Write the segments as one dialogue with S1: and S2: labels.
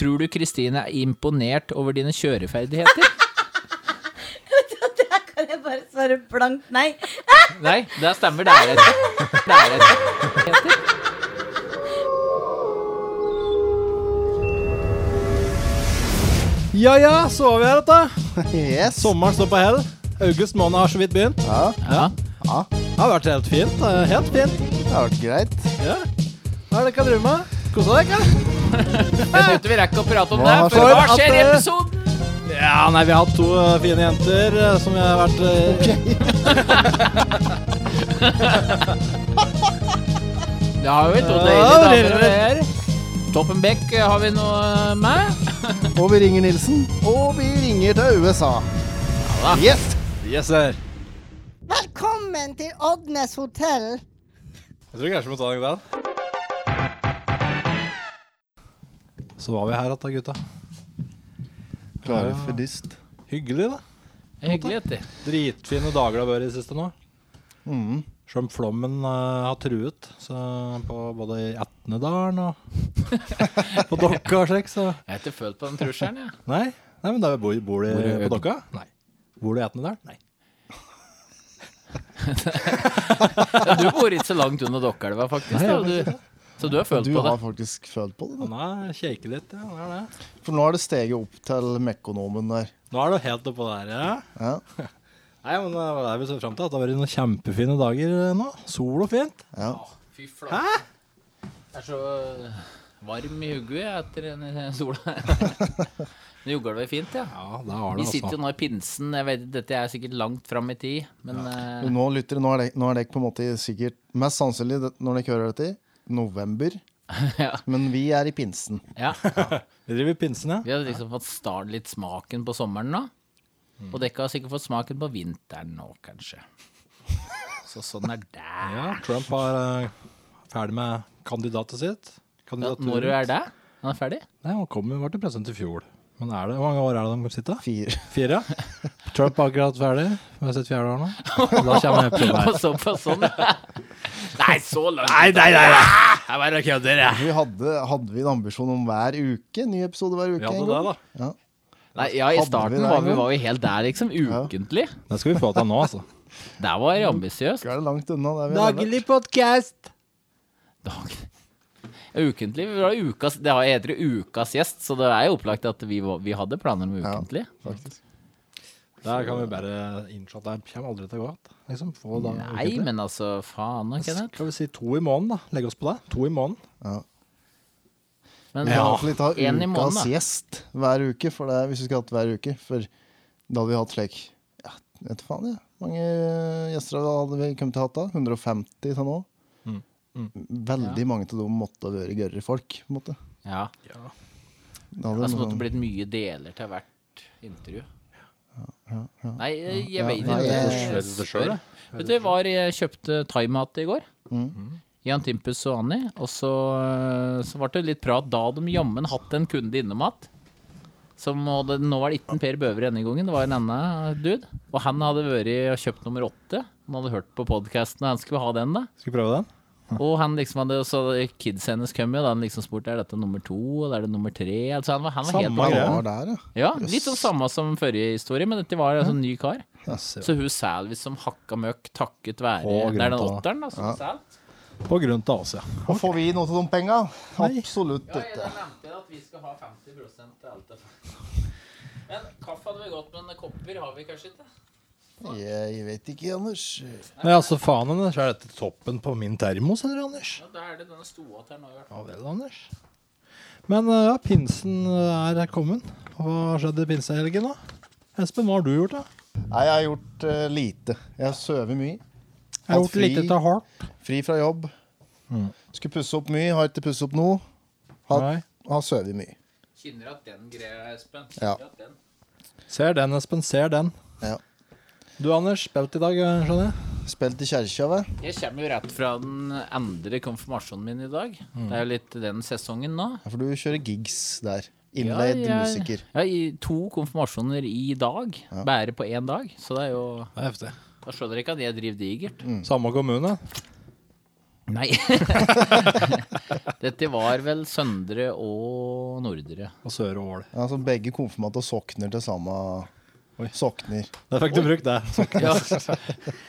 S1: Tror du Kristine er imponert over dine kjøreferdigheter?
S2: Der kan jeg bare svare blankt nei.
S1: Nei, det stemmer. Det er et. Det er et.
S3: Ja ja, så var vi her, da.
S4: Yes.
S3: Sommeren står på hell. August måned har så vidt begynt.
S4: Ja,
S1: Ja.
S4: ja.
S3: Det har vært helt fint. eh, Helt fint.
S4: Det har vært greit.
S3: Ja. Hva er det dere har drevet med? Kosa dere?
S1: Jeg trodde vi rakk å prate om
S4: Hva
S1: det, for
S3: skjer
S1: hva
S3: at
S1: skjer i
S3: det-
S1: episoden?
S3: Ja, nei, vi har hatt to eh, fine jenter eh, som vi har vært eh,
S1: Det har vi to
S3: Ja,
S1: deilige
S3: det
S1: damer og
S3: er
S1: herrer. Toppen Beck eh, har vi noe med.
S4: Og vi ringer Nilsen. Og vi ringer til USA.
S1: Ja da.
S4: Yes!
S3: Yes, sir.
S5: Velkommen til Oddnes hotell.
S3: Jeg tror kanskje vi må ta den der. Så var vi her igjen, da, gutta.
S4: Klare for dyst.
S3: Hyggelig, da.
S1: Hyggelig, dette.
S3: Dritfine dager det har vært i det siste nå.
S4: Mm.
S3: Selv om flommen eh, har truet så på både i Etnedalen og på Dokka og slik, så
S1: Jeg har ikke følt på den trusselen, jeg.
S3: Nei, Nei men da bor, bor de
S1: Bor i-
S3: på Dokka? Nei. Bor de i Etnedalen? Nei.
S1: Ja, du bor ikke så langt unna Dokkelva, faktisk. Da, du. Så du har følt
S4: Du
S1: på det.
S4: har faktisk følt på det. da.
S3: Han er kjeiker litt, ja. han Er det.
S4: For nå har det steget opp til Mekonomen der.
S3: Nå er du helt oppå der, ja.
S4: Ja.
S3: Nei, men det er det vi ser frem til. at Det har vært noen kjempefine dager eh, nå. Sol og fint.
S4: ja.
S1: Fy flate. Jeg er så eh, varm i hodet jeg, etter den sola. Men Jordgulvet er fint, ja.
S3: Ja, det altså. har
S1: Vi sitter jo nå i pinsen. Jeg vet, dette er sikkert langt fram i tid, men eh,
S4: Men Nå lytter nå er dere- nå er dere på en måte sikkert Mest sannsynlig det- når dere hører dette, november.
S1: Ja.
S4: Men vi er i pinsen.
S1: ja.
S3: Vi driver pinsen, ja.
S1: Vi har liksom fått start litt smaken på sommeren nå.
S3: Mm.
S1: Og dere har sikkert fått smaken på vinteren nå, kanskje. Så sånn er det.
S3: ja. Trump er eh, ferdig med kandidatet sitt.
S1: Ja,
S3: Kandidaturen.
S1: når er det? Han er ferdig?
S3: Nei, han kom jo, var til president i fjor. Men er det, hvor mange år er det de sitter?
S4: Fire.
S3: Fire? Trump er akkurat ferdig. Vi har sett fjerde år nå. Da kommer jeg på
S1: Og
S3: deg.
S1: såpass sånn. Nei, så langt.
S3: nei, nei! Jeg bare kødder, jeg.
S4: Vi hadde, hadde vi en ambisjon om hver uke? Ny episode hver uke?
S3: Vi hadde
S4: en
S3: det,
S4: gang?
S3: da.
S4: Ja.
S1: Nei, ja, I
S4: Hadde vi
S1: starten
S4: det en
S1: var vi,
S4: gang?
S1: var vi helt der, liksom. Ukentlig.
S3: Det skal vi få til nå, altså.
S1: Der var
S3: Mm.
S1: det ambisiøst.
S4: Ikke er det langt unna der vi har vært.
S3: podcast.
S1: Dag. Ukentlig? Vi var ukas, det har- heter jo Ukas gjest, så det er jo opplagt at vi, var, vi hadde planer om ukentlig.
S4: Faktisk.
S3: Der kan vi bare innse at det kommer aldri til å gå. Liksom, få da,
S1: Nei, men altså, faen og Kenneth.
S3: Skal vi si to i måneden, da? Legge oss på det. To i måneden.
S4: Ja.
S1: Men
S4: Vi må i hvert fall ikke ha
S1: en i
S4: ukas
S1: måneden, da.
S4: gjest hver uke, for det er, hvis vi skulle hatt hver uke. For da hadde vi hatt slik ja, vet du faen, ja. mange eh, gjester hadde vi kommet til å hatt da? 150 til nå. Mm, Veldig mange av dem måtte være gørre folk. på en måte.
S1: Ja.
S4: Da
S1: Altså
S4: hadde de
S1: måtte det
S4: sånn-
S1: blitt mye deler til hvert intervju. Nei, jeg vet
S4: Nei, jeg-
S1: ikke. Jeg spør. Vet du, jeg var, jeg kjøpte thaimat i går. Mm. Jan Timpus og Annie. Og så, øh, så ble det litt prat da de jammen hatt en kunde innom igjen. Som hadde, nå var det ikke en Per Bøver denne gangen, det var en annen dude. Og han hadde vært og kjøpt nummer åtte. Han hadde hørt på podkasten, og han skulle ha den, da.
S3: Skal vi prøve den?
S1: Og han liksom hadde, så hadde kids hennes kommet, og da han liksom spurte er dette nummer to, eller er det nummer tre? Altså, han var, han var helt
S4: Ja,
S3: Samme
S4: det
S3: greie.
S4: var der, ja.
S1: ja, litt sånn samme som forrige historie, men dette var altså en ny kar.
S3: Så
S1: Så hun Salvis som hakka møkk takket være
S3: Å,
S1: Det er den
S3: grunta.
S1: åtteren, da. Som Sal.
S3: På grunn til Asia.
S4: Og får vi noe av de penga? Absolutt
S1: Ja, jeg
S4: ikke.
S1: nevnte at vi skal ha 50 til alt det Men kaffe hadde vi godt, men kopper har vi kanskje ikke.
S4: Jeg vet ikke, Anders.
S3: Nei, altså faen henne, så er dette toppen på min termos, eller Anders?
S1: Ja, Da er det denne stoa til nå, i hvert fall.
S3: Ja vel, Anders. Men eh, ja, pinsen eh, er kommet. Hva skjedde i pinsehelgen, da? Espen, hva har du gjort, da?
S4: Nei, jeg har gjort eh, lite. Jeg har sovet mye.
S3: Jeg har
S4: Hatt
S3: gjort lite
S4: fri.
S3: til hardt.
S4: Fri fra jobb. Skulle pusse opp mye, har ikke pusse opp noe. Har,
S3: Mm. Nei.
S4: har sovet mye.
S1: Kjenner at den greia, Espen.
S4: Ja.
S1: Kjenner at den.
S3: Ser den, Espen. Ser den.
S4: Ja.
S3: Du, Anders, spilt i dag, eh, skjønner jeg.
S4: Spilt i kjerka, vel?
S1: Jeg kommer jo rett fra den andre konfirmasjonen min i dag.
S4: Mm.
S1: Det er jo litt den sesongen nå.
S4: Ja, for du kjører gigs der. Innleid
S1: ja, jeg-
S4: musiker.
S1: Ja, i to konfirmasjoner i dag. Bare på én dag. Så det er jo
S3: Det er heftig. Mm.
S1: Da skjønner dere ikke at jeg driver digert.
S3: Samme kommune.
S1: Nei. Dette var vel Søndre og Nordre.
S3: Og Søre Ål.
S4: Altså begge konfirmante sokner til samme
S3: Oi.
S4: sokner.
S3: Der fikk du brukt det.
S1: Ja.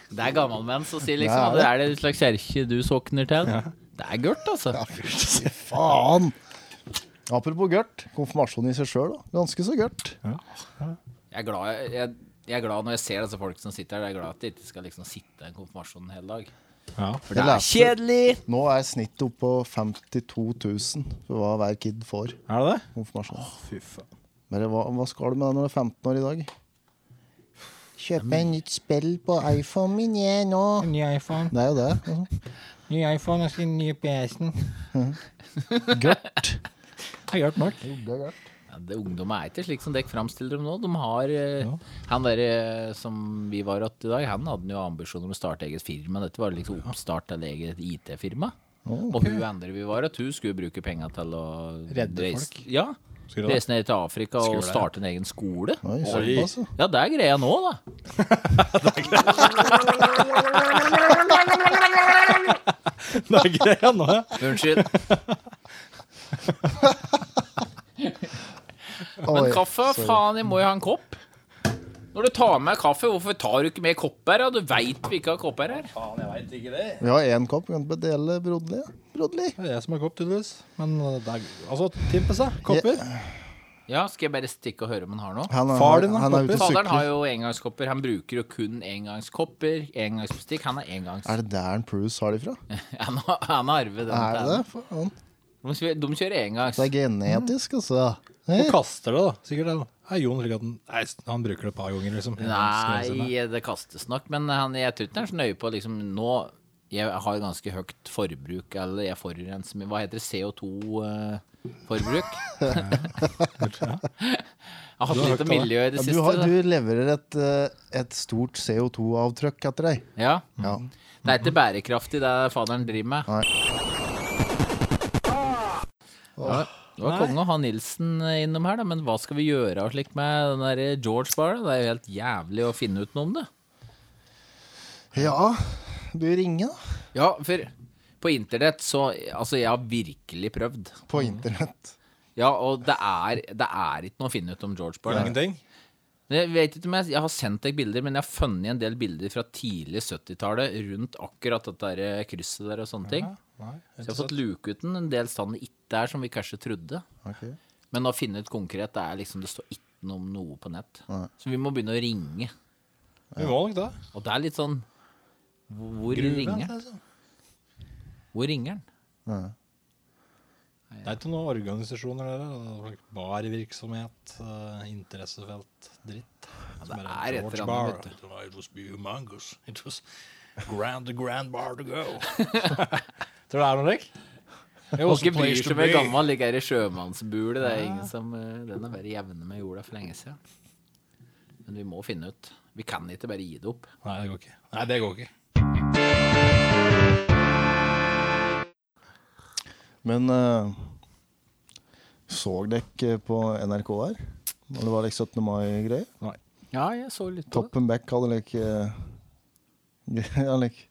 S1: Det er gammelmenn som sier liksom at
S4: Det
S1: er det en slags kjerke du sokner til? Det er gørt, altså.
S4: Fy faen! Apropos gørt. Konfirmasjonen i seg sjøl, da. Ganske så gørt.
S1: Jeg er glad, jeg, jeg er glad når jeg ser disse folk som sitter her. Jeg er glad at de ikke skal liksom sitte i en konfirmasjon en hel dag.
S3: Ja.
S1: For det
S4: Jeg
S1: er
S4: leste-
S1: kjedelig!
S4: Nå er snittet oppe på 52 000 for hva hver kid får
S3: Er det det?
S4: konfirmasjon.
S3: Fy faen.
S4: Men hva, hva skal du med deg når du er 15 år i dag? Kjøpe meg nytt spill på iPhone min, jeg nå.
S5: Ny iPhone.
S4: Det er jo det. altså.
S5: Ny iPhone og sin nye PS-en.
S4: Gørt.
S3: Jeg har hørt nok.
S4: Det er gørt.
S1: Ja, det, ungdom er ikke slik som dere framstiller dem nå. De har, eh, Han der eh, som vi var hatt i dag, han hadde jo ambisjoner om å starte eget firma. Dette var liksom oppstart av eget IT-firma. Og hun andre vi var hatt, hun skulle bruke penga til å
S3: Redde
S1: reise-
S3: folk.
S1: Ja,
S3: Skulle det?
S1: reise ned til Afrika
S3: Skulle
S1: og
S3: det.
S1: starte en egen skole.
S4: Oi, altså.
S3: Oi.
S4: såpass, ja.
S1: Ja, det er greia nå, da.
S3: Det er greia nå, ja.
S1: Unnskyld. Men
S4: Oi,
S1: kaffe,
S4: sorry.
S1: faen, jeg må jo ha en kopp. Når du tar med kaffe, hvorfor tar du ikke med kopp her? da? Du veit vi ikke har kopp her.
S3: Faen, jeg veit ikke det.
S4: Vi har én kopp. Vi kan ikke dele Brodli. ja. Brodli.
S3: Det er jeg som har kopp, tydeligvis. Men uh, det er Altså, Timpes, da. Kopper.
S1: Ja, skal jeg bare stikke og høre om han har noe?
S4: Han er,
S3: Far din har
S4: han er
S3: kopper.
S4: ute og
S1: Faderen har
S4: sykler.
S1: jo engangskopper. Han bruker jo kun engangskopper. Engangsbestikk. Han er engangs...
S4: Er det der en Pruce har de fra?
S1: Han har, han har arvet den.
S4: Er det det? Faen.
S1: De kjører, de kjører engangs.
S4: Det er genetisk, altså. Hei.
S3: Og kaster det, da. Sikkert. eller? Er Jon slik at han, nei, han bruker det et par ganger, liksom?
S1: Nei, det kastes nok. Men han, jeg tror ikke han er så nøye på liksom Nå jeg har ganske høyt forbruk, eller jeg forurenser mye. Hva heter det? eh, CO2-forbruk? jeg har hatt litt
S3: Du har høyt
S1: om
S3: av det.
S1: miljøet i det
S4: Ja, du,
S1: siste.
S4: har,
S1: da.
S4: du leverer et, eh, et stort CO2-avtrykk etter deg.
S1: Ja.
S4: Ja.
S1: Det er ikke bærekraftig, det faderen driver med.
S4: Nei.
S1: Ja, Det var
S3: Nei.
S1: konge å ha Nilsen innom her, da, men hva skal vi gjøre av slikt med den der George Bar? Det er jo helt jævlig å finne ut noe om det.
S4: ja. Du ringer, da.
S1: Ja, for på internett så Altså, jeg har virkelig prøvd.
S4: På internett.
S1: Ja, og det er, det er ikke noe å finne ut om George Bar. det.
S3: Ingenting?
S1: Men Jeg vet ikke om jeg, jeg har sendt deg bilder, men jeg har funnet en del bilder fra tidlig 70-tallet rundt akkurat dette der krysset der og sånne ting.
S3: Nei.
S1: Så jeg har fått luke ut den en del steder det ikke er, som vi kanskje trodde.
S4: Okay.
S1: Men å finne ut konkret, det er liksom Det står ikke noe om noe på nett.
S4: Nei.
S1: Så vi må begynne å ringe.
S3: Vi må nok det.
S1: Og det er litt sånn Hvor hvor ringer
S3: Gruven,
S1: den?
S3: altså.
S1: Hvor ringer den?
S4: Ja.
S3: Det er ikke noen organisasjoner der. eller? Barvirksomhet, eh, interessefelt, dritt. Som
S1: det
S3: bare,
S1: er et
S3: George
S1: eller annet,
S3: Bar.
S1: vet
S3: It was- It was humongous. It was grand the grand bar to go. Tror du det er noe, Rick? It was
S1: Folk
S3: a
S1: bryr
S3: place to
S1: seg med
S3: be.
S1: gammel ligger i sjømannsbule. Det er ingen som eh, Den er bare jevne med jorda for lenge siden. Men vi må finne ut. Vi kan ikke bare gi det opp.
S3: Nei, det går ikke. Nei, det går ikke.
S4: Men uh, så dere på NRK her? Når det var like 17. mai-greier?
S3: Nei.
S1: Ja, jeg så litt på det.
S4: Toppen Beck hadde like, eh, ja, like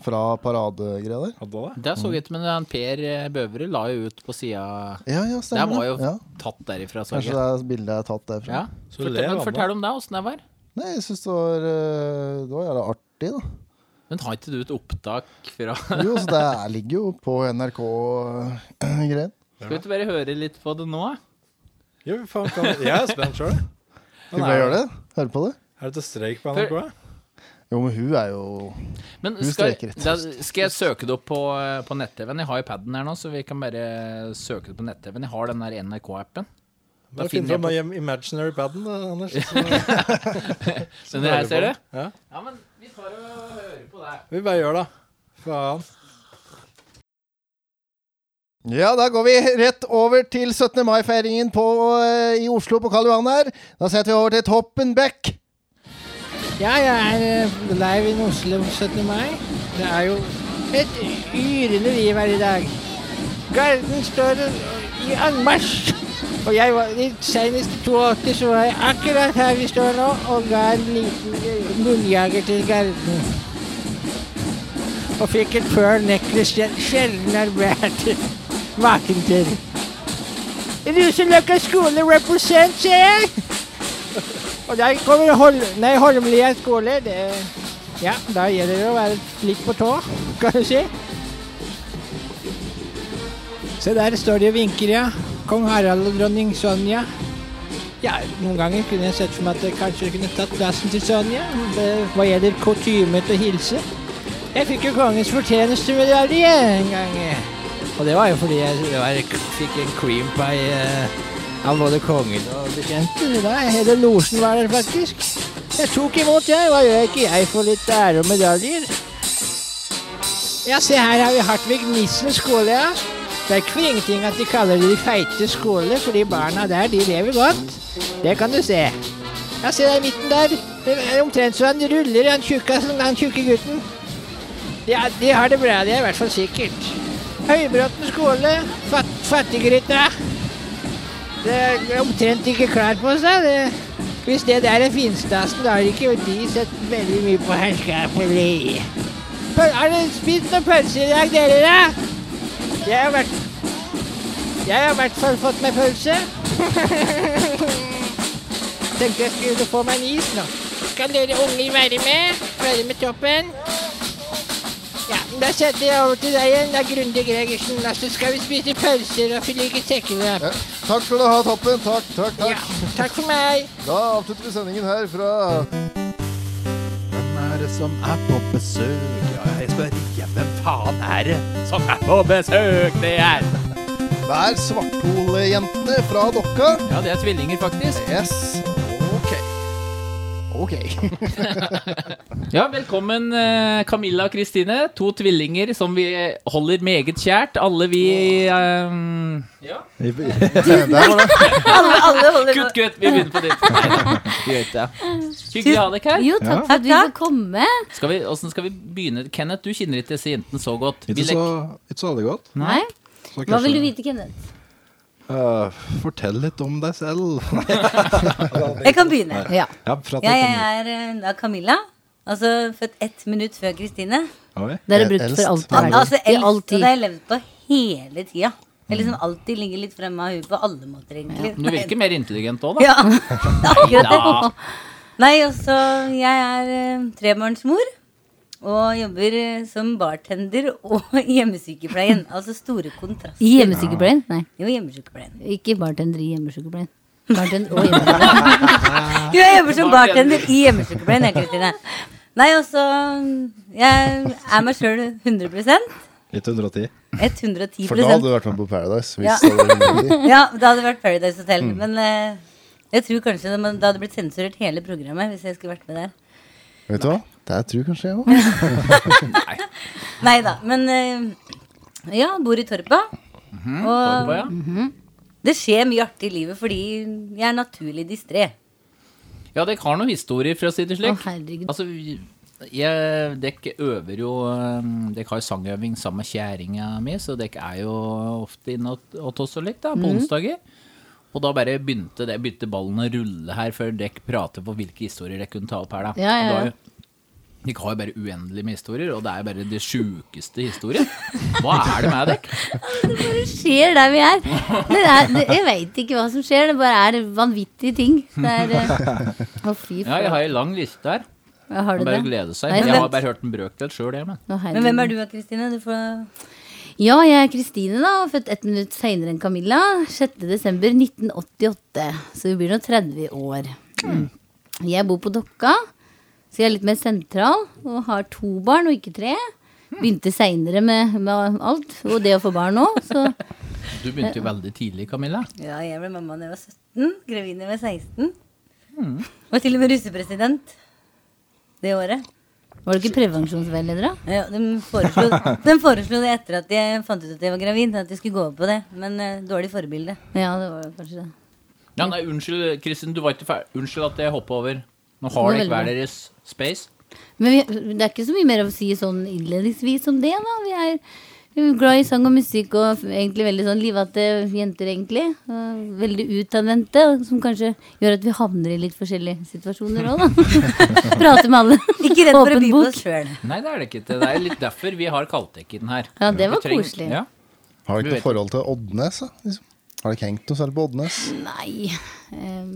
S4: Fra paradegreier der?
S3: Hadde det?
S1: Det så
S4: Mm.
S1: jeg ikke, men han Per eh, Bøvre la jo ut på sida
S4: Ja,
S1: Det
S4: ja, stemmer
S1: var jo
S4: Ja.
S1: tatt derifra, så jeg.
S4: Kanskje det er bildet jeg har tatt derfra.
S1: Ja.
S3: Så
S1: Fortell,
S3: ler
S1: men
S3: alle.
S1: fortell om det, åssen det var.
S4: Nei, jeg syns det var eh, Det var jævla artig, da.
S1: Men har ikke du et opptak fra
S4: Jo, så det er- ligger jo på eh, NRK-greien.
S1: Skal vi ikke bare høre litt på det nå?
S3: Jo, faen, kan vi- Jeg er spent sjøl.
S4: Skal vi bare gjøre det? Høre på det?
S3: Er det til streik på NRK? da?
S4: Jo, men hun er jo
S1: Men
S4: Hun
S1: skal,
S4: streker rett.
S1: da, skal jeg søke det opp på, på nett-TV-en? Jeg har jo paden her nå, så vi kan bare søke det på nett-TV-en. Jeg har den der NRK-appen. Da
S3: Da
S1: finner
S3: finner
S1: jeg
S3: du fram imaginary paden, Anders.
S1: Den her, ser du?
S3: Ja.
S1: Ja, men vi tar og hører på det.
S3: Vi bare gjør det. Faen.
S4: Ja, da går vi rett over til 17. mai-feiringen på, eh, i Oslo på Karl Johan her. Da setter vi over til Toppen Beck.
S5: Ja, jeg er eh, live i Oslo 17. mai. Det er jo et yrende liv her i dag. Garden står i anmarsj. Og jeg var, i senest 82 så var jeg akkurat her vi står nå og ga en liten eh, munnjager til Garden. og fikk et pearl necklace jeg sjelden har vært maken til. Ruseløkka skole represent, sier jeg! Og der kommer Hol nei, Holmlia skole. Det, ja, da gjelder det å være litt på tå, kan du si. Se der står de og vinker, ja. Kong Harald og dronning Sonja. Ja, noen ganger kunne jeg sett for meg at jeg kanskje kunne tatt plassen til Sonja. det- Hva gjelder kutyme til å hilse. Jeg fikk jo kongens fortjenestemedalje en gang. eh. Og det var jo fordi jeg det var, fikk en cream pie eh, av både kongen og bekjente. Da, hele losen var der faktisk. Jeg tok imot, jeg. Hva gjør ikke jeg for litt ære og medaljer? Ja, se her har vi Hartvig Nissen skole, ja. Det er ikke for ingenting at de kaller det de feite skole, fordi barna der, de lever godt. Det kan du se. Ja, se der i midten der. Det er omtrent så han ruller, han tjukka, han tjukke gutten. Ja, de har det bra, det er i hvert fall sikkert. Høybråten skole, fat, fattiggryta. Det er omtrent ikke klær på seg. Det. Hvis det der er finstasen, da har ikke de sett veldig mye på herskapelig. Har dere spist noen pølser i dag, dere? da? Jeg har vært Jeg har i hvert fall fått meg pølse. Tenkte jeg skulle få meg en is nå. Skal dere unger være med? Være med toppen? Ja, men Da setter jeg over til deg igjen, da, Grunde Gregersen. Da så skal vi spise pølser og fylle sekkeløp.
S4: Ja. Takk skal du ha, Tappen. Takk, takk, takk.
S5: Ja, takk for meg.
S4: Da avslutter vi sendingen her fra
S3: Hvem er det som er på besøk? Ja, jeg spør igjen. Hvem faen er det som er på besøk? Det er
S4: Hver svartholejentene fra Dokka.
S1: Ja, det er tvillinger, faktisk.
S4: Yes. OK. OK.
S1: Ja, Velkommen, eh, Camilla og Kristine. To tvillinger som vi holder meget kjært. Alle vi eh, ja.
S4: Der var det.
S6: Alle, alle holder
S1: Kutt, kutt! Vi begynner på nytt. Neida, vi gjør ikke det. Hyggelig å ha dere her.
S2: Jo, takk for at vi fikk komme.
S1: Skal vi, hvordan skal vi begynne? Kenneth, du kjenner ikke disse jentene så godt. Vi
S7: Ikke
S4: altså
S7: så,
S1: legger-
S7: ikke så veldig godt.
S2: Nei?
S7: Så
S2: Hva vil du
S7: kanskje-
S2: vite, Kenneth?
S7: Eh, fortell litt om deg selv.
S2: Jeg kan begynne. Ja.
S7: ja, prat litt
S2: Jeg
S7: om
S2: er eh, da Camilla. Altså født ett minutt før Kristine.
S7: Oi.
S8: Det er det
S4: Eh,
S8: brukt
S4: eldst.
S8: for alt i
S2: Al
S8: verden.
S2: altså
S8: I
S2: eldst,
S8: all
S2: og det
S8: tid.
S2: har jeg levd på hele tida. Jeg liksom alltid ligger litt fremme av huet på alle måter, egentlig.
S1: Du virker mer intelligent òg, da.
S2: Ja, det er akkurat det.
S1: Ja.
S2: Nei, også jeg er eh, trebarnsmor. Og jobber eh, som bartender og i hjemmesykepleien. Altså store kontraster.
S8: I hjemmesykepleien? Nei,
S2: Jo, hjemmesykepleien.
S8: ikke bartender i hjemmesykepleien. Bartender og hjemmesykepleien.
S2: Jo, jeg jobber som bartender i hjemmesykepleien, jeg, Kristine. Nei, altså Jeg er meg sjøl 100
S7: Litt 110.
S2: 110
S4: For da hadde du vært med på Paradise. Hvis
S2: Ja.
S4: det hadde vært mulig.
S2: Ja, det hadde vært Paradise Hotel.
S4: Mm.
S2: Men eh, jeg tror kanskje det, men det hadde blitt sensurert hele programmet hvis jeg skulle vært med der.
S4: Vet du hva? Det tror kanskje jeg òg.
S2: Nei da. Men eh, ja, bor i Torpa.
S4: Mhm.
S2: Og
S1: Torpa, ja.
S2: det skjer mye artig i livet fordi jeg er naturlig distré.
S1: Ja, dere har noen historier, for å si det
S8: Å,
S1: slik.
S8: herregud.
S1: Altså, vi- jeg, dere øver jo øhm, Dere har jo sangøving sammen med kjerringa mi, så dere er jo ofte inne åt- åt oss og litt, da, på
S8: Mhm.
S1: onsdager. Og da bare begynte, det, begynte ballen å rulle her før dere prater på hvilke historier dere kunne ta opp her, da.
S8: Ja, ja,
S1: Og da
S8: ja.
S1: er jo- dere har jo bare uendelig med historier, og det er jo bare de sjukeste historier. Hva er det med dere?
S8: Det skjer der vi er. Det er det, jeg veit ikke hva som skjer, det bare er vanvittige ting. Det er eh, Å, fy
S1: Ja, jeg har
S8: faen.
S1: ei lang liste her.
S8: Ja, Har
S1: Man
S8: du
S1: bare
S8: det?
S1: gleder seg.
S8: Nei,
S1: Jeg har
S8: vent.
S1: bare hørt en brøkdel sjøl, jeg, men.
S8: Å,
S2: Men hvem
S8: herregud.
S2: er du da, Kristine? Du får
S8: Ja, jeg er Kristine, da. Født ett minutt seinere enn Camilla. 6.12.1988. Så vi blir nå 30 år. Jeg bor på Dokka, så jeg er litt mer sentral. Og har to barn, og ikke tre. Begynte seinere med, med alt. Og det å få barn nå, så
S1: Du begynte jo veldig tidlig, Camilla.
S2: Ja, jeg ble mamma da jeg var 17. Gravid da jeg var 16. Og til og med russepresident det året.
S8: Var du ikke prevensjonsveileder, da?
S2: Ja, de, foreslo, de foreslo det etter at jeg fant ut at jeg var gravid, at jeg skulle gå over på det. Men eh, dårlig forbilde.
S8: Ja, det var kanskje det.
S1: Ja, nei, unnskyld, Kristin, du var ikke ferdig. Unnskyld at jeg hoppa over. Nå har
S8: Det
S1: dere
S8: var
S1: hver
S8: veldig
S1: deres space.
S8: Men vi, det er ikke så mye mer å si sånn innledningsvis om det, da. Vi er Jeg er Glad i sang og musikk og f- egentlig veldig sånn livete jenter, egentlig. Og veldig utadvendte, og som kanskje gjør at vi havner i litt forskjellige situasjoner òg, da. Prater med alle.
S2: Ikke redd for å
S8: Åpen
S2: by på
S8: bok.
S2: oss sjøl.
S1: Nei, det er det ikke. Det er litt derfor vi har Kaltekken her.
S8: Ja, det var
S1: Vi trenger-
S8: koselig.
S1: Ja.
S7: Har du
S1: Vi
S7: ikke
S1: vet
S7: noe forhold til Oddnes? da? Liksom? Har dere hengt noe særlig på Oddnes?
S8: Nei, em,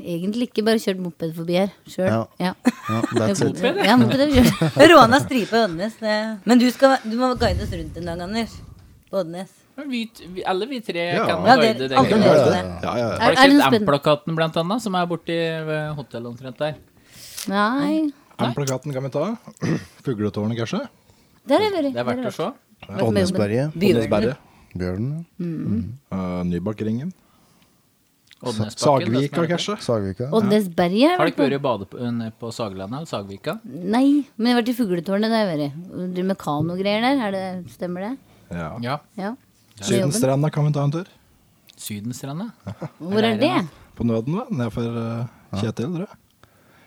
S8: egentlig ikke. Bare kjørt moped forbi her sjøl. Ja.
S7: Ja, that's it.
S8: Moped, ja. moped har vi kjørt.
S2: Råna stripe Oddnes. det- Men du, skal, du må guide oss rundt en dag, Anders. På Oddnes.
S1: Men Vi, vi, alle vi tre
S9: Ja.
S1: kan
S2: Ja,
S1: guide
S2: dere-
S1: den
S2: alle
S1: gangen.
S2: gjør det.
S9: Ja, ja, ja.
S8: Er,
S1: Har du
S8: er det noe
S1: sett
S8: spennende?
S1: M-plakaten blant annet, som er borti ved hotellet omtrent der?
S8: Nei.
S9: M-plakaten kan vi ta. Fugletårnet, kanskje?
S8: Der har jeg vært.
S1: Det er verdt å se.
S7: Oddnesberget.
S9: Odnesberget.
S7: Bjørnen.
S9: Uh, Nybakkringen.
S1: Oddnesbakken, det som
S9: Sagvika,
S1: er der.
S9: kanskje?
S7: Sagvika.
S8: Oddnesberget har jeg
S1: Har du
S8: vært
S1: ikke
S8: på.
S1: vært i bade på, ned på Saglandet eller Sagvika?
S8: Nei, men jeg har vært i Fugletårnet. Det har jeg vært. Og Driver med kanogreier der. Er det, stemmer det?
S9: Ja.
S1: Ja.
S8: Ja.
S9: Sydenstranda kan vi ta en tur.
S1: Sydenstranda.
S8: Hvor er det?
S9: På Nøden, da. Nedfor uh, Kjetil, tror jeg.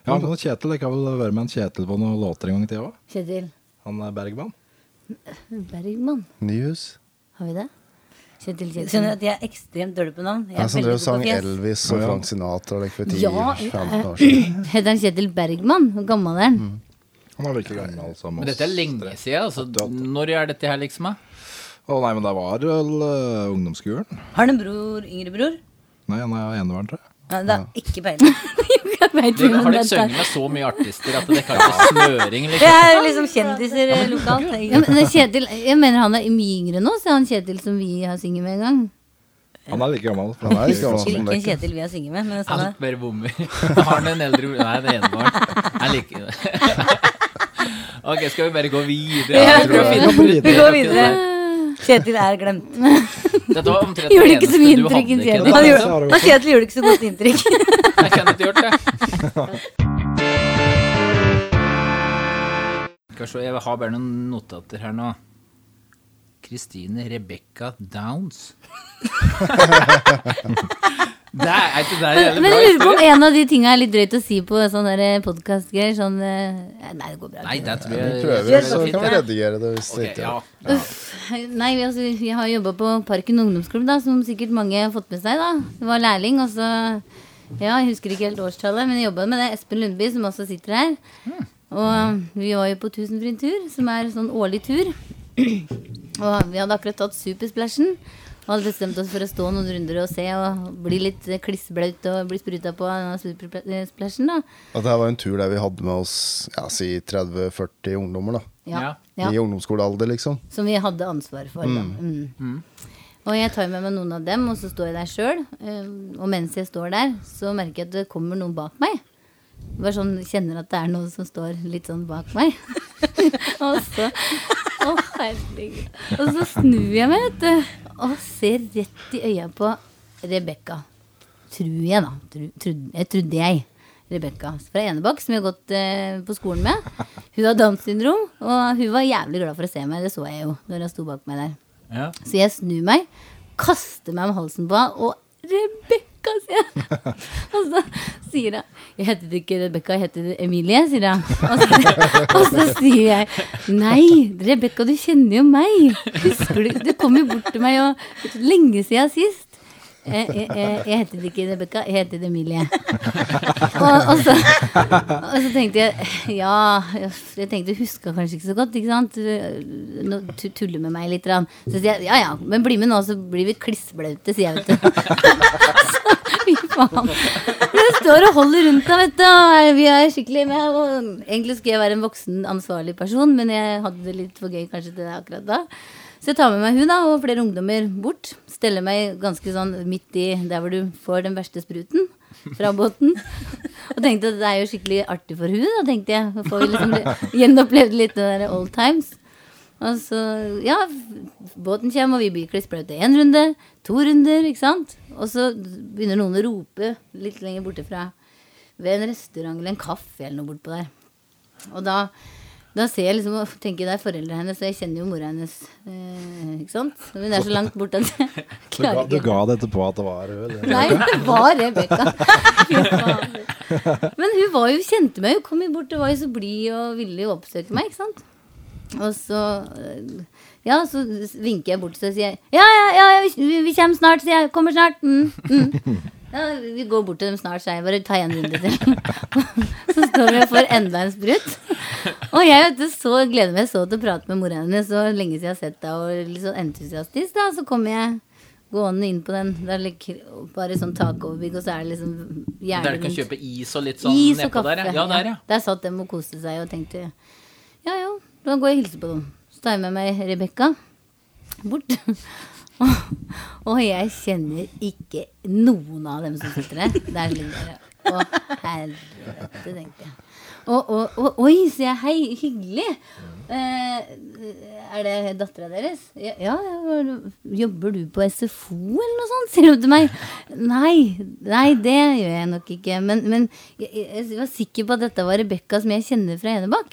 S9: Ja, men Kjetil, Jeg kan vel være med en Kjetil på noen låter en gang i tida òg?
S8: Kjetil
S9: Han er Bergman.
S8: Bergman.
S7: Nyhus.
S8: Har vi det? Kjetil
S2: Du
S8: Kjetil.
S2: skjønner at jeg er ekstremt dårlig på navn. Jeg er
S7: Jeg som
S2: veldig
S7: drev og sånn sang
S2: god på fjes.
S7: Elvis og Frank Sinatra like, for
S8: Ja,
S7: 10-15 år siden. Mm.
S8: Heter han Kjetil Bergman? Hvor gammel er han?
S9: Han er virkelig gammel som
S1: Men dette er lenge siden. Altså, når er dette her, liksom? da?
S9: Å nei, men det var vel eh, ungdomsskolen.
S2: Har du en bror, yngre bror?
S9: Nei, han er enevern, tror jeg.
S2: Ja, det er ikke peiling.
S8: Jeg vet
S1: Dere
S8: ikke om
S1: har dere
S8: dette er-
S1: sunget med så mye artister at det kan ikke smøring,
S2: Det
S1: liksom?
S2: er liksom kjendiser eh, lokalt.
S8: ja,
S2: Jeg-
S8: men det er Kjetil, jeg mener han er mye yngre nå, så er han Kjetil som vi har synget med en gang.
S9: Han er like gammel.
S7: Han er ikke
S2: Sånn, Ikke
S7: gammel
S2: en
S7: som dere.
S2: Kjetil vi har synget med, men det er
S1: Han
S2: sånn
S1: spør bommer. Har han en eldre bror? Nei, det ene var Jeg liker det. Ok, skal vi bare gå videre?
S2: Ja,
S1: Jeg tror
S2: vi
S1: jeg
S2: går
S1: finner-
S2: Vi går videre. Kjetil er glemt.
S1: Dette var omtrent
S8: Gjorde
S1: det
S8: ikke så
S1: eneste
S8: mye
S1: du hadde,
S8: inntrykk,
S1: Kenneth.
S8: Kjetil.
S2: Han gjorde, han Kjetil gjorde ikke så godt inntrykk.
S1: Jeg kan ikke gjort det. Skal se, jeg har bare noen notater her nå. Kristine Rebekka Downs. det er, er ikke det en jævlig bra
S8: Men jeg lurer på om
S1: historie?
S8: en av de tinga er litt drøyt å si på sånne podkastgreier. Sånn eh, Nei, det går bra.
S1: Nei, det tror
S7: Vi
S1: jeg
S7: prøver,
S1: det
S7: så
S1: går fint,
S7: kan vi
S1: det.
S7: redigere det hvis det
S1: Ok,
S7: ikke
S1: ja.
S7: er
S8: Nei, vi- altså, jeg har jobba på Parken ungdomsklubb, da, som sikkert mange har fått med seg. da Det var lærling, og så Ja, jeg husker ikke helt årstallet, men jeg jobba med det. Espen Lundby, som også sitter her. Og eh, vi var jo på Tusenfryd tur, som er sånn årlig tur. Og vi hadde akkurat tatt Supersplashen. Og hadde bestemt oss for å stå noen runder og se og bli litt eh, klissblaut og bli spruta på av Supersplashen, da.
S7: At det her var en tur der vi hadde med oss ja, si 30-40 ungdommer. da
S8: Ja,
S7: I ungdomsskolealder, liksom.
S8: Som vi hadde ansvar for. Da. Mm. Og jeg tar med meg noen av dem, og så står jeg der sjøl. Og mens jeg står der, så merker jeg at det kommer noen bak meg. Bare sånn kjenner at det er noen som står litt sånn bak meg. og så Å, herregud. Og så snur jeg meg, vet du, og ser rett i øya på Rebekka. Tror jeg, da. Tru, trud, jeg trodde jeg. Rebekka fra Enebakk, som vi har gått eh, på skolen med. Hun har Downs syndrom, og hun var jævlig glad for å se meg. Det så jeg jo når hun sto bak meg der.
S1: Ja.
S8: Så jeg snur meg, kaster meg om halsen på henne, og 'Rebekka', sier jeg. Og så sier hun 'Jeg heter ikke Rebekka, jeg heter Emilie', sier hun. Og så, og så sier jeg 'Nei, Rebekka, du kjenner jo meg'. Husker du Du kom jo bort til meg og lenge siden sist. Jeg, jeg, jeg, jeg heter ikke Rebekka, jeg heter Emilie. Og, og, så, og så tenkte jeg Ja, jeg tenkte huska kanskje ikke så godt, ikke sant? Nå tu- tuller med meg litt. grann. Så sier jeg ja ja, men bli med nå, så blir vi klissblaute, sier jeg, vet du. Så fy faen. Men jeg står og holder rundt deg, vet du. og Vi er skikkelig med. Og egentlig skulle jeg være en voksen, ansvarlig person, men jeg hadde det litt for gøy kanskje til det akkurat da. Så jeg tar med meg hun da, og flere ungdommer bort. Steller meg ganske sånn midt i der hvor du får den verste spruten fra båten. Og tenkte at det er jo skikkelig artig for hun, da, tenkte jeg. Da Får vi liksom gjenopplevd litt det der old times. Og så, ja, båten kommer, og vi blir klissblaute én runde, to runder, ikke sant. Og så begynner noen å rope litt lenger borte fra ved en restaurant eller en kaffe eller noe bortpå der. Og da, da ser jeg liksom, og tenker det er foreldrene hennes, og jeg kjenner jo mora hennes. Eh, ikke sant? Hun er så langt borte at jeg
S9: Du ga,
S8: klarer
S9: du
S8: ikke.
S9: ga dette på at det var eller?
S8: Nei, det var Rebekka. Fy faen. Men hun var jo, kjente meg jo, kom jo bort og var jo så blid og ville jo oppsøke meg, ikke sant. Og så eh, Ja, så vinker jeg bort så sier jeg, Ja, ja, ja, ja vi, vi kommer snart, sier jeg. Kommer snart. Mm, mm. Ja, vi går bort til dem snart, sier jeg. Bare ta en runde til. Så står vi og får enda en sprut. Og jeg vet, du, så gleder meg så til å prate med mora hennes. Så lenge siden jeg har sett deg, og litt sånn entusiastisk, da. Så kommer jeg gående inn på den. Det er litt- bare sånn tak over bygg, og så er det liksom gjerde
S1: Der du kan
S8: rundt.
S1: kjøpe is og litt sånn
S8: Is og
S1: nedpå
S8: kaffe.
S1: der, ja. ja. Der, ja.
S8: satt dem og koste seg og tenkte ja ja, da går jeg og hilser på dem. Så tar jeg med meg Rebekka bort. og, og jeg kjenner ikke noen av dem som sitter der. Der ligger jeg. Å, helvete, tenkte jeg. Og, og, og oi, sier jeg. Hei, hyggelig. Eh, er det dattera deres? Ja, ja, ja, hva- jobber du på SFO eller noe sånt? Sier hun til meg. Nei, nei, det gjør jeg nok ikke. Men, men jeg, jeg, jeg var sikker på at dette var Rebekka som jeg kjenner fra Enebakk.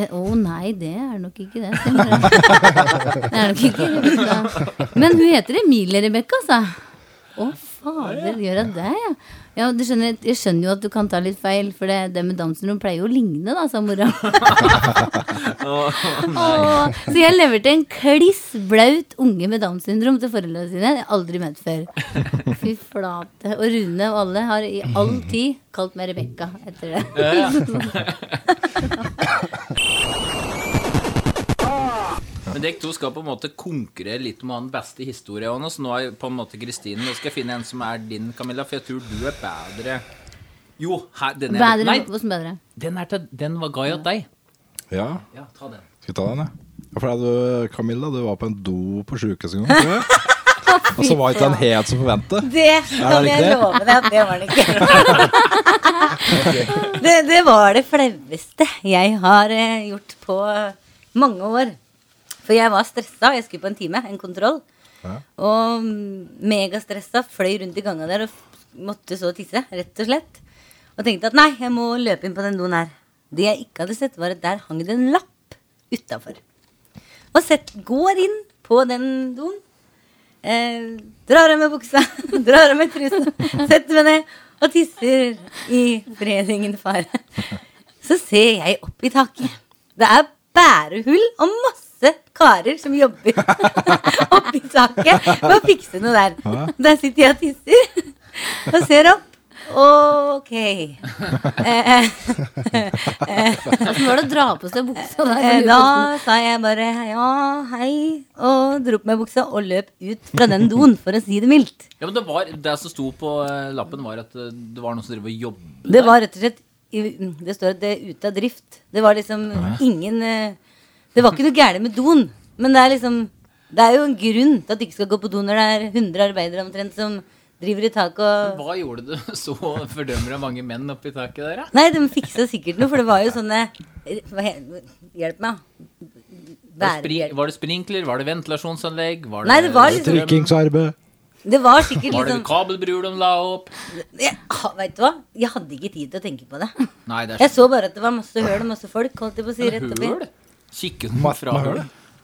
S8: Eh, Å nei, det er nok ikke det. sier hun. Det er nok ikke Rebekka. Men hun heter Emilie Rebekka, altså. Å, fader, gjør jeg det, ja? Ja, du skjønner, Jeg skjønner jo at du kan ta litt feil, for det, det med Downs syndrom pleier jo å ligne, da, sa mora. Åh, så jeg leverte en kliss blaut unge med Downs syndrom til foreldrene sine. Jeg har aldri møtt før. Fy flate. Og Rune og alle har i all tid kalt meg Rebekka etter det.
S1: Eh, Men dere to skal på en måte konkurrere litt om å ha den beste historien. Johannes. nå er på en måte Kristine Nå skal jeg finne en som er din, Camilla, for jeg tror du er bedre Jo, her, den er
S8: Bedre,
S1: Nei,
S8: hvordan bedre?
S1: den, er til, den var ga jeg til deg.
S10: Ja,
S1: Ja, ta den.
S10: skal vi ta den, ja? Ja, For da du, Camilla, du var på en do på sjukehuset en gang. tror jeg. Og så var ikke den helt som forventet.
S2: Det kan
S10: det
S2: jeg
S10: ikke?
S2: love deg at det var det ikke. det, det var det flaueste jeg har eh, gjort på mange år. For jeg var stressa, jeg skulle på en time, en kontroll. Og mm, megastressa, fløy rundt i ganga der og f- måtte så tisse, rett og slett. Og tenkte at nei, jeg må løpe inn på den doen her. Det jeg ikke hadde sett, var at der hang det en lapp utafor. Og sett, går inn på den doen. Eh, drar av meg buksa, drar av meg trusa, setter meg ned og tisser i foreningen fare. Så ser jeg opp i taket. Det er bærehull og masse karer som jobber oppi taket med å fikse noe der. Der sitter jeg og tisser og ser opp. Ok. Eh, eh,
S8: Hvordan var det å dra på seg buksa der?
S2: Eh, Da sa jeg bare ja, hei, og dro på meg buksa og løp ut fra den doen, for å si det mildt.
S1: Ja, men det, var, det som sto på eh, lappen, var at eh, det var noen som drev og jobbet
S2: Det var rett og slett i- Det står at det er ute av drift. Det var liksom ingen eh, Det var ikke noe gærent med doen, men det er liksom Det er jo en grunn til at du ikke skal gå på do når det er 100 arbeidere omtrent som driver i taket og
S1: Hva gjorde du så fordømmer av mange menn oppi taket der, da?
S2: Nei, de fiksa sikkert noe, for det var jo sånne hva he- Hjelp meg.
S1: Var det, spri-
S2: Bærehjelp.
S1: var det sprinkler? Var det ventilasjonsanlegg? Var
S2: Nei, det var liksom-
S1: strøm?
S3: Trykkingsarbeid.
S2: Det var sikkert
S1: Var det
S2: liksom
S1: kabelbruer de la opp?
S2: jeg, ha- Vet du hva? Jeg hadde ikke tid til å tenke på det.
S1: Nei, det er
S2: Jeg så bare at det var masse høl og masse folk. Holdt jeg på å si rett oppi.
S1: hull. Kikker du fra
S10: med
S1: hull?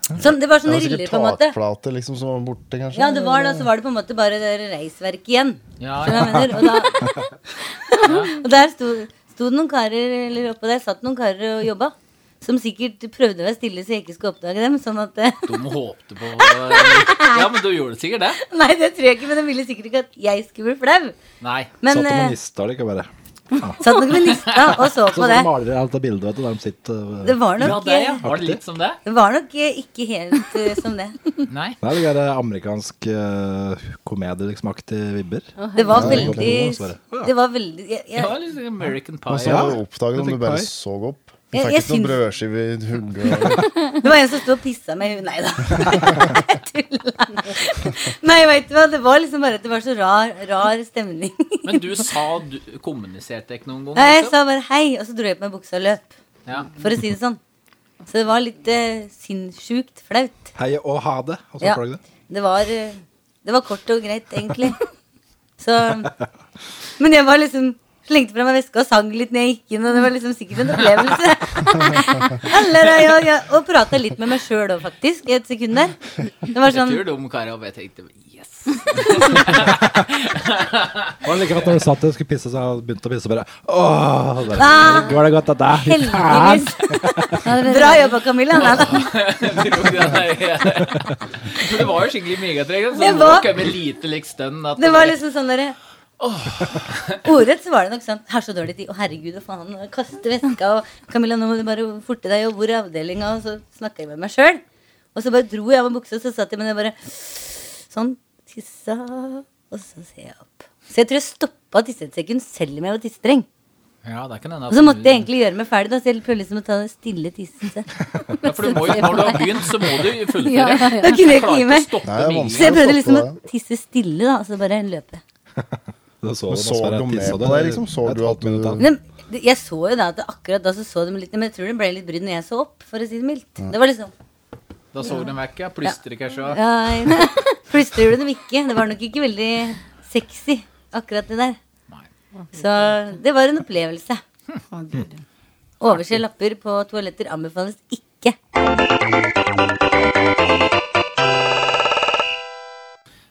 S2: Sånn, det var
S4: Det
S2: sånne riller,
S4: var sikkert
S2: på en måte.
S4: takplate liksom, som var borte, kanskje.
S2: Ja, det var da, så var det på en måte bare det reisverket igjen.
S1: Ja,
S2: Skjønner du hva jeg mener? Og, da, og der sto, sto det noen karer, eller oppå der satt noen karer og jobba. Som sikkert prøvde å være stille så jeg ikke skulle oppdage dem. Sånn at eh,
S1: De håpte på Ja, men du gjorde sikkert det.
S2: Nei, det tror jeg ikke, men de ville sikkert ikke at jeg skulle bli flau.
S1: Nei.
S2: Men
S10: Satt og
S2: eh,
S10: manista, det ikke bare.
S2: satt nok med nista og så
S10: Sånn
S2: på
S10: som
S2: det.
S10: malere alt det bildet, vet du, der de sitter.
S3: øh.
S10: eh,
S2: Det var
S1: Ja,
S2: nok,
S1: det, ja.
S2: eh,
S1: Var det litt som det?
S2: det var nok eh, ikke helt eh, som det.
S1: Nei.
S10: Nei, det er amerikansk
S3: øh,
S10: uh, komedie, liksom, aktig vibber.
S2: Det var
S10: Ja, det var
S2: veldig
S10: godt å svare.
S2: Det var veldig Jeg,
S1: Det
S2: jeg,
S1: var litt American
S4: Og
S1: Pie.
S4: så
S1: Ja.
S4: var det oppdaget om
S10: Jeg
S4: du
S10: fikk
S4: bare
S10: pie.
S4: så opp. Du
S2: Jeg-
S4: fikk
S2: jeg
S4: ikke noen
S2: syns-
S4: brødskive i hullet.
S2: det var en som sto og pissa med huet Nei da. Jeg tulla. Nei, veit du hva. Det var liksom bare at det var så rar, rar stemning.
S1: Men du sa du kommuniserte ikke noen gang?
S2: Nei, jeg
S1: liksom?
S2: sa bare hei, og så dro jeg på meg buksa og løp.
S1: Ja.
S2: For å si det sånn. Så det var litt eh, sinnssjukt flaut.
S10: Hei og ha det. Og så
S2: Ja.
S10: får du det.
S2: Det var, eh, det var kort og greit, egentlig. Så Men jeg var liksom Slengte fra meg veska og sang litt når jeg gikk inn. Og det var liksom sikkert en opplevelse. Alle der, ja, ja, og prata litt med meg sjøl òg, faktisk, i et sekund der. Det var
S1: Jeg
S2: sånn
S1: tror de karene og jeg tenkte yes.
S10: Var
S3: var like godt når du satt der og skulle pisse, så jeg begynte å pisse bare Åh, det
S2: Ah!»
S3: Går det godt at det er?
S2: Heldigvis. Bra jobba, Camilla. Nei, nei.
S1: Jeg tror ikke det er- Men det var jo skikkelig megatregel. Så
S2: Det
S1: det
S2: var-
S1: var ikke med lite like stønn. At
S2: Det var liksom sånn derre Ordrett så var det nok sånn Har så dårlig tid. Å, herregud, og faen. og Kaste veska. Og Camilla, nå må du bare forte deg. Og hvor er avdelinga? Og så snakka jeg med meg sjøl. Og så bare dro jeg av meg buksa, og så satt jeg med det bare sånn. Tissa. Og så ser jeg opp. Så jeg tror jeg stoppa å tisse et sekund selv om jeg var tissetreng.
S1: Ja, det kan hende at
S2: Og så måtte jeg egentlig gjøre meg ferdig, da, så jeg prøvde liksom å ta det stille tisset.
S1: ja, for du må, jo- Når du har begynt, så må du fullføre.
S8: Ja, ja, ja.
S2: Da kunne jeg
S1: Klarer ikke
S2: ikke gi
S1: å
S2: meg.
S1: stoppe
S4: Nei, det er
S1: mye.
S4: vanskelig.
S2: Så jeg prøvde
S4: Stoppe
S2: liksom å
S4: det.
S2: tisse stille, da, og så bare løpe.
S3: Du så,
S4: Men så de med på deg, liksom? Så du at du-
S9: Mm.
S3: sånn-
S2: Men de- jeg så jo da at det akkurat da så så de litt Men jeg tror det ble litt brydd når jeg så opp, for å si det mildt. Det var liksom
S1: Da så den vekk, ja. Plystrer kanskje. og-
S2: ja, jeg- Plutselig gjorde de ikke. Det var nok ikke veldig sexy, akkurat det der. Så det var en opplevelse. Overse lapper på toaletter anbefales ikke.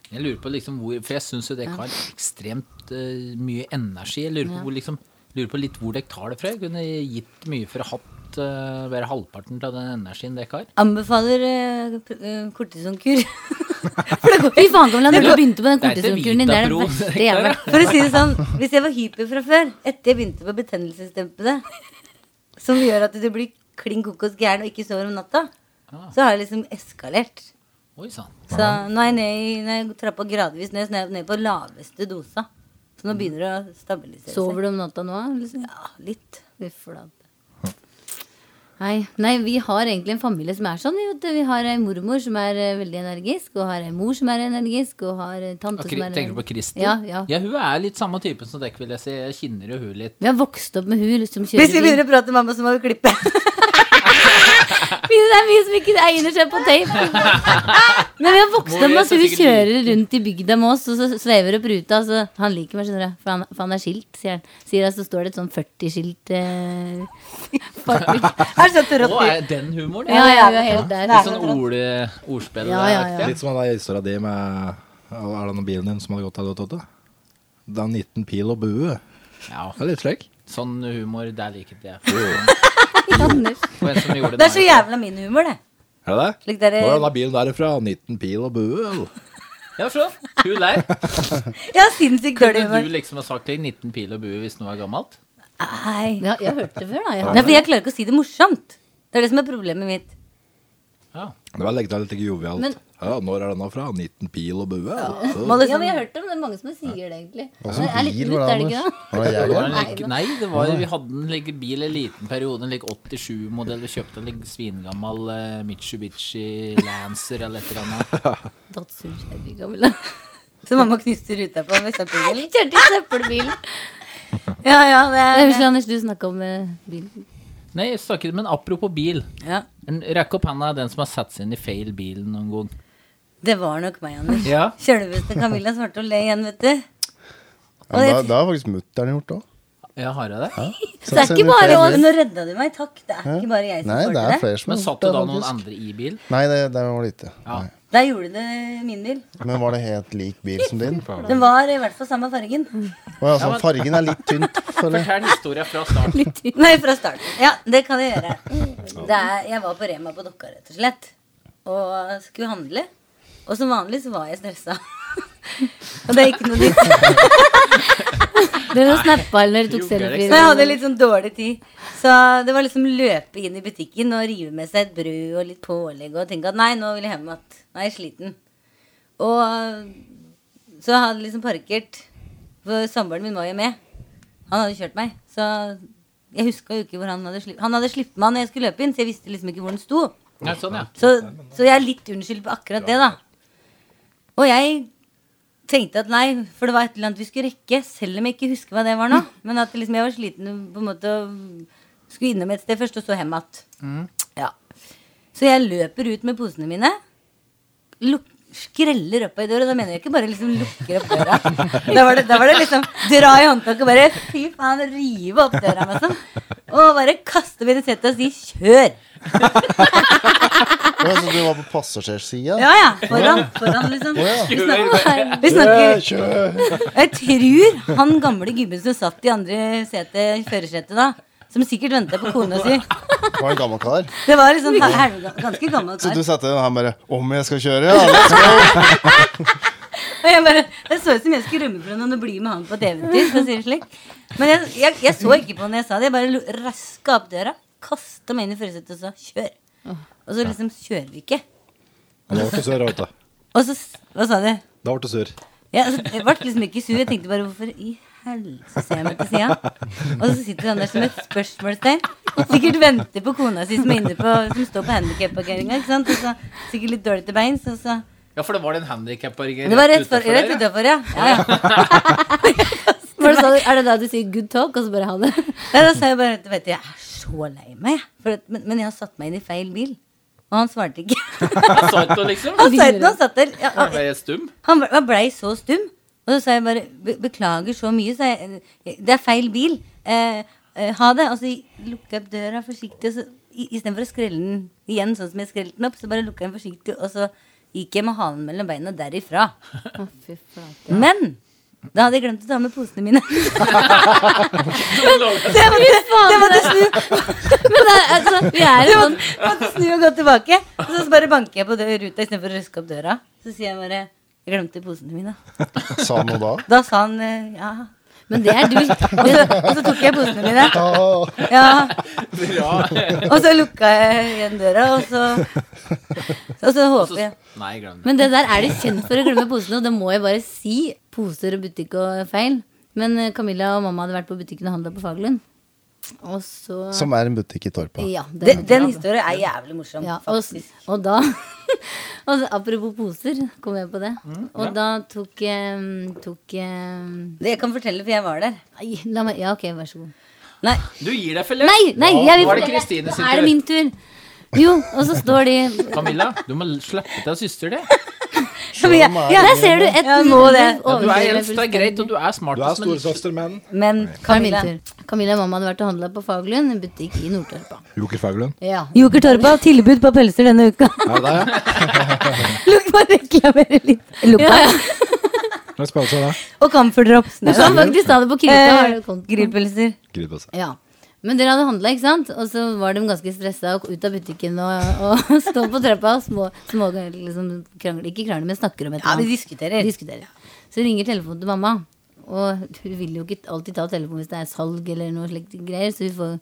S1: Jeg lurer på liksom hvor For jeg syns jo dere har ekstremt eh, mye energi. Jeg lurer på, hvor, liksom, lurer på litt hvor dere tar det fra. Jeg kunne gitt mye for å hatt eh, bare halvparten av den energien dere har.
S2: Anbefaler eh, p- eh, kortisonkur. for det går
S8: Fy faen, Camilla, når du begynte på den
S1: Det er ikke
S8: kortisonkuren din, det er det
S1: Vitapro,
S8: verste
S1: det
S8: jeg
S1: er ikke
S8: har vært.
S2: For å si det sånn, hvis jeg var hyper fra før, etter jeg begynte på betennelsesdempende, som gjør at du blir klin kokos gæren og ikke sover om natta, så har jeg liksom eskalert.
S1: Oi sann.
S2: Så nå er jeg ned i når jeg trappa gradvis ned, så nå er jeg ned på laveste dosa. Så nå begynner det å stabilisere seg.
S8: Sover du om natta nå? Liksom?
S2: Ja, litt.
S8: Fy flate. Nei, nei, vi har egentlig en familie som er sånn. Vi, vet, du. vi har ei mormor som er eh, veldig energisk, og har ei mor som er energisk, og har ei tante
S1: Og
S8: som
S1: Kri-
S8: er
S1: Tenker du på
S8: energisk.
S1: Kristin?
S8: Ja, ja.
S1: ja, hun er litt samme typen som dere, vil jeg si. Jeg kjenner jo hun litt.
S8: Vi har vokst opp med hun som kjører
S2: Hvis vi begynner å prate med mamma, så må vi klippe.
S8: Det er mye som ikke egner seg på tape. Men vi har vokst opp med at hun kjører rundt i bygda med oss, og så svever opp ruta. Så han liker meg, skjønner du. For han, for han er skilt, sier han. Sier han, så står det et sånn 40-skilt eh, bak-
S2: Er så
S1: Å,
S2: trått.
S1: er den humoren?
S8: Ja, ja, vi er helt der.
S1: Litt sånn ord, ordspill.
S8: Ja, ja, ja.
S3: Litt som den historia di med Er det noen bilen din som hadde gått av det, Totte? Det er 19 pil og bue.
S1: Ja,
S3: Det er litt slik.
S1: Sånn humor, der liket jeg.
S8: Anders.
S1: For en som gjorde
S2: Det er så
S1: meg.
S2: jævla min humor, det.
S3: Er det det?
S2: Slik der,
S3: Hvor er den bilen derifra? 19 pil og bue.
S1: Ja, så. Hun der.
S2: ja, sinnssykt dårlig
S1: Kunne du
S2: humor.
S1: liksom ha sagt til 19 pil og bue hvis noe er gammelt?
S2: Nei.
S8: Ja, jeg har hørt det før, da. Jeg
S2: Nei,
S8: har.
S2: for jeg klarer ikke å si det morsomt. Det er det som er problemet mitt.
S1: Ja.
S3: Det var legget litt jovialt.
S8: Men-
S3: ja, når er denne fra? 19 pil og bue? altså.
S2: Må
S8: Ja,
S2: liksom
S8: men jeg har hørt det, men det er mange som sier det, egentlig.
S4: Hva
S8: Det er
S4: slags
S8: litt
S4: bil
S8: nytt,
S4: var det,
S8: er det ikke
S4: Anders?
S8: det?
S4: Var det jegeren?
S1: Nei, nei det var, vi hadde en like, bil i en liten periode, en like 87-modell. Vi kjøpte en like, svingammal eh, Mitsubishi Lancer eller et eller annet.
S8: Datsun Cherry, Camilla.
S2: Så mamma knuste ruta på Vestlandsbilen?
S8: Kjørte i søppelbilen.
S2: Ja, ja, det
S8: Jeg
S2: er sånn.
S8: husker, Anders, du snakka om eh, bilen.
S1: Nei, jeg snakker, men apropos bil.
S2: Ja,
S1: En, rekk opp handa den som har satt seg inn i feil bil noen gang.
S2: det var nok meg, Anders.
S1: Ja.
S2: Sjølveste Camilla svarte å le igjen, vet du.
S4: Ja, men det, det har faktisk mutter'n gjort òg.
S1: Ja, har jeg det?
S8: Så det er ikke bare
S2: Ja,
S8: oss.
S2: men nå redda du meg, takk. Det er ikke bare jeg som
S4: Nei, det
S2: får
S4: er
S2: til det.
S4: flere som
S1: Men
S4: har
S1: satt
S4: gjort
S1: du
S4: det.
S1: da noen
S4: faktisk.
S1: andre i bil?
S4: Nei, det, det var lite.
S1: Ja.
S4: Nei.
S2: Der gjorde det min bil.
S4: Men var det helt lik bil som din? Å,
S2: Den var i hvert fall samme fargen.
S4: ja, sånn, fargen er litt tynt, føler jeg.
S1: Fortell historien fra start.
S2: Nei, fra starten. Ja, det kan jeg gjøre. Det er, jeg var på Rema på Dokka, rett og slett. Og skulle handle. Og som vanlig så var jeg stressa. og det er ikke noe nytt.
S8: Dere snappa eller dere tok
S1: Jogger dere
S8: selfie?
S2: Så jeg hadde litt sånn dårlig tid. Så det var liksom løpe inn i butikken og rive med seg et brød og litt pålegg og tenke at nei, nå vil jeg hjem igjen. Nå er jeg sliten. Og så jeg hadde liksom parkert For samboeren min var jo med. Han hadde kjørt meg. Så jeg huska jo ikke hvor han hadde slipt Han hadde slipt meg når jeg skulle løpe inn, så jeg visste liksom ikke hvor han sto.
S1: Ja, sånn, ja.
S2: Så, så jeg er litt unnskyldt på akkurat det, da. Og jeg tenkte at nei, for det var et eller annet vi skulle rekke, selv om jeg ikke husker hva det var nå.
S1: Mm.
S2: Men at liksom jeg var sliten på en måte og skulle innom et sted først, og så hjem
S1: Mm.
S2: igjen. Ja. Så jeg løper ut med posene mine. Luk skreller opp ei dør, og da mener jeg ikke bare liksom lukker opp døra. Da var det, da var det liksom dra i håndtaket og bare fy faen, rive opp døra, liksom. Og bare kaste meg i setet og si 'kjør'.
S4: Og Ja, så Altså, du var på passasjersida?
S2: Ja, ja. Foran, foran liksom. Vi snakker, vi snakker
S4: Kjør!
S2: Jeg tror han gamle gubben som satt i andre sete, førersetet da, som sikkert venta på kona si
S4: Det var en gammel kar.
S2: Det var liksom en helga- ganske gammel
S4: Så
S2: kar.
S4: du satte deg her bare Om jeg skal kjøre, ja? Let's go!
S2: Og jeg bare, det så ut som jeg skulle rømme fra noen og bli med han på et eventyr. For å si det slik. Men jeg, jeg, jeg så ikke på han da jeg sa det. Jeg bare lo- raska opp døra, kasta meg inn i førersetet og sa 'kjør'. Og så liksom kjører vi ikke.
S3: Da ble du sur. vet du.
S2: Og så s- Hva sa du?
S3: Da ble du sur.
S2: Ja, altså, jeg ble liksom ikke sur. Jeg tenkte bare hvorfor i helse ser jeg meg til sida? Og så sitter han der som et spørsmålstegn. Sikkert venter på kona si som, er inne på, som står på handikapparkeringa. Sikkert litt dårlig til beins. Og så
S1: Ja, for det var den handikapparkeringen
S2: Det var rett, for, rett utafor, ja. sånn? ja, ja.
S8: Hva er det sa du- Er det da du sier 'good talk', og så bare ha det?
S2: Nei, Da sa jeg bare du vet, jeg er så lei meg, jeg. For at- Men, men jeg har satt meg inn i feil bil. Og han svarte ikke.
S1: Salto, liksom.
S2: Han sa ikke noe, han satt der. Ja,
S1: Da
S2: han-
S1: ble jeg stum.
S2: Han ble, han blei så stum. Og så sa jeg bare "Be- beklager så mye. Sa jeg, det er feil bil. Eh, eh, ha det. Og så lukka jeg opp døra forsiktig. Og så, i, istedenfor å skrelle den igjen sånn som jeg skrelte den opp, så bare lukka jeg den forsiktig, og så gikk jeg med halen mellom beina derifra.
S8: Å, fy flate.
S2: Men da hadde jeg glemt å ta med posene mine. Så
S1: Nei,
S2: jeg måtte, jeg måtte snu,
S8: Men det er, altså, vi er
S2: jeg
S8: en sånn
S2: måtte, måtte snu og gå tilbake. Og så bare banker jeg på dø- ruta istedenfor å røske opp døra. Så sier jeg bare jeg glemte posene mine.
S4: Sa han noe da?
S2: Da sa han eh, ja.
S8: Men det er du.
S2: Og så, og så tok jeg posene mine. Ja, Og så lukka jeg igjen døra, og så Og så håper jeg
S1: glem det.
S8: Men det der er de kjent for å glemme posene, og det må jeg bare si. Poser og butikk og feil. Men eh, Camilla og mamma hadde vært på butikken og handla på Fagerlund. Og så
S4: Som er en butikk i Torpa.
S8: Ja, det
S2: Den,
S8: måtte
S2: den
S8: jeg ha.
S2: historien er jævlig morsom,
S8: Ja, og,
S2: faktisk.
S8: og da og så, Apropos poser, kom jeg på det.
S1: Mm,
S8: Og da tok, eh, tok eh,
S2: Det jeg kan fortelle, for jeg var der.
S8: Nei, la meg Ja, OK, vær så god.
S2: Nei,
S1: Du gir deg, Felle.
S8: Nei, nei, jeg vil
S1: Var det
S8: fortelle.
S1: Kristine sin
S8: Nå er
S1: tur?
S8: det min tur. Jo, og så står de
S1: Camilla, du må slippe til søster di.
S2: men, jeg, ja,
S8: Der ser du et
S2: Ja, nå det.
S1: Ja, du er
S8: overdriver
S1: eldst, det er greit, og du er
S3: Du er
S1: smartest, men
S3: storesøster, men
S2: men
S8: Camilla.
S2: Camilla
S8: Camilla og mamma hadde vært og handla på Faglund, en butikk i Nordtorpa.
S3: Joker Faglund.
S8: Ja.
S2: Jokertorpa har tilbud på pølser denne uka.
S3: Er det det? ja?
S2: Lukk bare reklamere litt. Lukk
S8: Ja, ja.
S3: Hva er spennende det?
S2: Og camferdrops.
S8: Du kan faktisk ta det på Krita. har
S2: Eh,
S8: du konto.
S2: Grillpølser.
S3: Grillpølse.
S8: Ja. Men dere hadde handla, ikke sant? Og så var de ganske stressa og ut av butikken og, og stå på trappa og små, små liksom, krangler, ikke krangler, men snakker om et
S2: Ja, vi
S8: eller annet.
S2: diskuterer.
S8: Diskuterer. Så ringer telefonen til mamma. Og hun vil jo ikke alltid ta telefonen hvis det er salg eller noe slikt greier. Så vi får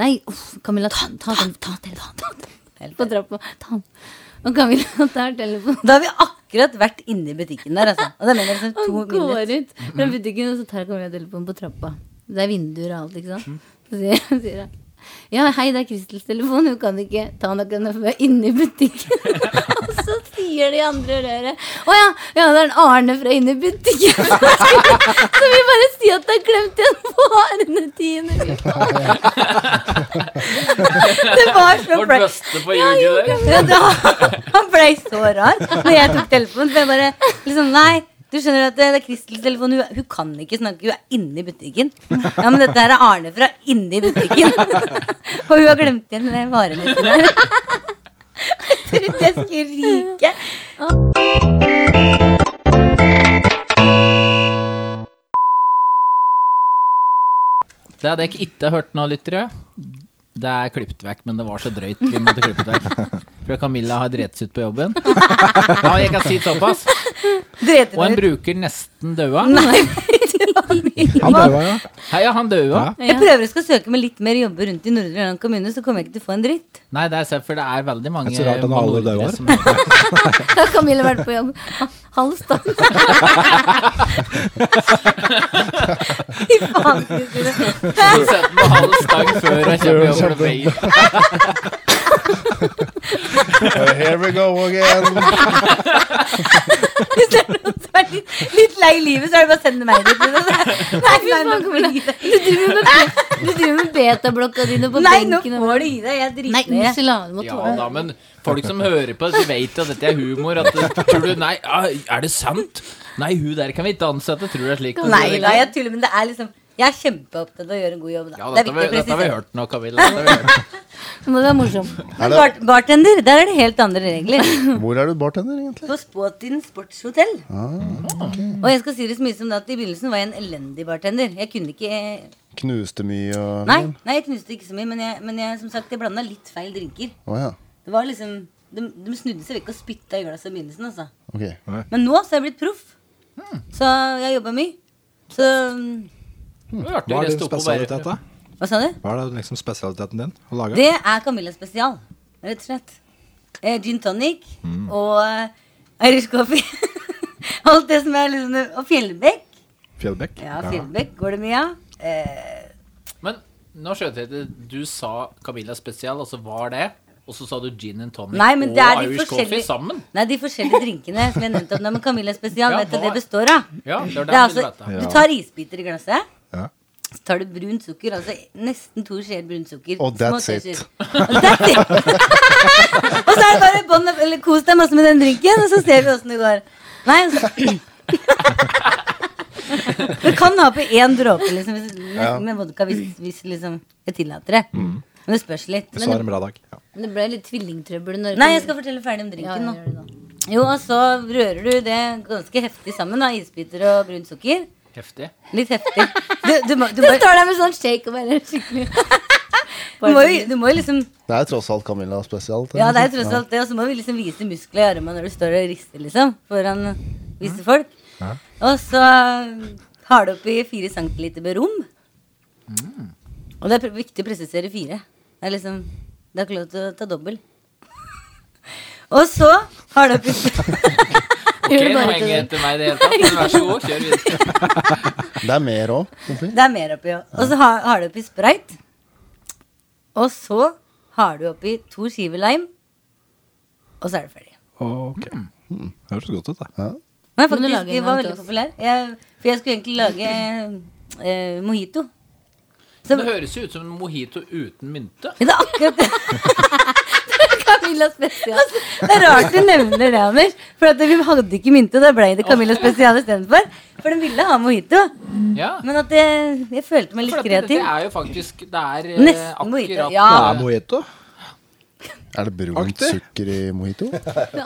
S8: Nei, uff, Camilla, ta, ta, ta, ta telefonen. Ta, telefonen. På trappa. Ta den. Og Camilla tar telefonen.
S2: Da har vi akkurat vært inne i butikken der, altså. Og da mener jeg liksom
S8: Han
S2: to
S8: går
S2: minutter.
S8: ut fra butikken, og så tar Camilla telefonen på trappa. Det er vinduer og alt, ikke sant. Så sier, sier han ja, hei, det er Kristels telefon, hun kan ikke ta noen av meg inne i butikken. og så sier de andre røret å ja, ja, det er en Arne fra inne i butikken. så vi bare sier at det er glemt igjen på Arne tiende.
S2: Det var så
S1: Vårt
S2: flaut.
S1: beste på ljuget der.
S2: Ja, da, han ble så rar når jeg tok telefonen. For jeg bare liksom, Nei, du skjønner at det det er Kristels telefon. Hun, hun kan ikke snakke. Hun er inne i butikken. Ja, men dette her er Arne fra inne i butikken. Og hun har glemt igjen den varelisten der. Jeg trodde jeg skulle ryke.
S1: Det hadde jeg ikke ikke hørt nå, lyttere. Det er klippet vekk, men det var så drøyt. Vi måtte klippe det vekk. For Camilla har drept seg ut på jobben. Ja, jeg kan si såpass.
S2: Drete
S1: Og en
S2: meg ut.
S1: bruker nesten daua.
S3: Han daua, ja.
S1: Heia, han daua.
S2: Jeg prøver å skal søke med litt mer jobber rundt i Nordre Land kommune, så kommer jeg ikke til å få en dritt.
S1: Nei, det er selv, for det er veldig mange
S3: Det er så rart at alle
S1: malorikere
S3: dauer.
S1: som- Det
S8: Da har Camilla vært på jobb. Halvstand.
S2: Fy faen, Kristine.
S1: er sett med halv stang før og kjøper over det veien.
S4: Uh, Here we go again.
S2: Hvis det er noen som er litt, litt lei livet, så er det bare å sende meg dit. liksom. Nei,
S8: Fy
S2: nei,
S8: faen,
S2: nå får
S8: Camilla.
S2: du gi deg.
S8: Du driver med, be- du driver med betablokka dine på
S2: Nei, nå
S8: benken. og-
S2: får du gi deg. Jeg
S8: Nei,
S2: driter ned.
S8: unnskyld, da. Du må
S1: Ja
S8: tåle
S1: da, men folk som hører på, de vet jo at dette er humor. At, tror du, nei, ja, er det sant? Nei, hun der kan vi ikke ansette. Tror du det er slik?
S2: Nei da, jeg tuller, men det er liksom Jeg er kjempeopptatt av å gjøre en god jobb, da.
S1: Ja,
S2: det er
S1: dette, har
S2: viktig
S1: vi,
S2: å
S1: dette har vi
S2: presisere.
S1: hørt nå, Camilla. Dette har vi hørt.
S8: Nå må du være morsom.
S4: Er
S2: Men
S4: det-
S2: bart bartender, der er det helt andre regler.
S4: Hvor er du bartender, egentlig?
S2: På Spåtin sportshotell.
S4: Ah, ok.
S2: Og jeg skal si det så mye som det at i begynnelsen var jeg en elendig bartender. Jeg kunne ikke
S4: Knuste mye og
S2: Nei, nei jeg knuste ikke så mye, men jeg, men jeg som sagt, jeg blanda litt feil drinker.
S4: Å ja.
S2: Det var liksom De, de snudde seg vekk og spytta i glasset i begynnelsen, altså.
S4: Ok.
S2: Men nå så er jeg blitt proff. Så jeg har jobba mye. Så mm,
S1: Det var artig å
S3: Hva er
S1: reise
S3: din
S1: opp og være
S3: spesialitet, da?
S2: Hva sa du?
S3: Hva er det liksom spesialiteten din å lage?
S2: Det er Camilla spesial, rett og slett. Eh, gin tonic og eh, Irish coffee. Alt det som er liksom Og Fjellbekk.
S3: Fjellbekk?
S2: Ja, Fjellbekk går det mye av. Eh,
S1: Men nå skjønte jeg det. Du sa Camilla Spesial, og så var det. Og så sa du gin and tonic
S2: Nei, men
S1: og
S2: det er de
S1: Irish coffee
S2: forskjellige-
S1: sammen.
S2: Nei, de forskjellige drinkene som jeg nevnte om deg, men Camilla spesial,
S1: Ja,
S2: vet du hva
S1: hva
S2: det består av?
S1: Ja, det er
S2: Det er
S1: det jeg
S2: altså,
S1: ville vite.
S2: du tar isbiter i glasset,
S3: Ja.
S2: så tar du brunt sukker, altså nesten to skjeer brunt sukker.
S4: Og
S2: små
S4: that's it.
S2: teskjeer. Og that's it. og så er det bare bånd, eller kos deg masse med den drinken, og så ser vi åssen det går. Nei, altså. du kan ha på én dråpe liksom, hvis,
S4: Ja. Mm.
S2: med vodka hvis, hvis liksom, jeg tillater det. Men det spørs litt.
S3: Så er det
S2: Men,
S3: en bra dag. Ja.
S8: Men det ble litt tvillingtrøbbel når
S2: nei, jeg skal fortelle ferdig om
S8: ja,
S2: drinken nå.
S8: gjør det da.
S2: Jo, og så rører du det ganske heftig sammen. da, Isbiter og brunt sukker.
S1: Heftig.
S2: Litt heftig. Du, du, må, du,
S8: Du
S2: må,
S8: står der med sånn shake og bare skikkelig
S2: du, må, jo- du må jo liksom
S4: Det er jo tross alt Camilla spesial.
S2: Ja, det er jo tross alt det. Og så må vi liksom vise muskler i armene når du står og rister, liksom. Foran visse folk. Og så um, har du oppi fire centiliter med rom. Mm. Og det er pr- viktig å presisere fire. Det er liksom Det er ikke lov til å ta dobbel. Og så har du oppi
S1: Ok, nå henger etter meg i det hele tatt. Men vær så god, kjør videre.
S4: Det er mer òg.
S2: Det er mer oppi òg. Og så har, har du oppi sprite. Og så har du oppi to skiver lime. Og så er det ferdig.
S3: Ok. Mm. Høres godt ut, det.
S2: Men
S8: Kan du
S2: faktisk,
S8: lage en
S2: de var
S8: av til
S2: veldig
S8: oss?
S2: populære. Jeg, for jeg skulle egentlig lage eh, mojito. Så,
S1: Det høres jo ut som en mojito uten mynte.
S2: men det er akkurat det. Altså,
S8: Camilla spesial.
S2: Det er rart du nevner det, Anders. For at vi hadde ikke mynte, og da ble det Camilla Spesial istedenfor. For de ville ha mojito.
S1: Ja.
S2: Men at jeg, jeg følte meg
S1: For
S2: Mm. litt
S1: at det, det
S2: kreativ.
S1: er jo faktisk Det er eh,
S2: Nesten mojito.
S1: akkurat
S2: Ja.
S3: Det er mojito.
S4: Er det brunt
S3: Aktig.
S4: sukker i mojito?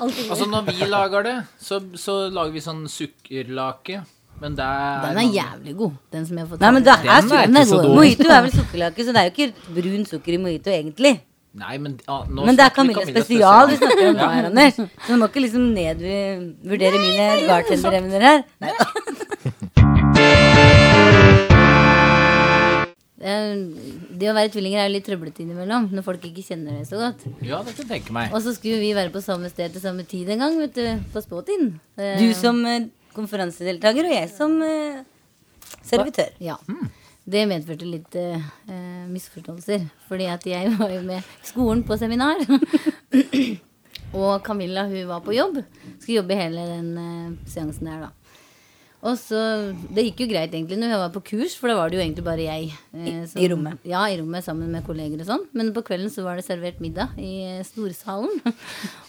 S1: Altså, når vi lager det, så, så lager vi sånn sukkerlake. Men det er
S8: Den er jævlig god, den som jeg har fått.
S2: Nei, men det er,
S1: Den er
S2: sukker-
S1: ikke så dårlig.
S2: Mojito er vel sukkerlake, så det er jo ikke brun sukker i mojito egentlig.
S1: Nei, men ah, nå
S2: Men det er
S1: snakker vi
S2: Camilla spesial vi snakker om nå
S1: Ja.
S2: her, Anders. Så du må ikke liksom nedvurdere mine bartenderevner her.
S8: Eh, Det å være tvillinger er jo litt trøblete innimellom når folk ikke kjenner det så godt.
S1: Ja, det kan jeg tenke meg.
S8: Og så skulle vi være på samme sted til samme tid en gang, vet du. På Spåtin. Eh,
S2: Du som eh, konferansedeltaker, og jeg som eh, servitør.
S8: Ja. Det medførte litt eh, eh, misforståelser. Fordi at jeg var jo med skolen på seminar. og Camilla hun var på jobb. Skulle jobbe hele den eh, seansen der, da. Og så, Det gikk jo greit egentlig når jeg var på kurs, for da var det jo egentlig bare jeg. eh,
S2: I- i rommet.
S8: Ja, i rommet sammen med kolleger og sånn. Men på kvelden så var det servert middag i eh, storsalen.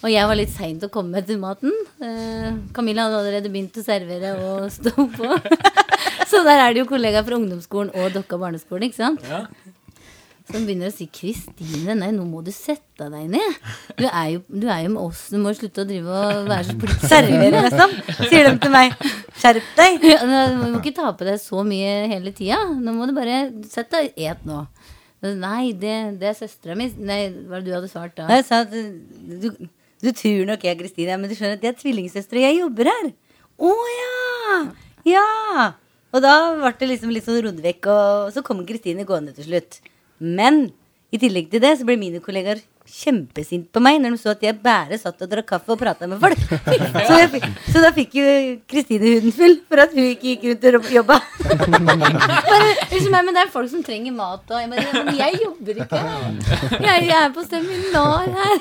S8: og jeg var litt sein til å komme til maten. Eh, Camilla hadde allerede begynt å servere og stå på. så der er det jo kollegaer fra ungdomsskolen og Dokka barneskole, ikke sant? Som begynner å si 'Kristine, nei, nå må du sette deg ned'. Du er jo, du er jo med oss, du må slutte å drive og være så
S2: Servere,
S8: pliktserverende.
S2: liksom. Sier de til meg. Skjerp deg.
S8: Ja, men Du må ikke ta på deg så mye hele tida. Nå må du bare sette deg og et nå. Nei, det, det er søstera mi. Nei, hva var det du hadde svart
S2: Og
S8: da?
S2: jeg sa at eh, du, du tror nok jeg er Kristine, men du skjønner at jeg er tvillingsøster, og jeg jobber her. Å ja! Ja! Og da ble det liksom litt sånn rodd vekk, og så kom Kristine gående til slutt. Men i tillegg til det så ble mine kollegaer kjempesint på meg når de så at jeg bare satt og drakk kaffe og prata med folk. Så, jeg, fikk- så da fikk jo Kristine huden full for at hun ikke gikk rundt og jobba.
S8: Bare, unnskyld meg, men det er folk som trenger mat. Og jeg, bare, men jeg jobber ikke. Jeg, jeg er på seminar her.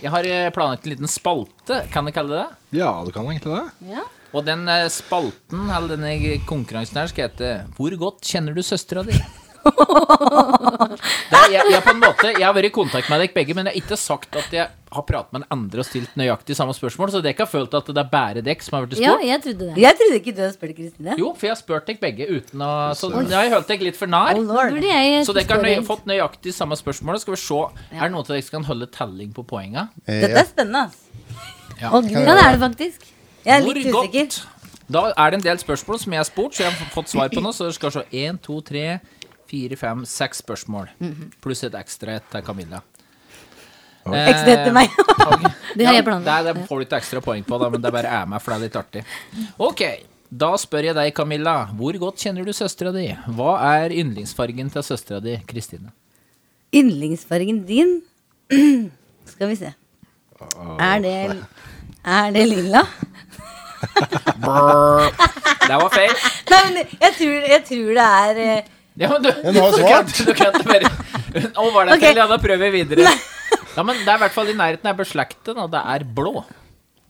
S1: Jeg har eh, planlagt en liten spalte, kan jeg kalle det det?
S3: Ja, du kan egentlig det.
S8: Ja.
S1: Og den eh, spalten, eller denne konkurransen her, skal hete 'Hvor godt kjenner du søstera di?' Det er, jeg, jeg, på en måte, jeg har vært i kontakt med dere begge, men jeg har ikke sagt at jeg har pratet med en andre og stilt nøyaktig samme spørsmål, så dere har følt at det er bare dere som har vært
S8: Ja,
S1: spurt.
S8: jeg trodde det.
S2: Jeg trodde ikke du hadde spurt Kristine.
S1: Jo, for jeg har spurt dere begge uten å Så jeg har holdt dere litt for nær.
S8: Burde jeg
S1: Så dere har nøy,
S8: spørre-
S1: fått nøyaktig samme spørsmål. Skal vi se, er det noen av dere som kan holde telling på poenga?
S4: Eh,
S2: Dette er spennende. ass.
S8: Ja, det er det faktisk.
S2: Jeg er litt usikker.
S1: Da er det en del spørsmål som jeg har spurt, så jeg har fått svar på nå. Så dere skal se én, to, tre, fire, fem, seks spørsmål. Pluss et ekstra et til Camilla. Eh,
S2: Ekstra etter meg.
S8: Det har jeg
S1: Ja,
S8: planlagt.
S1: det, det får du ikke ekstra poeng på, da, men det bare er med, for det er litt artig. Ok, da spør jeg deg, Camilla. Hvor godt kjenner du søstera di? Hva er yndlingsfargen til søstera di, Kristine?
S2: Yndlingsfargen din Skal vi se. Er det Er det lilla?
S1: Det var feil.
S2: Nei, men jeg tror, jeg tror det er eh,
S1: Ja, men du,
S4: Men du har
S1: du
S4: svart.
S1: kan- Du kan ikke bare Å, var det
S2: Ok.
S1: feil? Ja, da prøver vi videre. Ja, men det er i hvert fall i nærheten av beslektet, da. Det er blå.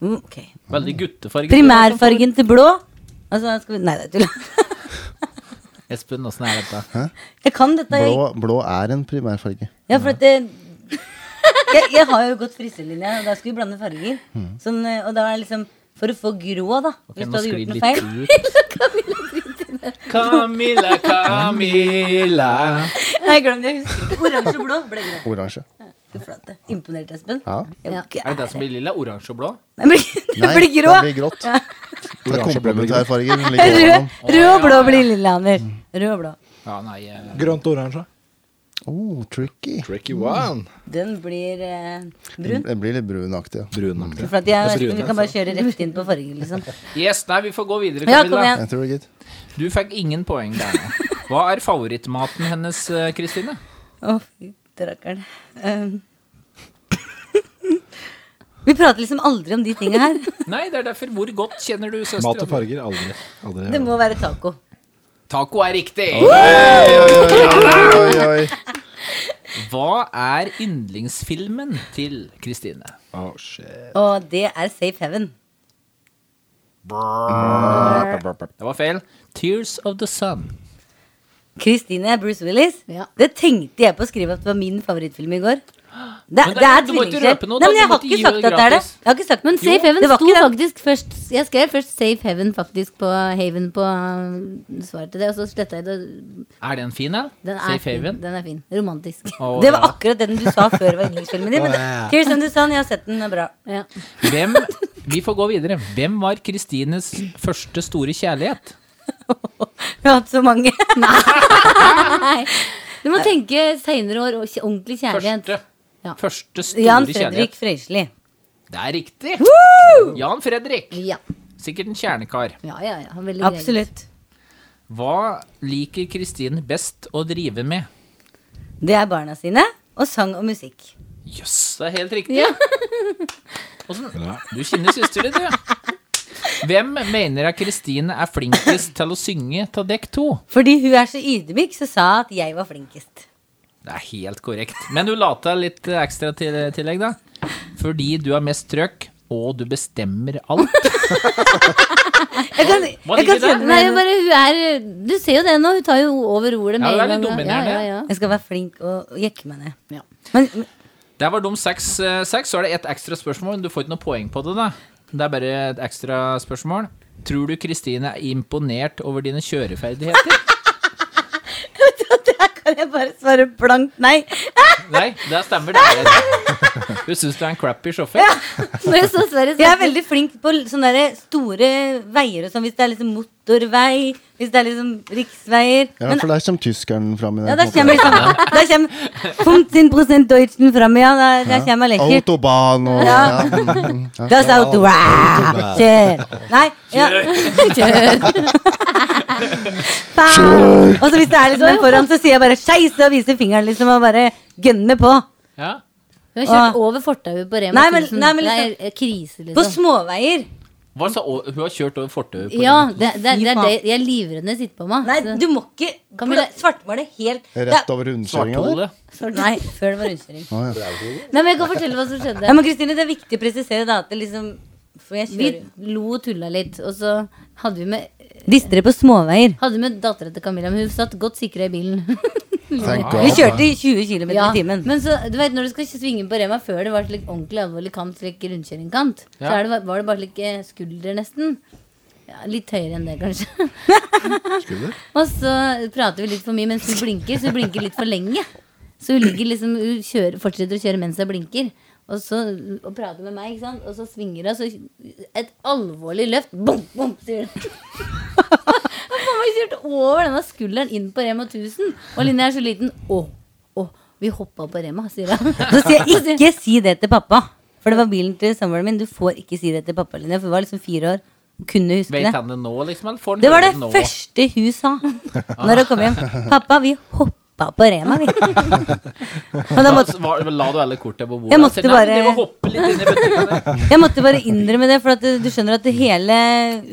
S2: mm, ok.
S1: Veldig guttefarge.
S2: Primærfargen til blå. Altså, skal vi Nei, det er tull.
S1: Espen, åssen er dette?
S2: Jeg kan dette. Jeg,
S4: Blå, blå er en primærfarge.
S2: ja, for at det, jeg, jeg har jo gått frisørlinja, og da skulle vi blande farger. Sånn, eh, og da er det liksom For å få grå, da.
S1: Mm. Ok,
S2: hvis du
S1: nå sklir
S2: hadde gjort
S1: det
S2: noe
S1: litt
S2: feil.
S1: ut. Camilla, Camilla.
S2: Nei, glem det. Jeg husker ikke. Oransje og blå ble greit.
S4: Oransje.
S2: Fy flate. Imponert, Espen.
S4: Ja.
S2: Jeg var ikke-
S1: Er det det som blir lilla? Oransje og blå?
S2: Nei, blir- det blir grå.
S4: det blir grått. Det er komplementærfarger. den ligger
S2: Rød,
S4: overom.
S2: rød og blå blir lilla, Ander. Rød og blå.
S1: Ja, nei eh,
S3: Grønt og oransje.
S4: Oh, tricky.
S10: Tricky one.
S2: Den blir eh, brun.
S4: Det blir litt brunaktig. Ja.
S3: Mm.
S10: Brunaktig.
S2: For at jeg og
S10: Det er
S2: Espen
S10: brun,
S2: vi kan bare kjøre rett inn på farger, liksom.
S1: Yes, nei, vi får gå videre,
S2: Ja, kom
S1: Camilla.
S2: igjen.
S4: Jeg tror det er gitt.
S1: Du fikk ingen poeng der. nå. Hva er favorittmaten hennes, eh, Kristine?
S2: Å, fy rakkeren. Um. Vi prater liksom aldri om de tinga her.
S1: Nei, det er derfor. Hvor godt kjenner du
S3: Mat og
S1: søstera?
S3: farger. Aldri. aldri.
S2: Det må være taco.
S1: Taco er riktig!
S4: Oi, oi.
S1: Hva er yndlingsfilmen til Kristine?
S10: Oh, shit.
S2: Og det er Safe Heaven.
S1: Det var feil. Tears of the Sun.
S2: Christine Bruce Willis.
S8: Ja.
S2: Det tenkte jeg på å skrive at det var min favorittfilm i går. Det,
S1: Men det-
S2: det er
S1: du må ikke
S2: tvillingskjær.
S1: røpe noe, da.
S2: Nei, men
S1: Du
S2: jeg
S1: må
S2: har
S1: ikke
S2: ikke
S1: gi
S2: sagt
S1: det
S2: at det er det.
S1: gratis.
S2: Jeg har ikke sagt
S8: Men Safe Haven
S2: det var
S8: sto
S2: ikke det.
S8: faktisk først Jeg skrev først Safe Haven faktisk på Haven på eh, svaret til det, og så sletta jeg det.
S1: Er den fin, da?
S8: Den er,
S1: Safe
S8: fin.
S1: Haven?
S8: Den er fin. Romantisk.
S1: Å,
S2: Det var
S1: ja.
S2: akkurat den du sa før var yndlingsfilmen din. Men det, Tears of the Sun, jeg har sett den, den er bra.
S8: Ja.
S1: Hvem, vi får gå videre. Hvem var Kristines første store kjærlighet?
S2: Vi har hatt så mange.
S8: Nei. Du må tenke seinere år og kj- ordentlig kjærlighet.
S1: Første,
S8: Ja.
S1: første store
S2: Jan
S1: kjærlighet.
S2: Fredrik Frøysli.
S1: Det er riktig! Jan Fredrik.
S8: Ja,
S1: Sikkert en kjernekar.
S8: ja, ja. ja. Veldig grei.
S2: Absolutt.
S1: Hva liker Kristine best å drive med?
S2: Det er barna sine. Og sang og musikk.
S1: Jøss, det er helt riktig. Hvordan- Du kjenner søsteren din, du. Hvem mener at Kristine er flinkest til å synge til dekk to?
S2: Fordi hun er så ydmyk, så sa jeg at jeg var flinkest.
S1: Det er helt korrekt. Men du la til litt ekstra til tillegg, da. Fordi du har mest trøkk, og du bestemmer alt.
S2: Jeg kan,
S1: Hva
S2: jeg kan
S1: ligger der?
S2: kjenne meg
S8: Nei,
S2: igjen.
S8: bare hun er Du ser jo det nå, hun tar jo over ordet med
S1: Ja, hun er litt
S8: en gang.
S1: dominerende.
S8: Ja, ja, ja.
S2: Jeg skal være flink og og jekke meg ned.
S8: Ja.
S2: Men, men
S1: Der var de seks. eh, seks. Så er det ett ekstra spørsmål, men du får ikke noe poeng på det, da. Det er bare et ekstra spørsmål. Tror du Kristine er imponert over dine kjøreferdigheter?
S2: der kan jeg bare svare blankt nei.
S1: Nei, det stemmer. det er det. Du syns du er en crappy sjåfør?
S8: Når jeg så Sverre
S2: Jeg er
S8: snakke-
S2: veldig flink på l- sånne der store veier og sånn, hvis det er liksom motorvei, hvis det er liksom riksveier.
S4: Ja,
S2: Men
S4: for der kommer tyskeren fram i den.
S2: ja, der kommer liksom Der kommer 15 Deutschen fram, ja. Der, der kommer lekkert.
S4: Autobahn og
S2: Ja.
S4: ja. mm, ja.
S2: Das Auto. Wow. Kjør. Nei, ja. Faen. Og så hvis det er liksom en foran, så sier jeg bare 'skeis' og viser fingeren liksom og bare gønner på.
S1: Ja.
S8: Hun har kjørt over fortauet på Rema
S2: Nei, men-
S8: 1000.
S2: nei, men
S8: Det er eh, krise,
S2: På
S8: liksom.
S2: småveier.
S1: Hva sa å- Hun har kjørt over fortauet? på
S8: Ja,
S1: den.
S8: det, det, det er
S2: faen.
S8: det jeg er livredd når jeg sitter på meg.
S2: Nei,
S8: Så-
S2: du må ikke
S8: Camilla-
S2: svartmale helt
S4: Rett over rundkjøringa der.
S1: Svarthole.
S2: Svart- Nei, før det var rundkjøring.
S8: Nei, men jeg kan fortelle hva som
S2: Ja,
S8: skjedde.
S2: men Kristine, det er viktig å presisere da at det liksom For jeg
S8: Vi
S2: kjører
S8: lo og tulla litt, og så hadde vi med
S2: Visste dere på småveier?
S8: Hadde med dattera til Camilla, men hun satt godt sikra i bilen.
S4: Thank
S2: Vi
S4: God.
S2: kjørte i 20 km i timen.
S8: Men så, du vet, når du skal svinge på Rema før det var slik ordentlig alvorlig kant, slik rundkjøringkant, så er det, ba- var det bare slik eh, skulder nesten. Ja, litt høyere enn det, kanskje. og så prater vi litt for mye mens hun blinker, så hun blinker litt for lenge. Så hun, ligger liksom, hun kjører, fortsetter å kjøre mens hun blinker. Og så og prater med meg, ikke sant? og så svinger hun. Så et alvorlig løft. Bom, bom, sier hun. Mamma kjørte over denne skulderen inn på Rema 1000. Og Linja er så liten. Å, å, vi hoppa på Rema, sier hun.
S2: Så sier jeg ikke si det til pappa. For det var bilen til samboeren min. Du får ikke si det til pappa, Linnea. For hun var liksom fire år. Hun kunne huske
S1: Vet
S2: det.
S1: han det nå, liksom? Eller får han
S2: Det var det
S1: høre nå?
S2: første hun sa når hun kom hjem. 'Pappa, vi hoppa på Rema, vi'. Og da
S1: Da
S2: måtte,
S1: s- var- La du alle kortene på bordet?
S2: Jeg måtte
S1: Sier, "Nei, men
S2: bare-
S1: de må hoppe litt inn i butikken.
S2: jeg måtte bare innrømme det, for at du skjønner at det hele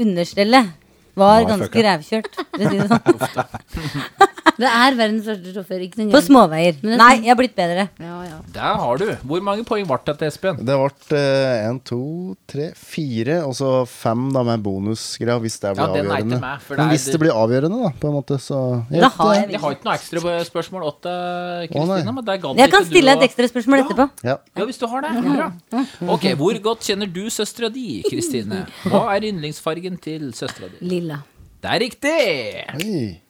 S2: understellet var ganske rævkjørt. For å si det sånn.
S8: Det er verdens største sjåfør. Ikke noe
S2: På
S8: gøy.
S2: småveier. Nei,
S8: sånn-
S2: jeg har blitt bedre.
S8: Ja, ja.
S1: Der har du. Hvor mange poeng ble det til Espen?
S4: Det ble én, to, tre, fire, og så fem da med bonusgreier, hvis det blir
S1: Ja, den er ikke
S4: avgjørende.
S1: meg, for det
S4: Men
S1: er-
S4: hvis det blir avgjørende, da, på en måte, så
S2: Da har jeg
S1: Jeg har ikke noe ekstra spørsmål åt deg, Kristina. Men der gadd
S2: Jeg kan
S1: ikke du
S2: stille et
S1: å-
S2: ekstra spørsmål etterpå.
S4: Ja.
S1: Ja, hvis du har det. Bra. Ok, Hvor godt kjenner du søstera di, Kristine? Hva er yndlingsfargen til søstera di?
S8: Lilla.
S1: Det er riktig!
S4: Oi.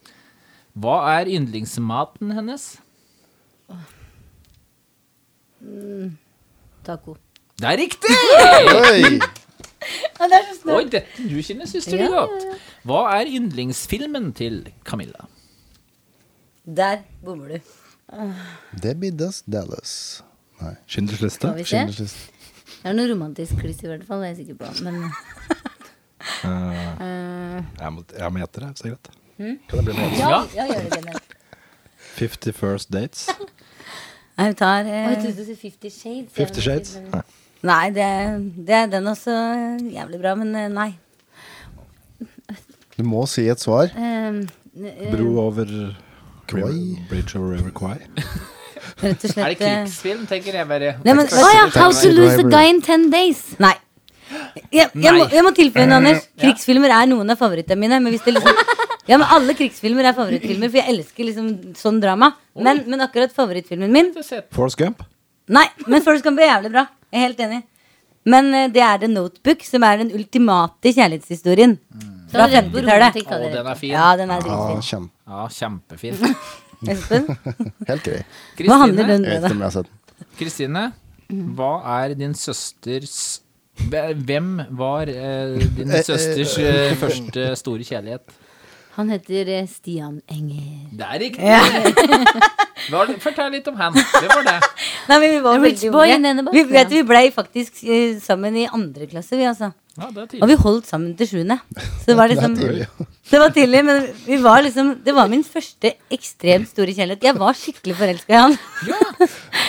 S1: Hva er yndlingsmaten hennes?
S8: Taco.
S1: Det er riktig!
S4: Oi.
S1: Oi, dette du kjenner søstera di godt. Hva er yndlingsfilmen til Camilla?
S2: Der bommer du.
S4: Det blir Dust Dallas. Nei.
S10: Schindlers liste.
S8: Skal vi se.
S4: Schindlers liste.
S8: Det er noe romantisk kliss i hvert fall, det er jeg sikker på. Men Eh,
S10: Jeg må, jeg må gjette det, hvis det er greit. Kan det bli noe?
S8: ja,
S1: Ja.
S8: ja, gjør det Kenneth.
S10: 50 First Dates.
S2: Nei, vi tar
S8: Å, Jeg
S2: eh,
S8: trodde du sa Fifty Shades.
S10: 50 Shades. Nei.
S2: Nei, det, det er den også jævlig bra, men eh, nei.
S4: Du må si et svar.
S2: Eh.
S8: Ehm.
S10: Bro over River,
S4: Kwai.
S10: Bridge over River Kwai.
S2: Rett og
S1: Er det
S2: slett eh,
S1: krigsfilm, tenker jeg bare.
S2: Nei, men-
S8: Å ja! How to lose a
S4: Driver.
S8: guy in ten days.
S2: Nei. Jeg, jeg, må,
S1: Nei.
S2: jeg må tilføye noe, Anders.
S8: Mm,
S2: Krigsfilmer er noen av favorittene mine. Men hvis det liksom Ja, men alle krigsfilmer er favorittfilmer, for jeg elsker liksom sånn drama. Men, men akkurat favorittfilmen min
S10: Forrest Gump.
S2: Nei, men Forrest Gump er jævlig bra. Jeg er helt enig. Men eh, det er The Notebook, som er den ultimate kjærlighetshistorien.
S8: Da
S2: Fra
S8: er Mm. det på
S2: 50-tallet.
S8: romantikk, da,
S1: Å,
S8: dere.
S1: den er fin.
S2: Ja, den er
S4: Ja,
S2: dritfin.
S4: kjem-
S1: Ja, kjempefin.
S2: Espen,
S4: Helt grei.
S2: hva handler den
S4: Jeg
S2: om?
S4: vet ikke
S2: da?
S4: om jeg har sett den.
S1: Kristine, hva er din søsters Hvem var eh, din søsters eh, første store kjærlighet?
S8: Han heter eh, Stian Enger.
S1: Det er riktig! Hva er det- Fortell litt om han. Hvem var det?
S2: Nei, men vi var
S8: Rich
S2: veldig
S8: boy in the
S2: unge.
S8: box,
S2: Vi,
S8: ja.
S2: vet, du, vi blei faktisk eh, sammen i andre klasse, vi, altså.
S1: Ja, det er
S2: Og
S1: tydelig.
S2: vi holdt sammen til sjuende. Så det var liksom
S4: tidlig.
S2: Det var tidlig, men vi var liksom Det var min første ekstremt store kjærlighet. Jeg var skikkelig forelska i han.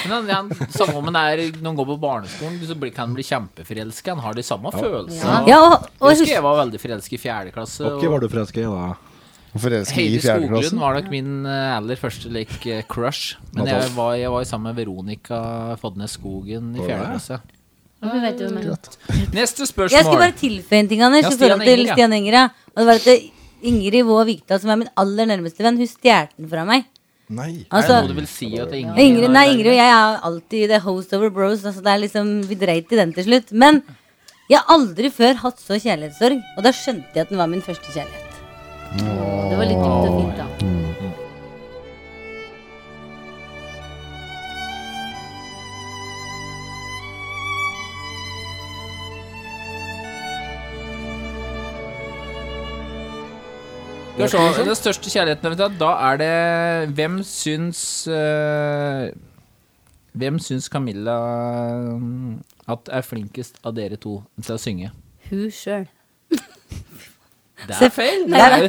S1: Men han, han, samme om han er, når han går på barneskolen, så blir, kan han bli kjempeforelska. Han har de samme følelsene.
S2: Ja, og,
S1: Jeg
S2: og
S1: husker
S2: husk,
S1: jeg var veldig forelska i fjerde klasse.
S10: Åkke
S1: og
S10: var du forelska i da?
S4: Forelska i
S1: Heidi
S4: fjerde
S1: Skoglund
S4: klassen.
S1: var nok min eh, aller første like, eh, crush. Men
S4: Natal.
S1: jeg var, jeg var sammen med Veronica Fodnes Skogen
S10: Var
S1: i
S10: det?
S1: fjerde klasse.
S8: Hvorfor vet du hvem jeg er?
S1: Neste
S2: jeg skulle
S1: spørsmål.
S2: bare tilføye en ting, Anders,
S1: Ja,
S2: i
S1: Stian
S2: forhold til
S1: Enger, ja.
S2: Stian Enger. Ja. Og det var at det- Ingrid Vaa Vikdal, som er min aller nærmeste venn, hun stjal den fra meg.
S10: Nei.
S1: Er det noe
S2: Altså,
S1: du vil si at det er Ingrid
S2: Ingrid, nei, Ingrid og jeg er alltid the host over bros. Altså det er liksom, Vi dreit i den til slutt. Men jeg har aldri før hatt så kjærlighetssorg, og da skjønte jeg at den var min første kjærlighet.
S8: Det var litt dypt og fint, da.
S1: Skal vi se, Den største kjærligheten eventuelt, da er det Hvem syns eh, Hvem syns Camilla mm, at er flinkest av dere to til å synge?
S8: Hun sjøl.
S1: Det er feil! Det er,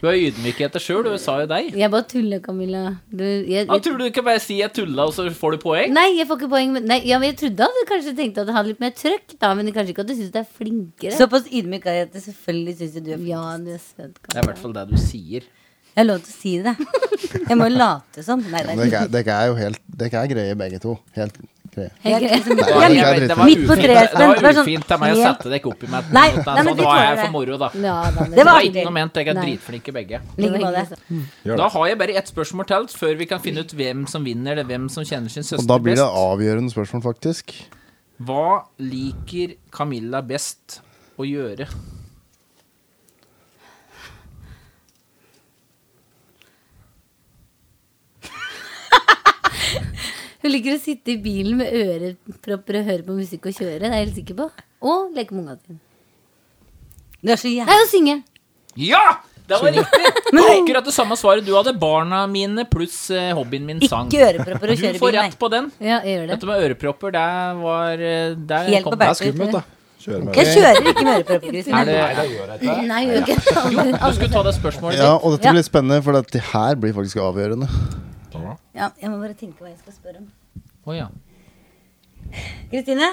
S1: du har ydmykhet til sjøl, du sa jo deg.
S8: Jeg bare tuller, Camilla. Du, jeg,
S1: Ja, tror du du kan bare si 'jeg tulla', og så får du poeng?
S8: Nei, jeg får ikke poeng. Men, nei, ja, men jeg trodde at du kanskje tenkte at det hadde litt mer trøkk, da. Men kanskje ikke at du syns det er flinkere.
S2: Såpass ydmyk er jeg at jeg selvfølgelig syns du er flink.
S8: ja, du er søt,
S1: Det
S8: Camilla.
S1: er i hvert fall det du sier.
S2: Jeg har lov til å si det. Jeg må late som. Nei, det er
S4: Dere er- dere er jo helt Dere er greie, begge to. Helt Greie.
S1: var- jeg
S4: det er
S1: vet, det
S4: dritt.
S1: var
S11: Midt på
S1: ufint.
S11: treet,
S1: Det
S11: det var
S1: var
S11: sånn
S1: ufint av meg å
S11: helt-
S1: sette dere opp i meg.
S11: Nei,
S1: Sånn,
S11: nei, men vi
S1: det var jeg
S11: tåler det.
S1: for moro, da.
S8: Ja, da,
S11: Det
S1: Det
S11: var
S1: var
S11: artig.
S1: ikke noe ment. Dere er
S8: Nei.
S1: dritflinke begge.
S11: Ligger på det.
S1: Da har jeg bare ett spørsmål til før vi kan finne ut hvem som vinner, eller hvem som kjenner sin
S4: Og da
S1: søster
S4: blir det
S1: best.
S4: avgjørende spørsmål, faktisk.
S1: Hva liker Camilla best å gjøre?
S8: Hun liker å sitte i bilen med ørepropper og høre på musikk og kjøre. Det er jeg helt sikker på. Og leke med ungene sine.
S11: Du er så jævlig
S8: Nei, og synge.
S1: Ja! Det var riktig! Det var akkurat det samme svaret du hadde. Barna mine pluss eh, hobbyen min sang.
S11: Ikke ørepropper å
S1: Du
S11: kjøre
S1: får
S11: bil, nei.
S1: rett på den.
S8: Ja, jeg gjør det.
S1: Dette med ørepropper, det var eh, der
S11: Helt
S1: kom
S11: på
S1: det.
S11: bærtur.
S3: Det er skummelt, da. Kjører med
S11: Jeg kjører ikke med ørepropper,
S1: Er
S11: Kristin.
S1: det
S8: Nei, jeg gjør ikke det. Alle-
S1: Du skulle ta det spørsmålet
S4: Ja,
S1: ditt.
S4: og dette blir spennende, for dette her blir faktisk avgjørende.
S11: Ja, jeg må bare tenke hva jeg skal spørre om.
S1: Å, ja.
S11: Kristine,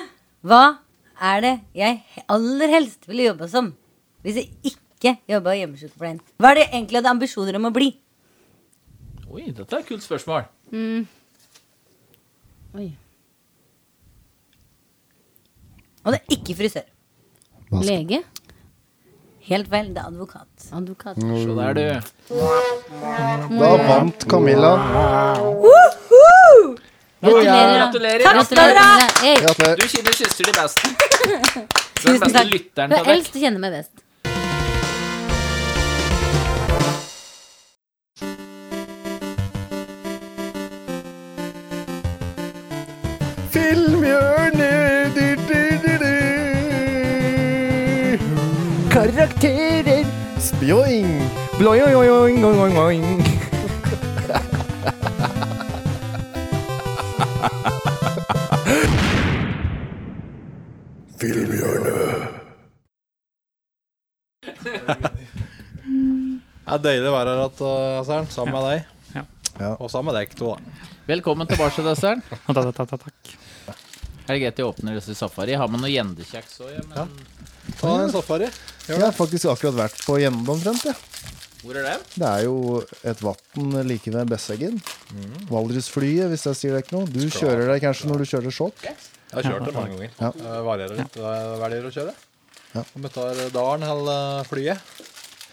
S11: hva er det jeg aller helst ville jobba som hvis jeg ikke jobba i hjemmesykepleien? Hva er det jeg egentlig hadde ambisjoner om å bli?
S1: Oi, dette er et kult spørsmål.
S11: Og det er ikke frisør.
S8: Lege.
S11: Helt vel, det er advokat.
S2: Mm.
S8: Advokat.
S1: Så der, du.
S4: Da vant Camilla.
S8: Gratulerer. da.
S1: Gratulerer.
S8: Gratulerer. Hey,
S1: Du
S4: Gratulerer.
S1: kjenner søster de best. Du er den beste
S11: takk.
S1: lytteren
S8: Du
S1: til
S8: er
S1: deg.
S8: eldst og kjenner meg best.
S10: Filmhjørnet du, du, du, du. Karakterer
S4: Spjoing!
S10: Bloing, oing, oing, oing, oing, oing.
S3: Det er deilig å være her at, uh, Søren, sammen med deg.
S4: Ja.
S3: Og sammen med deg, to, da.
S1: Velkommen tilbake, søsteren.
S9: Takk, takk, takk, takk.
S1: Er det greit jeg åpner disse safari? Har man noe gjendekjeks òg? Ja, men
S3: Ta en safari.
S4: Jeg har faktisk akkurat vært på Gjende omtrent, jeg.
S1: hvor er det?
S4: Det er jo et vann like ved Besseggen. Valdresflyet, hvis jeg sier deg ikke noe. Du kjører deg kanskje når du kjører sjokk.
S3: Jeg har kjørt det mange ganger.
S4: Ja.
S3: Eh, varierer litt. Jeg velger å kjøre.
S4: Ja.
S3: Om jeg tar dalen eller eh, flyet.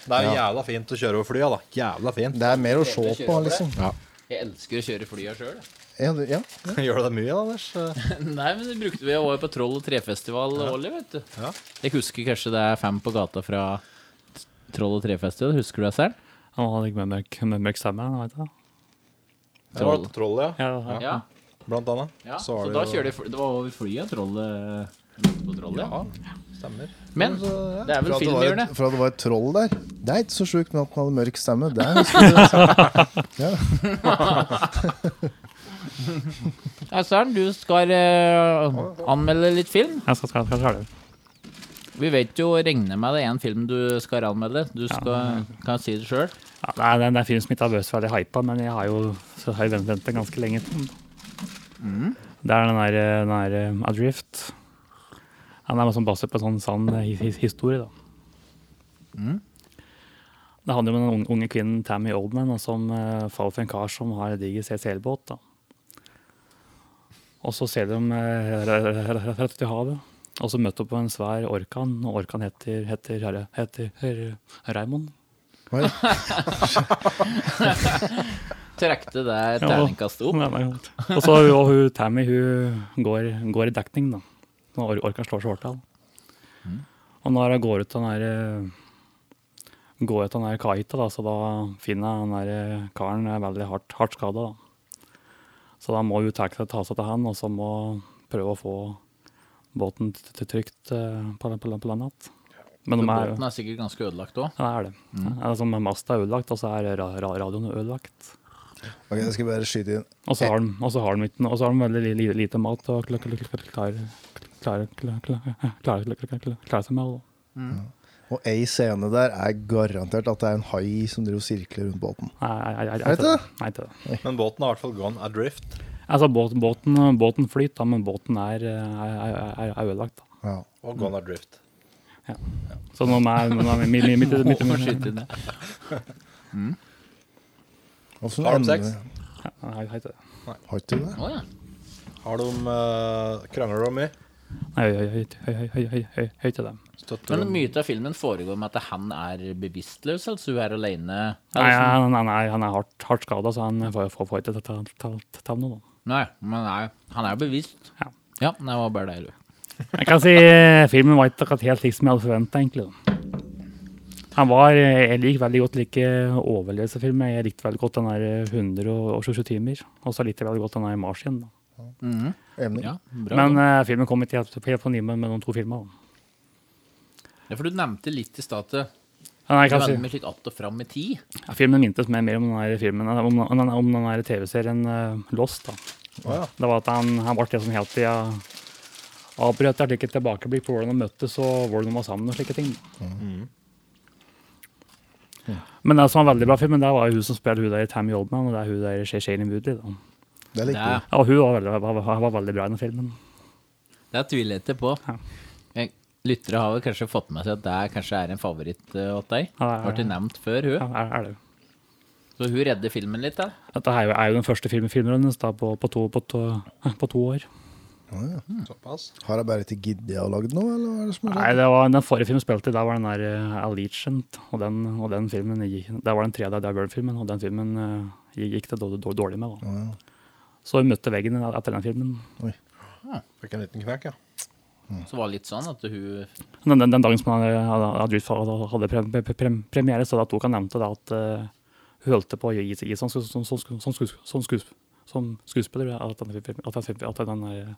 S3: Det er jo jævla fint å kjøre over flya, da. Jævla fint.
S4: Det er mer å se på, liksom.
S1: Jeg elsker å kjøre flya sjøl.
S4: Ja, du- ja.
S3: Gjør du det mye, da, Anders? Eh,
S1: Nei, men det brukte vi. Jeg var jo på Troll og trefestival årlig, vet du.
S3: Ja.
S1: Jeg husker kanskje det er fem på gata fra Troll og trefestival. Husker du det selv?
S9: Han hadde ikke med meg nøkkelen, vet du.
S3: Det var trollet, ja.
S9: Ja, ja.
S1: Ja.
S3: Blant annet.
S1: ja. Så,
S3: Så var det
S1: da
S3: jo-
S1: kjører de fl- Det var over flyet, trollet på trollet. Ja.
S3: Stemmer.
S1: Men det er vel
S4: Fra at det var
S1: filmhjørnet.
S4: et, fra at det var et troll der. Det er ikke så sjukt med at han hadde mørk stemme. Det er husker du.
S1: Ja, Søren, du skal eh, anmelde litt film.
S9: Jeg skal skal- skal klare det.
S1: Vi vet jo regne med det er en film du skal anmelde. Du skal, kan si det sjøl.
S9: Ja, det er- det er en film som ikke er bøs veldig hypa, men jeg har jo så har jeg vent- ventet ganske lenge til den. Det er den der, eh, den der eh, Adrift. Den er sånn basert på en sånn sann eh, hi- hi- historie, da. Det handler om den unge, unge kvinnen Tammy Oldman da, som eh, faller for en kar som har en diger CCL-båt. da. Og så ser de eh, r- r- r- rett ut i havet. Og så møtte hun på en svær orkan, og orkan heter, heter, heter, heter, Raymond.
S1: Trekte det
S9: Ja.
S1: terningkastet opp.
S9: Nei, nei, godt. Og så og hun, Tammy hun går, går i dekning, da. Når or orkan slår så hardt av. Og når hun går ut av den der, eh, går ut av den der kaita, da, så da finner jeg den der eh, karen er veldig hardt, hardt skada. Så da må hun ta, ta seg til han, og så må prøve å få båten t- t- trygt eh, på, på, på landet. Men de er,
S1: Båten er sikkert ganske ødelagt òg.
S9: ja, det er det. Ja, det er som Masta er ødelagt, og så er ra ra radioen ødelagt.
S4: Ok, jeg skal bare skyte inn.
S9: Og så har de, og så har de, ikke noe- og så har de veldig li- li- lite mat og klarer klar, klar, klar, klar, seg med. Da.
S4: Og ei scene der er garantert at det er en hai som driver og sirkler rundt båten.
S9: Nei, jeg- jeg- jeg-
S4: Er det ikke
S9: Nei, ikke det.
S3: Men båten har i hvert fall gone adrift.
S9: Altså, båt, båten, båten flyter, da, men båten er, er, er, er ødelagt. Da.
S4: Ja.
S3: Og gone adrift.
S9: Så nå er mitt mitt- mitt- mitt- mitt-
S1: Må
S9: mitt-
S1: skyte inn det.
S4: Og så
S3: Har de
S4: ender-
S3: sex?
S9: Nei, jeg vet ikke det.
S4: Har ikke du det?
S1: Å, ja.
S7: Har de eh, krangler de mye?
S9: Nei, høy, høy, høy, høy, høy, høy, høy, høy til dem.
S7: Støtter
S1: Men
S7: de
S1: mye av filmen foregår med at han er bevisstløs, altså hun er alene.
S9: Nei, han, han, er, han er hardt, hardt skada, så han får, får, får ikke ta- ta- ta- ta- ta noe, da.
S1: Nei, men nei, han er jo bevisst.
S9: Ja.
S1: Ja, det var bare det, du.
S9: Jeg kan si eh, filmen var ikke akkurat helt slik som jeg hadde forventa, egentlig. Da. Han var, eh, Jeg liker veldig godt like overlevelsesfilmer. Jeg likte veldig godt den der eh, 127 timer. Og så likte jeg veldig godt den der Mars igjen. Da.
S4: Enig.
S1: Ja, bra.
S9: Men eh, filmen kom ikke helt, helt på nivå med de to filmene. da.
S1: ja, for du nevnte litt i stad at
S9: Ja, Nei, jeg
S1: du
S9: kan si.
S1: rammer litt att og fram i tid.
S9: Ja, filmen mintes mer, mer om den her filmen, eh, om, om, den- om den her TV-serien eh, Lost. da. Det var at han, han ble sånn det som hele tida avbrøt et slikt tilbakeblikk på hvordan de møttes og hvordan de var sammen. og slike ting. Men det som var en veldig bra film, det var jo hun som spiller hun der i Tammy Oldman, og det er hun der i Shane Woodley. Da.
S4: Det
S1: Det,
S4: likte jeg.
S9: Ja, og hun var veldig, var, var, var veldig bra i den filmen.
S1: det tviler jeg ikke på.
S9: Ja.
S1: Jeg- Lyttere har vel kanskje fått med seg at det kanskje er en favoritt eh, åt deg.
S9: Ja, ja, ja.
S1: Ble det nevnt før,
S9: Ja,
S1: hun.
S9: er, er det. jo.
S1: Så hun redder filmen litt, da.
S9: Dette er jo, er jo den første filmen filmen hennes da, på, på, to, på, to, på to år.
S7: såpass.
S4: Har jeg bare ikke giddet å lage noe, eller hva er det som er
S9: Nei, det var, den forrige filmen spilte, der var den der eh, Allegiant, og den, og den filmen gikk, der var den tredje der Burn-filmen, og den filmen eh, gikk det dårlig, dårlig med da. Så vi møtte veggen etter den filmen.
S7: Fikk en liten knekk, ja.
S1: Så var det litt sånn at hun
S9: Den, den, den dagen som han, eh, hadde, hadde, utfall- hadde, hadde pre, pre, pre, premiere, så da tok han nevnte da at eh, hun holdt på å gi seg som, som, som, som, som, skues- som, skues- som skuespiller, at den, film- at den, film- at den der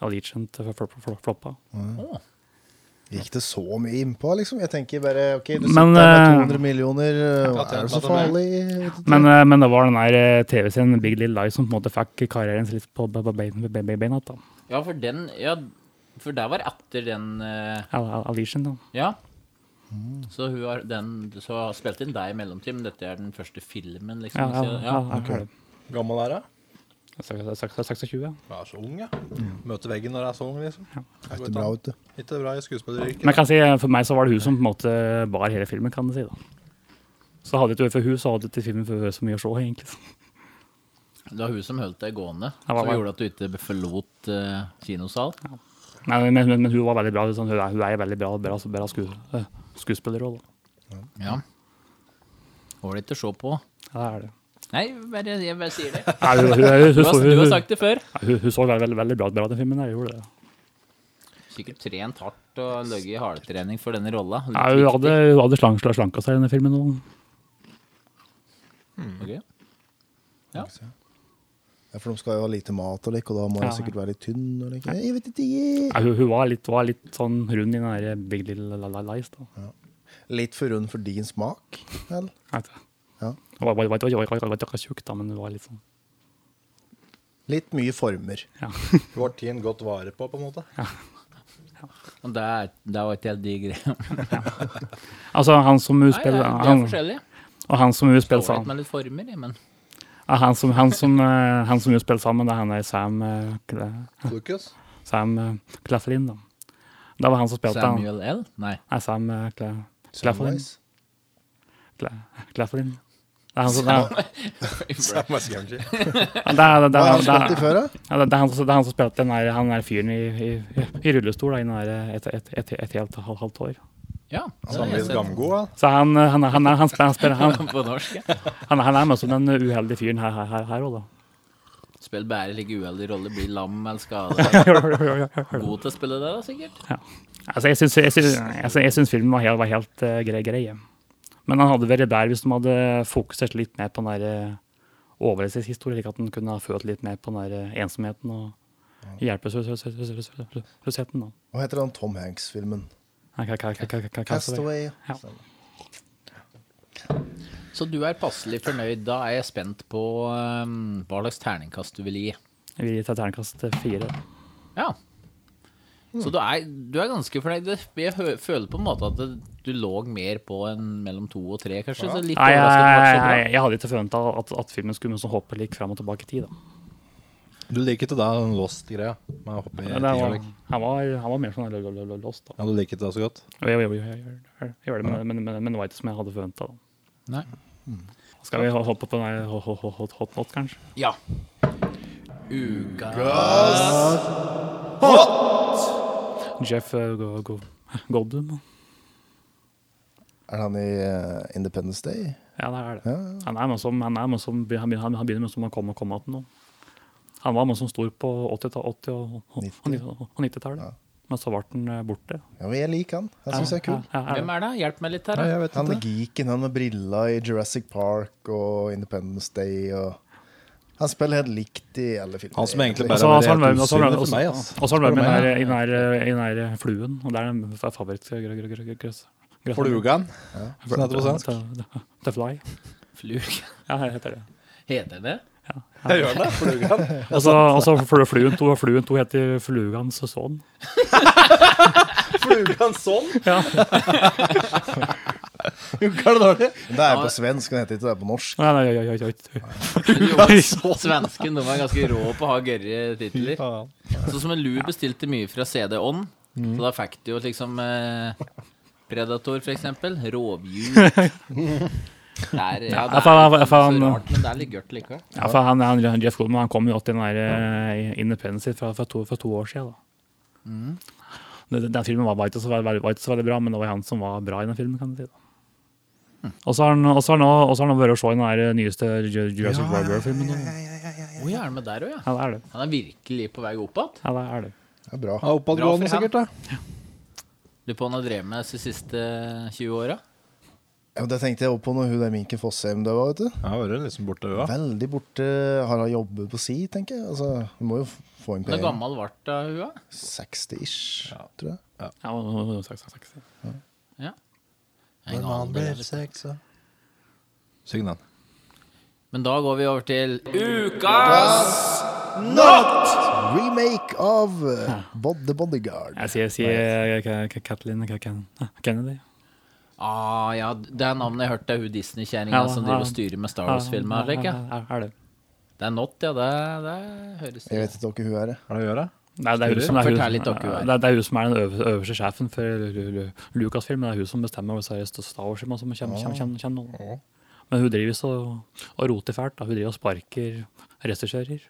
S9: Allegiant eh, fl- fl- fl- floppa.
S4: Gikk det så mye innpå, liksom? Jeg tenker bare OK, du sitter
S9: Men,
S4: der
S9: eh,
S4: med 200 millioner, hva er det så farlig?
S9: Men, eh, men det var den der eh, TV-serien Big Little Lies som på en måte fikk karrieren sin litt på be- be- be- be- be- beina. da.
S1: Ja, for den Ja, for det var etter den eh,
S9: Al- Al- Alicia, da.
S1: Ja. Så hun har den Så har spilt inn deg i mellomtiden. Dette er den første filmen, liksom.
S9: Ja, ja,
S1: sier-
S9: ja,
S1: ja.
S9: ja,
S7: Gammel er jeg?
S9: ja. 26. ja.
S7: Jeg er så ung, jeg. Møter veggen når jeg er så ung, liksom.
S4: Det er bra, vet du.
S7: Ikke bra i skuespilleryrket.
S9: Men jeg kan si, eh, for meg så var det hun som på en måte bar hele filmen, kan du si. da. Så hadde ikke for hun, så hadde ikke filmen for så mye å se, egentlig.
S1: Det var hun som holdt deg gående,
S9: Ja, hva-
S1: som
S9: hva-
S1: gjorde at du ikke forlot eh, kinosal.
S9: Nei, men, men, men hun var veldig bra. Sånn, hun, er, hun er en veldig bra, bra, bra sku, eh, skuespiller også, da.
S1: Ja. Ålreit å se på.
S9: Ja, det er det.
S1: Nei, bare, jeg bare sier det.
S9: Nei, hun, hun, hun,
S1: Du
S9: hun,
S1: har,
S9: hun,
S1: du har
S9: hun,
S1: sagt det før.
S9: hun, hun så veldig, veldig, veldig bra, bra den filmen. Der, hun gjorde det.
S1: Sikkert trent hardt og ligget i hardtrening for denne rolla.
S9: Nei, hun hadde, hun hadde slank, slanka seg i denne filmen. også.
S1: Ok.
S4: Ja, for de skal jo ha lite mat og lik, og da må
S9: Ja,
S4: jeg sikkert være litt tynn og lik. Jeg vet ikke, jeg.
S9: Nei, hun, hun var, litt, var litt sånn rund i den der Big Little Li- Li- Lies. Da.
S4: Litt for rund for din smak, vel?
S9: Vet du.
S4: Ja.
S9: Hun var, var, var, var, var, var, var ikke tjukk, da, men hun var litt sånn
S4: Litt mye former.
S7: Du har tiden godt vare på, på en måte.
S1: Og det, er- det var ikke helt de greiene.
S9: Altså, han som hun
S1: Nei, det
S9: spiller
S1: er, det er
S9: han,
S1: forskjellig.
S9: Og han som hun spiller
S1: Dårlig
S9: sammen
S1: med litt former, men
S9: ja, han, som, han, som, eh, han som hun spiller sammen, det er han der Sam eh, Cla-
S7: Lucas.
S9: Sam eh, Claflin, da. Det var han som spilte han.
S1: Samuel L? Nei.
S9: Nei, Sam eh, Cla Claflin.
S4: Samwise.
S9: Cla Claflin. Det er han som det er-
S7: Hva skal jeg si?
S9: ja, det er- det
S4: Hva
S9: er- det er-
S4: har han
S9: det er-
S4: spilt i før, da?
S9: ja, det er han som- det er han som spilte den der, han der fyren i, i, i rullestol da, i den der et, et, et, et helt halvt halvt år.
S1: Ja. det har jeg
S7: Samlet
S1: sett
S7: gamgod, han.
S9: Så han, eh, han, er- han, er- han, spiller- han, spiller- han,
S1: På norsk. ja.
S9: Han, han er med som den uheldige fyren her, her, her, her også, da.
S1: Spill bare like uheldig rolle, bli lam eller skada. God til å spille det, da, sikkert.
S9: Altså, jeg syns- jeg syns- altså, jeg syns filmen var helt, var helt eh, grei, grei. ja. Men han hadde vært bedre hvis de hadde fokusert litt mer på den der eh, overlevelseshistorien, slik at den kunne ha følt litt mer på den der eh, ensomheten og hjelpeløsheten. da.
S4: Hva heter den Tom Hanks-filmen?
S9: Nei, ka- ka- ka- ka- ka- Castaway.
S4: Castaway.
S9: Ja.
S1: Så du er passelig fornøyd. Da er jeg spent på um, hva slags terningkast du vil gi.
S9: Jeg vil gi et terningkast fire.
S1: Ja.
S3: Mm.
S1: Så du er, du er ganske fornøyd. Det- Jeg hø- føler på en måte at det, du lå mer på en mellom to og tre, kanskje. Så litt
S9: Nei, jeg, jeg,
S1: overraskende.
S9: jeg hadde ikke forventa at, at filmen skulle liksom hoppe litt fram og tilbake i tid. da.
S7: Du liker ikke det den Lost-greia? med å hoppe i
S9: Men det
S7: tid og
S9: var,
S7: lik.
S9: han, var, han var mer sånn lo- lo- lo- lo- lost, da.
S7: Ja, du liker ikke det så godt?
S9: Jo, jo, jo, jo, jeg gjør- jeg gjør det, men, men, men, men det var ikke som jeg hadde forventa.
S1: Nei.
S9: Skal vi ho- hoppe på den her hot, hot, hot, hot, hot kanskje?
S1: Ja.
S9: Jeff eh, Go- Go- Goldblum.
S4: Er det han i eh, Independence Day?
S9: Ja, det er det. Han er med som, han er med som, han begynner, han begynner med som han kom og kom igjen nå. Han var med som stor på 80, ta- 80 og- og 90-tallet. Men så ble han eh, borte.
S4: Ja, men jeg liker han. Jeg syns han er kul.
S9: Ja, ja,
S1: Hvem er det? Hjelp meg litt her.
S3: Nei,
S1: da.
S3: jeg vet
S4: Han
S3: ikke.
S4: er geeken, han med briller i Jurassic Park og Independence Day og Han spiller helt likt i alle filmer.
S7: Han som egentlig
S9: Og
S7: bare
S9: så
S7: er
S9: og så har han vært
S7: helt
S9: med- og så har han
S7: usynlig
S9: vært- og
S7: for
S9: så-
S7: meg.
S9: og
S7: ass.
S9: så har han vært med i
S7: Spør du
S9: den her- i den her- i den her fluen. Og det er den favorittgrøss.
S7: meg? Flugan. Sånn heter det på svensk.
S9: The Fly.
S1: Flug.
S9: Ja, det heter det.
S1: Heter det
S7: Jeg gjør det. Flugan.
S9: Og så og så fl- fluen to, fluen to heter Flugans sønn.
S7: Flugan sånn.
S4: Jo, hva er det dårlig? Det er på svensk, han heter ikke det på norsk.
S9: Nei, nei, oi, oi, oi.
S1: Svensken de var ganske rå på å ha gørre titler. Sånn som en Lur bestilte mye fra CD-On.
S3: Mm.
S1: Så da fikk du jo liksom eh, Predator, for eksempel. Rovdyr. Der, ja, det
S9: jeg
S1: er
S9: faen- jeg
S1: ikke så
S9: faen-
S1: rart, men det er litt gørt likevel.
S9: Ja, for han, han, Jeff Goldman han kom jo til den der eh, Independence Day fra, fra, to, fra to år siden. Da. Mm. Den, den filmen var, var, ikke så, var, var ikke så veldig bra, men det var han som var bra i den filmen. kan du si. Da. Og så har han og så har han også- og så har han vært og se den der eh, nyeste Ju- Jurassic World-filmen. Ja,
S1: Hvor er det med der òg, ja?
S9: det er det.
S1: Han er virkelig på vei opp igjen.
S9: Ja, det er det.
S4: Det er bra.
S3: Ja, Oppadgående,
S1: Bra for han.
S3: sikkert. da
S1: Lurer på hva han har drevet med de siste 20 åra.
S4: Ja, men det tenkte jeg også på når hun der Minken Fossheim døde, vet du.
S7: Jeg har vært liksom borte, ja.
S4: Veldig borte. Har han jobbet på si, tenker jeg? Altså, hun må jo f- få inn
S1: Hvor
S4: penger.
S1: gammel ble hun da?
S4: 60-ish, tror jeg.
S9: Ja, og- og- og- saks, saks, saks.
S1: En alder, vet du.
S7: Syng den.
S1: Men da går vi over til
S4: Remake av eh, Bod The Bodyguard.
S9: Jeg sier, sier Ka- Ka- Kathleen Ka- Ken- Kennedy.
S1: Ah, ja, det er navnet jeg hørte. Hun Disney-kjerringa
S9: Ja,
S1: som driver
S9: ja.
S1: og styrer med Star Wars-filmer. slik,
S9: Ja,
S1: Ja.
S9: ja, ja, er det.
S1: Det er not, ja. Det, det høres
S4: Jeg vet ikke hvem hun er. jeg.
S7: Hva er det å gjøre?
S9: Nei, det er hun som det er,
S1: Fortell litt
S9: hun,
S1: dere her.
S9: det er, det er hun som er den øver, øverste sjefen for Lu- Lu- Lucasfilm. men Det er hun som bestemmer over seriøst Star altså, Wars-filmer som kommer, kommer, kommer, kommer nå. Men hun driver så og roter fælt. da. Hun driver og sparker regissører.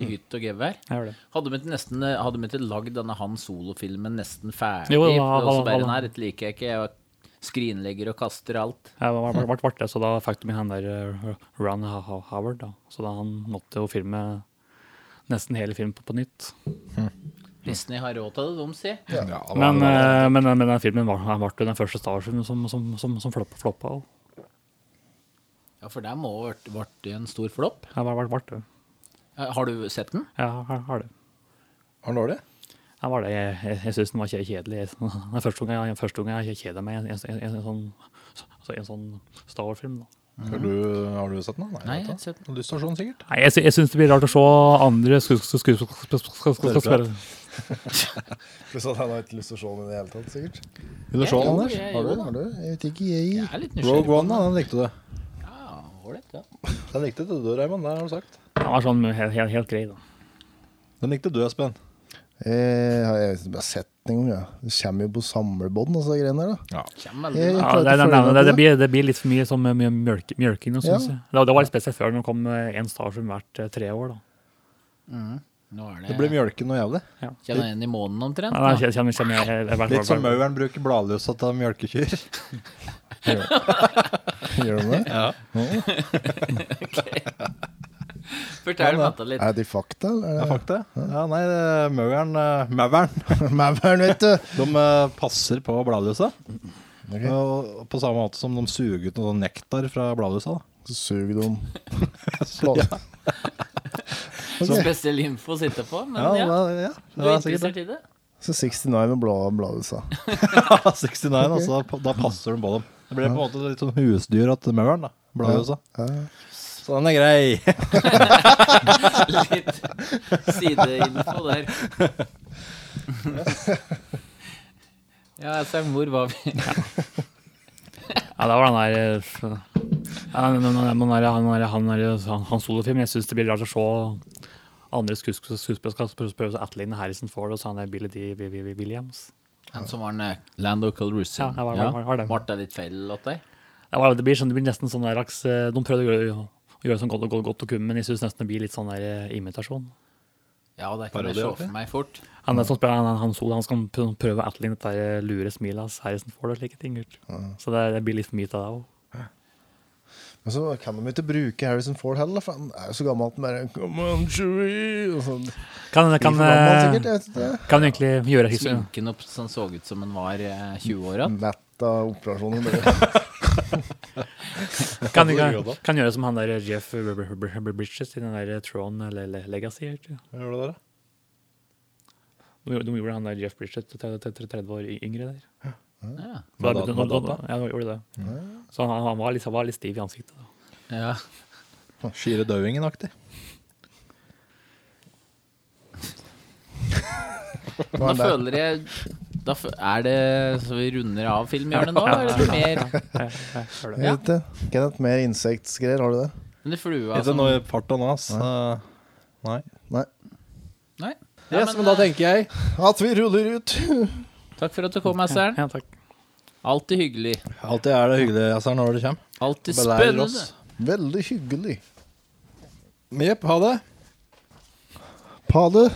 S1: i hytt og gevær.
S9: Gjør det.
S1: Hadde vi ikke nesten Hadde vi ikke lagd denne Han Solo-filmen nesten ferdig?
S9: Jo,
S1: Jo,
S9: da,
S1: og så
S9: hallo,
S1: bare
S9: hallo.
S1: Nei, dette liker jeg ikke. Jeg skrinlegger og kaster alt.
S9: Jeg var- var- var- var det, så da fikk de med han der eh, Ron Ha- Ha- Howard, da. Så da han måtte jo filme nesten hele filmen på, på nytt.
S1: Disney har råd til det, de, si.
S9: Men, eh, men, men den filmen var- han ble jo den første Star Wars-filmen som, som, som, som floppa. floppa. og-
S1: Ja, for der må ha vært- vært en stor flopp.
S9: Ja, var- var- var det.
S1: Eh, Har du sett den?
S9: Ja, har, har det.
S7: Var den dårlig?
S9: Ja, var det. Jeg, jeg, jeg syns den var kje- kjedelig. Jeg- Det er første gang jeg, første gang jeg kjeder meg i en, en, en, en, sånn, så- en sånn Star Wars-film. da.
S7: Har du, har du sett den? da?
S1: Nei, jeg har
S7: vet
S1: ikke
S7: da.
S1: sett den.
S7: Du står sånn sikkert.
S9: Nei, jeg, sy- jeg syns det blir rart å se andre skuespillere
S4: Du sa at han har ikke lyst til å se den i det hele tatt, sikkert.
S7: Vil du se den, Anders?
S1: Jeg,
S4: Har du?
S1: jo da.
S4: Har du? Jeg vet ikke, jeg.
S1: jeg er litt nysgjerrig.
S7: Rogue One, da, den likte du.
S1: Ja, ålreit, ja.
S7: Den likte du, du, Raymond. Det har du sagt.
S9: Den var sånn helt, helt, helt grei, da.
S7: Den likte du, Espen.
S4: Jeg Eh, har jeg vet ikke om jeg har sett den engang. Ja. Det kommer jo på samlebånd og så greiene der. da.
S1: Kjem vel
S4: Jeg, jeg
S9: Ja,
S4: klarer ikke å
S9: det, det,
S4: følge
S9: det,
S4: med
S9: det,
S4: på det.
S9: blir, det blir litt for mye sånn med- med mjølk- mjølking, nå, synes
S4: Ja.
S9: jeg. Det, det var litt spesielt før når det kom én Star Wars-film hvert eh, tre år. da.
S1: Nå er
S7: Det
S1: det,
S7: blir mjølken og jævlig.
S1: Kjenner jeg igjen i månen omtrent?
S9: Nei, nei,
S1: da.
S9: jeg kjenner, kjenner, jeg, jeg, jeg, jeg,
S7: Litt som mauren bruker bladlusa til mjølkekyr.
S4: Gjør de det?
S1: Fortell meg litt.
S4: Er det fakta,
S7: Det er
S4: eller?
S7: fakta. Ja, nei, det- mauren eh, Mauren.
S4: Mauren, vet du.
S7: De eh, passer på bladlusa.
S4: Ok.
S7: Og På samme måte som de suger ut noe sånn nektar fra bladlusa. da.
S4: Så suger de.
S1: Så spesiell info å sitte på, men ja.
S7: Ja, det- ja.
S1: Du
S7: Det
S1: er
S7: er sikkert
S1: interessert
S7: det.
S1: i det?
S4: Så 69 med bladet bladet sa.
S7: 69, altså. da- Da passer de på dem. Det blir på en måte litt sånn husdyr at mauren, da. Bladlusa. Så den er grei.
S1: Litt sideinfo der. Ja, altså, hvor var vi?
S9: Ja, det var den der eh, f- ja, den- den- den- den der- Han der han der- han- han solofilm. Jeg syns det blir rart å se andre skues- skuespillere skal prøve prøve å etterligne Harrison Ford og sånn der Billy D. Vi- Vi- Vi- Williams.
S1: Han som var en eh, Lando Calrissian.
S9: Ja, det var- var- var det.
S1: Martha litt feil åt deg?
S9: Det, var, det, blir sånn, det blir nesten sånn der slags eh, De prøvde å gjøre Og gjøre sånn godt og godt, godt og kum, men jeg syns nesten det blir litt sånn der eh, imitasjon.
S1: Ja, det kan jeg se for meg fort.
S9: Han er som spiller, han, han, Sol, han skal pr- prøve å etterligne dette her eh, lure smilet hans. Harrison Ford og slike ting. gutt. Så det, det blir litt for mye av det òg.
S4: Men så kan de jo ikke bruke Harrison Ford heller, for han er jo så gammel at han bare Come on, Chewie! Og sånn.
S9: Kan, kan,
S4: Blir for gammel, sikkert.
S9: eh,
S4: Jeg vet ikke.
S9: kan du egentlig gjøre historien
S1: Sminken opp sånn så ut som den var eh, 20-åra.
S4: Mett av operasjonen. bare.
S9: kan, kan, kan gjøre som han der Jeff Br- Br- Br- Br- Bridges i den der Tron Le- Le- Legacy. vet du.
S7: Hva gjorde dere?
S9: De, de gjorde han der Jeff Bridges til til- til 30 år y- yngre der.
S1: Ja.
S9: Da, da,
S7: Med
S9: da,
S7: da- med
S9: da,
S7: data?
S9: ja, de gjorde det. Så han, han var, litt, han var litt stiv i ansiktet. Da.
S1: Ja.
S7: Skire Døvingen-aktig.
S1: Da føler jeg da fø- Er det så vi runder av filmhjørnet nå, eller er det mer
S4: Jeg vet ikke. Kenneth, mer insektgreier, har du det?
S1: Men det er flua
S7: Ikke
S1: som
S7: noe i farta nå, ass. Eh, Nei.
S4: Nei.
S1: Nei. Ja,
S7: Yes, men da
S1: eh,
S7: tenker jeg
S4: At vi ruller ut!
S1: Takk for at du kom, Asseren.
S9: Ja, takk.
S1: Alltid hyggelig.
S7: Alltid er det hyggelig, Asser, når du kommer.
S1: Alltid
S7: Belærer
S1: spennende.
S7: oss.
S4: Veldig hyggelig.
S7: Jepp, ha det.
S4: Pa det.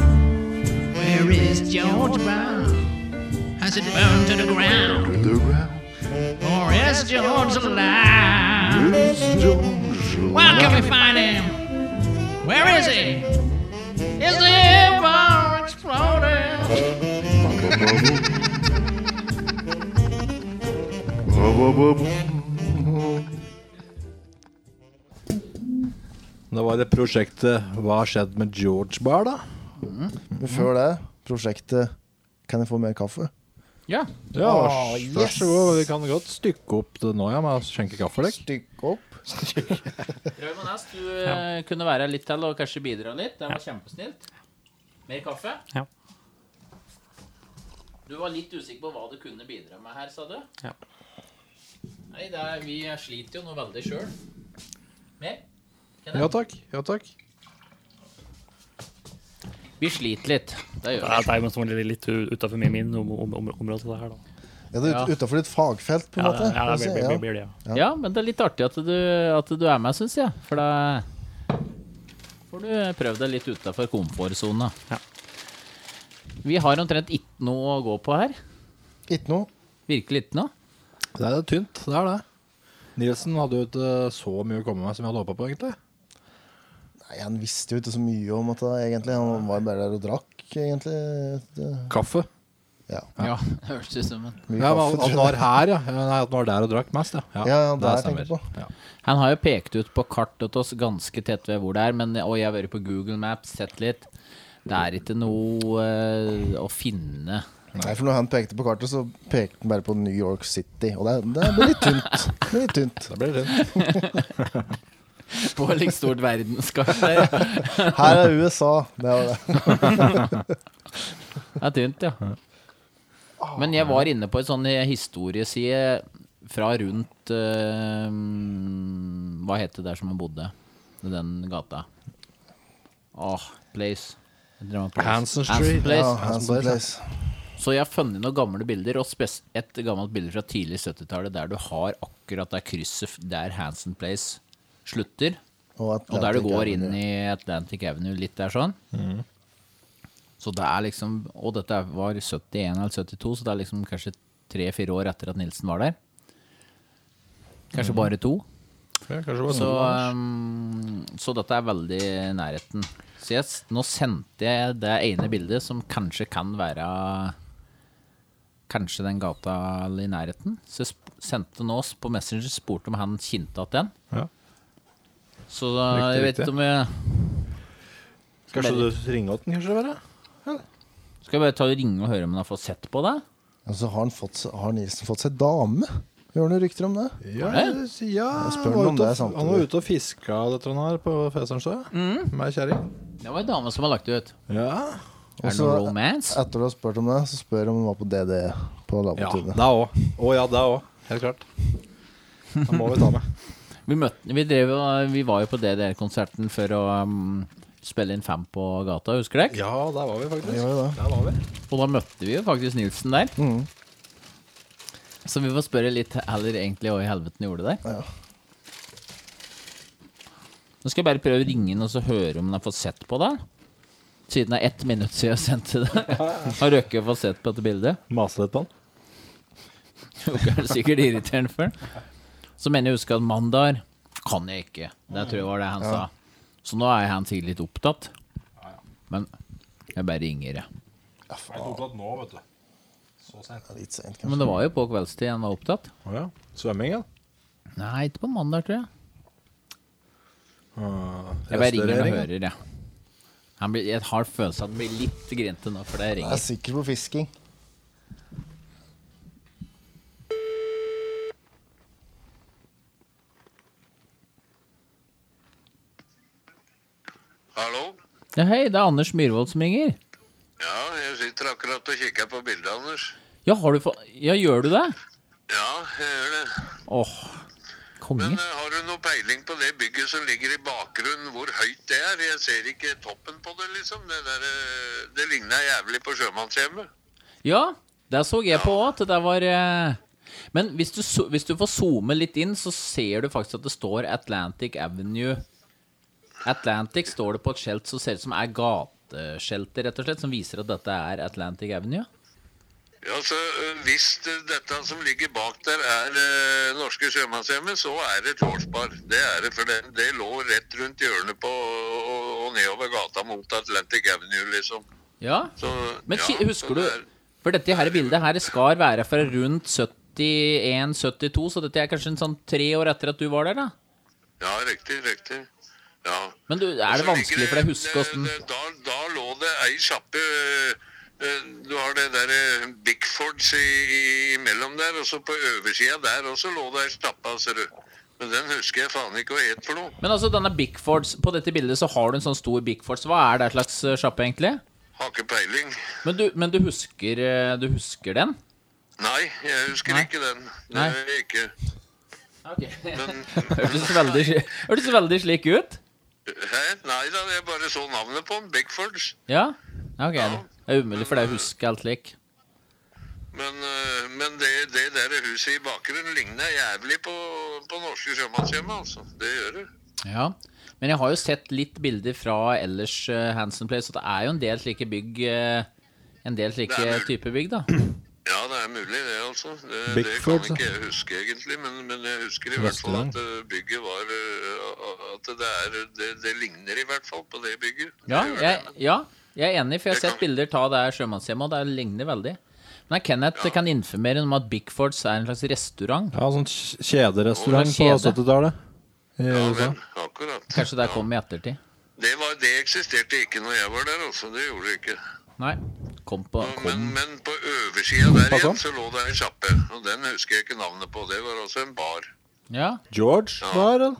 S5: Where is George Brown? Has it burned to the ground? Or is George alive? Where can we find him? Where is he? Is the ever exploding?
S7: Det var det prosjektet Hva har skjedd med George Bar, da?
S4: Men før det, prosjektet Kan jeg få mer kaffe?
S1: Ja.
S7: Ja,
S4: Åh,
S7: vær så god. Vi kan godt stykke opp det nå, ja, med å skjenke kaffe. Dek.
S4: Stykke opp.
S1: Raymond Næss, du eh, kunne være her litt til og kanskje bidra litt. Det var kjempesnilt. Mer kaffe?
S9: Ja.
S1: Du var litt usikker på hva du kunne bidra med her, sa du?
S9: Ja.
S1: Nei, det er, vi sliter jo nå veldig sjøl. Mer?
S7: Ja takk. Ja takk.
S1: Vi sliter litt. Det
S9: Det
S1: gjør vi.
S9: er- det er jo sånn litt- litt utafor min, min om, om, om, område, det her. Da.
S4: Ja, det er ut, utenfor ditt fagfelt, på en
S9: Ja,
S4: måte.
S9: det- ja, det blir,
S4: Ja.
S9: blir, blir, blir det, ja.
S1: Ja. men det er litt artig at du, at du er med, syns jeg. For da får du prøvd deg litt utafor komfortsona.
S9: Ja.
S1: Vi har omtrent ikke noe å gå på her.
S4: Ikke noe.
S1: Virkelig ikke noe.
S7: Det er tynt, det er det. Nielsen hadde jo ikke eh, så mye å komme med som jeg hadde håpa på, egentlig.
S4: Nei, Han visste jo ikke så mye om dette, egentlig. Han var jo bare der og drakk, egentlig. Det,
S7: Kaffe.
S4: ja,
S1: Ja, det høres ut som en
S4: mye
S7: Ja,
S4: kaffe.
S7: men at han var her, ja. Nei, at han var der og drakk mest, ja.
S4: Ja, ja,
S7: det
S4: der
S7: stemmer.
S4: tenker jeg på.
S7: Ja.
S1: Han har jo pekt ut på kartet til oss ganske tett ved hvor det er, men, og jeg har vært på Google Maps, sett litt. Det er ikke noe eh, å finne.
S4: Nei, for når han pekte på kartet, så pekte han bare på New York City. Og det, det blir litt tynt. Det blir litt tynt.
S7: Da blir det tynt.
S1: På litt stort verdenskart der.
S4: Her er USA. Det var det.
S1: Det er tynt, ja.
S4: Ah,
S1: Men jeg var inne på en sånn historieside fra rundt eh, Hva het det der som han bodde? I den gata. Åh, place. Jeg drømmer om place.
S7: Hanson
S1: Hanson
S7: Street.
S1: place.
S4: Ja, Hanson Place.
S1: Så jeg har funnet noen gamle bilder, og spes- et gammelt bilde fra tidlig 70-tallet der du har akkurat det krysset f- der Hansen Place slutter, og der du går inn i Atlantic Avenue litt der sånn. Så det er liksom Og dette var 71 eller 72, så det er liksom kanskje tre-fire år etter at Nilsen var der. Kanskje bare to.
S7: Ja, kanskje det var
S1: Så,
S4: eh,
S7: noe.
S1: um, så dette er veldig i nærheten. Så jeg, s- nå sendte jeg det ene bildet som kanskje kan være Kanskje den gata i nærheten. Så jeg sp- sendte nå oss på Messenger spurte om han kjente at den.
S7: Ja.
S1: Så da, jeg vet
S7: riktig.
S1: ikke om jeg
S7: Kanskje du ringer åt den, kanskje? Bare?
S1: Skal jeg bare ta og ringe og høre om han har fått sett på det?
S4: Og så har, han fått, seg- har Nilsen fått seg dame. Hører du noen rykter om det?
S7: Ja, ja
S4: spør den om
S7: han, var ute,
S4: det er sant,
S7: og- han var
S4: eller?
S7: ute og fiska dette han her på Fesernsjø med kjerring.
S1: Det var ei dame som har lagt det ut.
S7: Ja.
S1: Er det noe romance?
S4: Etter du har spurt om det, så spør jeg om hun var på DD på
S7: ja,
S4: laboratoriet.
S7: det òg. Å ja, det òg. Helt klart. Det må vi ta med.
S1: Vi, møtte, vi, drev, jo- vi var jo på DDR-konserten for å um, spille inn Fem på gata, husker dere?
S3: Ja, der var vi faktisk.
S4: Det var jo det.
S3: Der var vi.
S1: Og da møtte vi jo faktisk Nilsen der.
S3: Mm.
S1: Så vi får spørre litt heller egentlig hva i helvete han gjorde der. Nå skal jeg bare prøve å ringe inn og så høre om han har fått sett på det. Siden det er ett minutt siden jeg sendte det. Har Røkke fått sett på dette bildet?
S3: Mase litt på den.
S1: Jo, det er sikkert irriterende for han. Så mener jeg å huske at mandag kan jeg ikke. Det tror jeg var det han sa. Så nå er han sikkert litt opptatt. Men jeg bare ringer, jeg.
S3: Jeg tok det nå, vet du. Så sent.
S4: Litt sent, kanskje.
S1: Men det var jo på kveldstid han var opptatt.
S3: Å ja. Svømming, ja.
S1: Nei, ikke på mandag, tror jeg.
S3: Ah,
S1: Jeg bare ringer og
S3: restaurering, ja.
S1: hører, jeg. Han blir, jeg har følelsen av at han blir litt grinte nå, for det
S4: Jeg er
S1: ringer.
S4: sikker på fisking.
S9: Hallo?
S1: Ja, hei, det er Anders Myhrvold som ringer.
S9: Ja, jeg sitter akkurat og kikker på bildet, Anders.
S1: Ja, har du fått Ja, gjør du det?
S9: Ja, jeg gjør det.
S1: Åh, konge.
S9: Men eh, har du noe peiling på det bygget som ligger i bakgrunnen, hvor høyt det er? Jeg ser ikke toppen på det, liksom. Det, der, eh, det ligner jævlig på sjømannshjemmet.
S1: Ja, det så jeg på òg, at det der var eh, Men hvis du, zo- hvis du får zoome litt inn, så ser du faktisk at det står Atlantic Avenue. Atlantic står det på et skjelt som ser ut som er gateskjeltet, rett og slett, som viser at dette er Atlantic Avenue.
S9: Ja, så eh, Hvis eh, dette som ligger bak der er eh, norske sjømannshjemmet, så er det Tårsbar. Det er det, for det, det lå rett rundt hjørnet på og, og nedover gata mot Atlantic Avenue, liksom.
S1: Ja.
S9: Så,
S1: Men
S9: ja,
S1: ki- husker
S9: så
S1: du
S9: det er-
S1: For dette her bildet her skal være fra rundt 71-72, så dette er kanskje en sånn tre år etter at du var der, da?
S9: Ja, riktig, riktig. Ja.
S1: Men du, er det
S9: Så ligger
S1: vanskelig for deg å huske åssen
S9: Altså, det- Eh, Da, da lå det ei sjappe eh, eh, Du har det der eh, Bickfords i, i, imellom der, og så på oversida der også lå det ei stappe, ser du. Men den husker jeg faen ikke hva het for noe.
S1: Men altså, denne Bickfords På dette bildet så har du en sånn stor Bickfords. Hva er det slags eh, sjappe, egentlig?
S9: Har ikke peiling.
S1: Men du, men du husker eh, Du husker den?
S9: Nei, jeg husker
S1: Nei.
S9: ikke den. Det
S1: Nei.
S9: gjør jeg ikke.
S1: Hørtes veldig, hørtes veldig slik ut.
S9: Hæ? Nei da, jeg bare så navnet på den. Bickfords.
S1: Ja? Ja, Ok. Det er umulig for deg å huske alt slik.
S9: Men, eh, men det, det der huset i bakgrunnen ligner jævlig på, på norske sjømannshjemmet, altså. Det gjør det.
S1: Ja. Men jeg har jo sett litt bilder fra ellers eh, Hanson Place, og det er jo en del slike bygg eh, En del
S9: Det er
S1: slike
S9: mulig.
S1: type bygg, da.
S9: Ja, det er mulig det, altså. Det, det
S3: Bigfoot,
S9: kan ikke jeg huske egentlig, men, men jeg husker i hvert fall at eh, bygget var eh, At det er det, det ligner i hvert fall på det bygget.
S1: Ja,
S9: Det gjør det.
S1: jeg, ja, jeg er enig, for jeg har
S9: Det
S1: sett
S9: kan-
S1: bilder ta det her sjømannshjemmet, og det ligner veldig. Men Kenneth kan informere om at Bigfords er en slags restaurant.
S3: Ja, sånn kj- kjederestaurant på
S1: Kjede.
S3: 70-tallet. I
S9: Ja,
S3: USA.
S9: vel, akkurat.
S1: Kanskje det kom i ettertid.
S9: Det, var, det eksisterte ikke når jeg var der, altså. Det gjorde det ikke.
S1: Nei. Kom på
S9: Men,
S1: kom.
S9: men på øversida der
S3: Pass
S9: igjen
S3: om.
S9: så lå det ei sjappe, og den husker jeg ikke navnet på. Det var også en bar.
S1: Ja.
S3: George var det?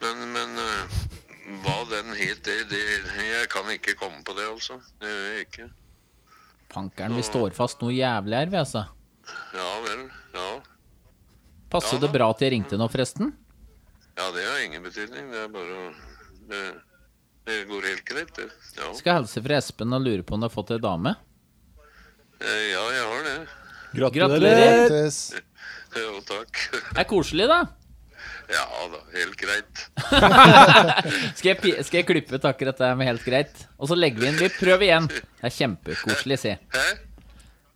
S9: Men, men eh, hva den het, det, det Jeg kan ikke komme på det, altså. Det gjør jeg ikke.
S1: Pankeren, vi står fast noe jævlig her, vi, altså.
S9: Ja vel. Ja.
S1: Passet det bra at jeg ringte nå, forresten?
S9: Ja, det har ingen betydning. Det er bare å Det, det går helt greit, det. Ja.
S1: Skal helse fra Espen og lure på om du har fått ei dame.
S9: Eh, ja, jeg har det.
S1: Gratulerer!
S4: Tess.
S9: Jo, takk.
S1: Det er koselig, da.
S9: Ja da, helt greit.
S1: Skal jeg, pi- skal jeg klippe ut akkurat det med helt greit? Og så legger vi inn Vi prøver igjen. Det er kjempekoselig, si.
S9: Hæ?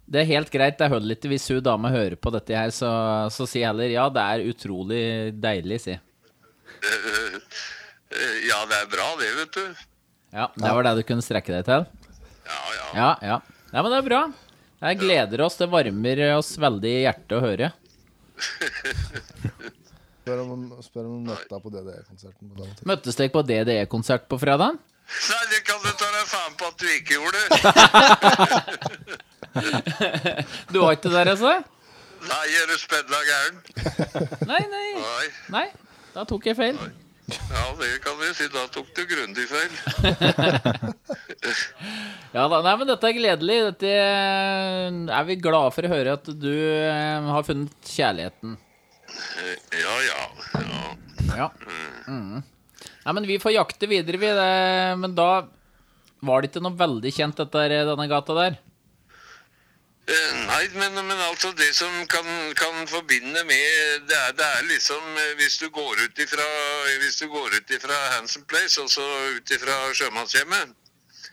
S1: Det er helt greit. Det holder ikke hvis hun dama hører på dette her, så, så si heller ja, det er utrolig deilig, si.
S9: Eh, eh, ja, det er bra, det, vet du.
S1: Ja, det var det du kunne strekke deg til?
S9: Ja ja.
S1: Ja, ja. Nei, men det er bra. Det gleder oss. Det varmer oss veldig i hjertet å høre.
S4: Spør om spør om hun møtte deg på DDE-konserten. på den tiden.
S1: Møttes dere på DDE-konsert på fredag?
S9: Nei, det kan du ta deg faen på at du ikke gjorde.
S1: Du var ikke der, altså?
S9: Nei, er du spedla gæren?
S1: Nei, nei.
S9: Nei.
S1: Nei, da tok jeg feil.
S9: Ja, det kan vi si. Da tok du grundig feil.
S1: Ja da, nei, men dette er gledelig. Dette er vi glade for å høre at du eh, har funnet kjærligheten.
S9: Ja, ja. ja.
S1: Ja. Mm. Nei, men vi får jakte videre, vi. Det. Men da var det ikke noe veldig kjent, dette, her, denne gata der.
S9: Eh, Nei, men, men altså det som kan, kan forbinde med det er, det er liksom eh, Hvis du går ut ifra, hvis du går ut ifra Handsome Place, altså ut ifra Sjømannshjemmet,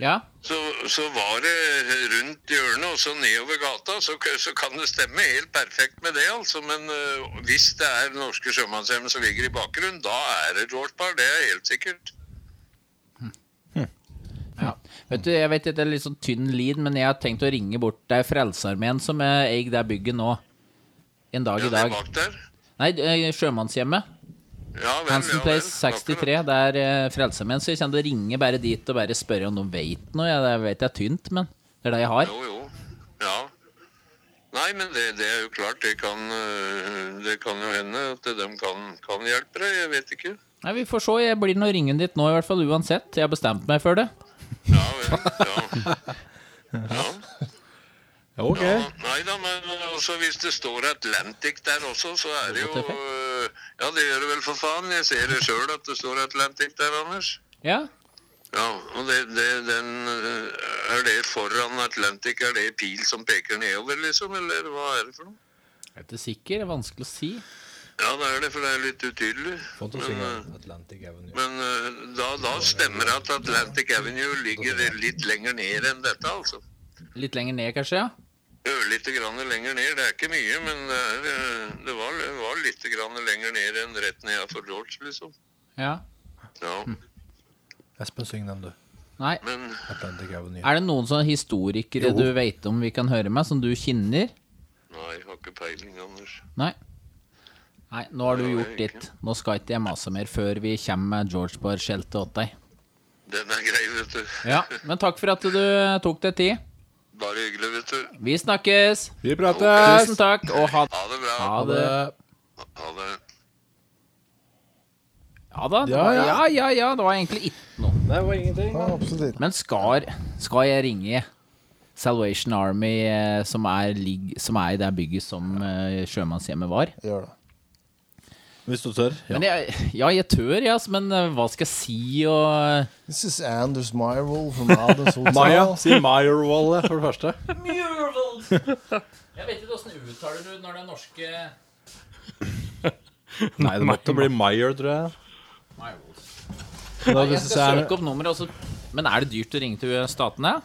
S1: Ja.
S9: så, så var det rundt hjørnet og så nedover gata, så, k- så kan det stemme helt perfekt med det, altså. Men eh, hvis det er norske sjømannshjem som ligger i bakgrunnen, da er det George Bar, det er helt sikkert.
S1: Vet du, jeg vet at det er litt sånn tynn lid, men jeg har tenkt å ringe bort Det er Frelsesarmeen som eh, eier det bygget nå. En dag
S9: Ja,
S1: i
S9: det er
S1: dag.
S9: bak der.
S1: Nei, eh, Sjømannshjemmet.
S9: Ja, vel,
S1: Hansen
S9: ja, vel.
S1: Place 63. Det er eh, Frelsesarmeen. Så jeg kjenner å ringe bare dit og bare spørre om de vet noe. Jeg, jeg vet det er tynt, men det er det jeg har.
S9: Jo, jo. Ja. Nei, men det, det er jo klart. Det kan, øh, det kan jo hende at de kan, kan hjelpe deg. Jeg vet ikke.
S1: Nei, Vi får se. Jeg blir nå ringen ditt nå, i hvert fall. Uansett. Jeg har bestemt meg for det.
S9: Ja vel. Ja. ja.
S1: Ok.
S9: Ja, nei da, men altså, hvis det står Atlantic der også, så er det jo øh, Ja, det gjør det vel for faen. Jeg ser det sjøl at det står Atlantic der, Anders.
S1: Ja.
S9: Ja, og det, det, den, øh, Er det foran Atlantic? Er det pil som peker nedover, liksom? Eller hva er det for noe?
S1: Jeg er ikke sikker. Det er vanskelig å si.
S9: Ja, det er det, for det er litt utydelig.
S1: Fant å
S9: Men,
S1: synge
S9: eh, men eh, da, da stemmer det at Atlantic Avenue ligger litt lenger ned enn dette, altså.
S1: Litt lenger ned, kanskje? ja?
S9: Ørlite grann lenger ned. Det er ikke mye, men det, er, eh, det var, det var litt grann lenger ned enn rett ned for George, liksom.
S1: Ja.
S9: Ja.
S7: Espen, syng den, du.
S1: Nei.
S9: Men
S7: Atlantic Avenue.
S1: Er det noen sånne historikere
S7: Jo.
S1: du vet om vi kan høre med, som du kjenner?
S9: Nei, jeg har ikke peiling, Anders.
S1: Nei. Nei, nå har du gjort ditt. Nå skal ikke jeg mase mer før vi kommer med George Bar-skjeltet åt deg.
S9: Den er grei, vet du.
S1: Ja, Men takk for at du tok deg tid.
S9: Bare hyggelig, vet du.
S1: Vi snakkes!
S7: Vi
S9: prates.
S1: Tusen takk, og ha,
S9: Ha det bra.
S1: Ha det.
S9: Ha det.
S1: Ja da. Det
S9: Ja,
S1: var,
S9: ja.
S1: ja, ja, ja. Det var egentlig ikke noe.
S7: Det var ingenting.
S1: Men skal, skal jeg ringe Salvation Army, eh, som er, ligg- som er i det bygget som eh, Sjømannshjemmet var?
S4: Gjør det.
S7: Hvis du tør.
S1: Men jeg, ja, jeg tør, ja, altså, men eh, hva skal jeg si og
S4: This is Anders Meyerwall from Adams Hotel.
S7: Maya, si Meyerwall for det første.
S1: Jeg vet ikke åssen uttaler du når det er norske
S7: Nei, det måtte bli Meyer, tror jeg.
S1: Nei,
S7: hvis
S1: Jeg
S7: det
S1: skal
S7: er-
S1: søke opp nummeret, og så Men er det dyrt å ringe til statene?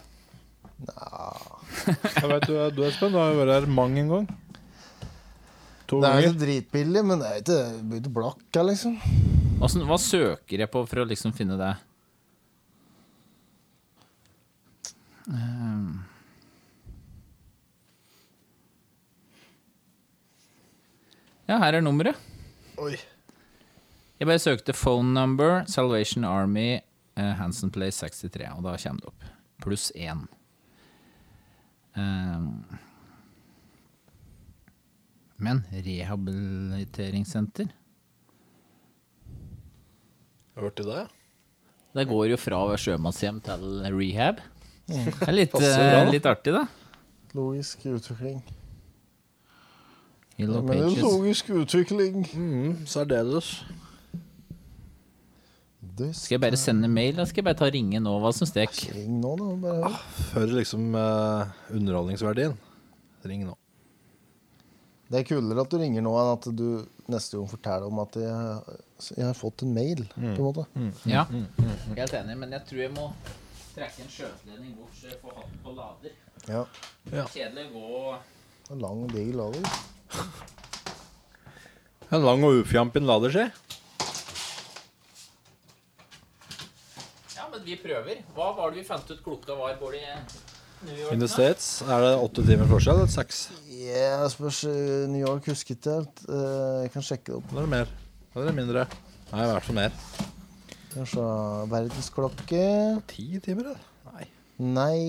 S7: Jeg vet du, du Espen, du har jo vært her mang en gang. To
S4: Det er jo
S7: ganger.
S4: dritbillig, men det er ikke, det blir ikke blakka, liksom.
S1: Åssen- hva søker jeg på for å liksom finne det? Ehm. Ja, her er nummeret.
S4: Oi.
S1: Jeg bare søkte 'phone number Salvation Army eh, Hansen Place 63', og da kommer det opp. Pluss én. Ehm. Men rehabiliteringssenter?
S7: Hørte du det?
S1: Det går jo fra å være sjømannshjem til rehab.
S4: Mm.
S1: Det er litt,
S4: Passer bra,
S1: eh,
S4: da.
S1: litt artig, da.
S4: Logisk utvikling.
S1: Yellow
S4: Men det er
S1: Pages.
S4: logisk utvikling.
S7: Mm, Særdeles.
S1: Skal jeg bare sende mail, eller skal jeg bare ta og ringe nå? Hva syns dere?
S4: Ring nå, da. Bare.
S7: Hører liksom eh, underholdningsverdien. Ring nå.
S4: Det er kulere at du ringer nå enn at du neste gang forteller om at jeg, jeg har fått en mail.
S7: Mm.
S4: på en måte.
S1: Ja,
S4: mm,
S1: helt enig, men jeg tror jeg må trekke en skjøteledning bort så jeg får hatten på lader.
S4: Ja.
S1: Kjedelig å gå
S4: En Lang, diger lader.
S7: En lang og ufjampen lader, si.
S1: Ja, men vi prøver. Hva var det vi fant ut klokka var? Går det
S4: Mm.
S1: i New York?
S7: In
S1: nå?
S7: the States er det åtte timer forskjell. Eller seks?
S4: Jeg spørs eh, New York husket jeg helt. Eh, Jeg kan sjekke det opp.
S7: Eller mer? Eller mindre? Nei, i hvert fall mer.
S4: Skal vi se. Verdensklokke
S7: Ti timer, eller? Nei.
S4: Nei.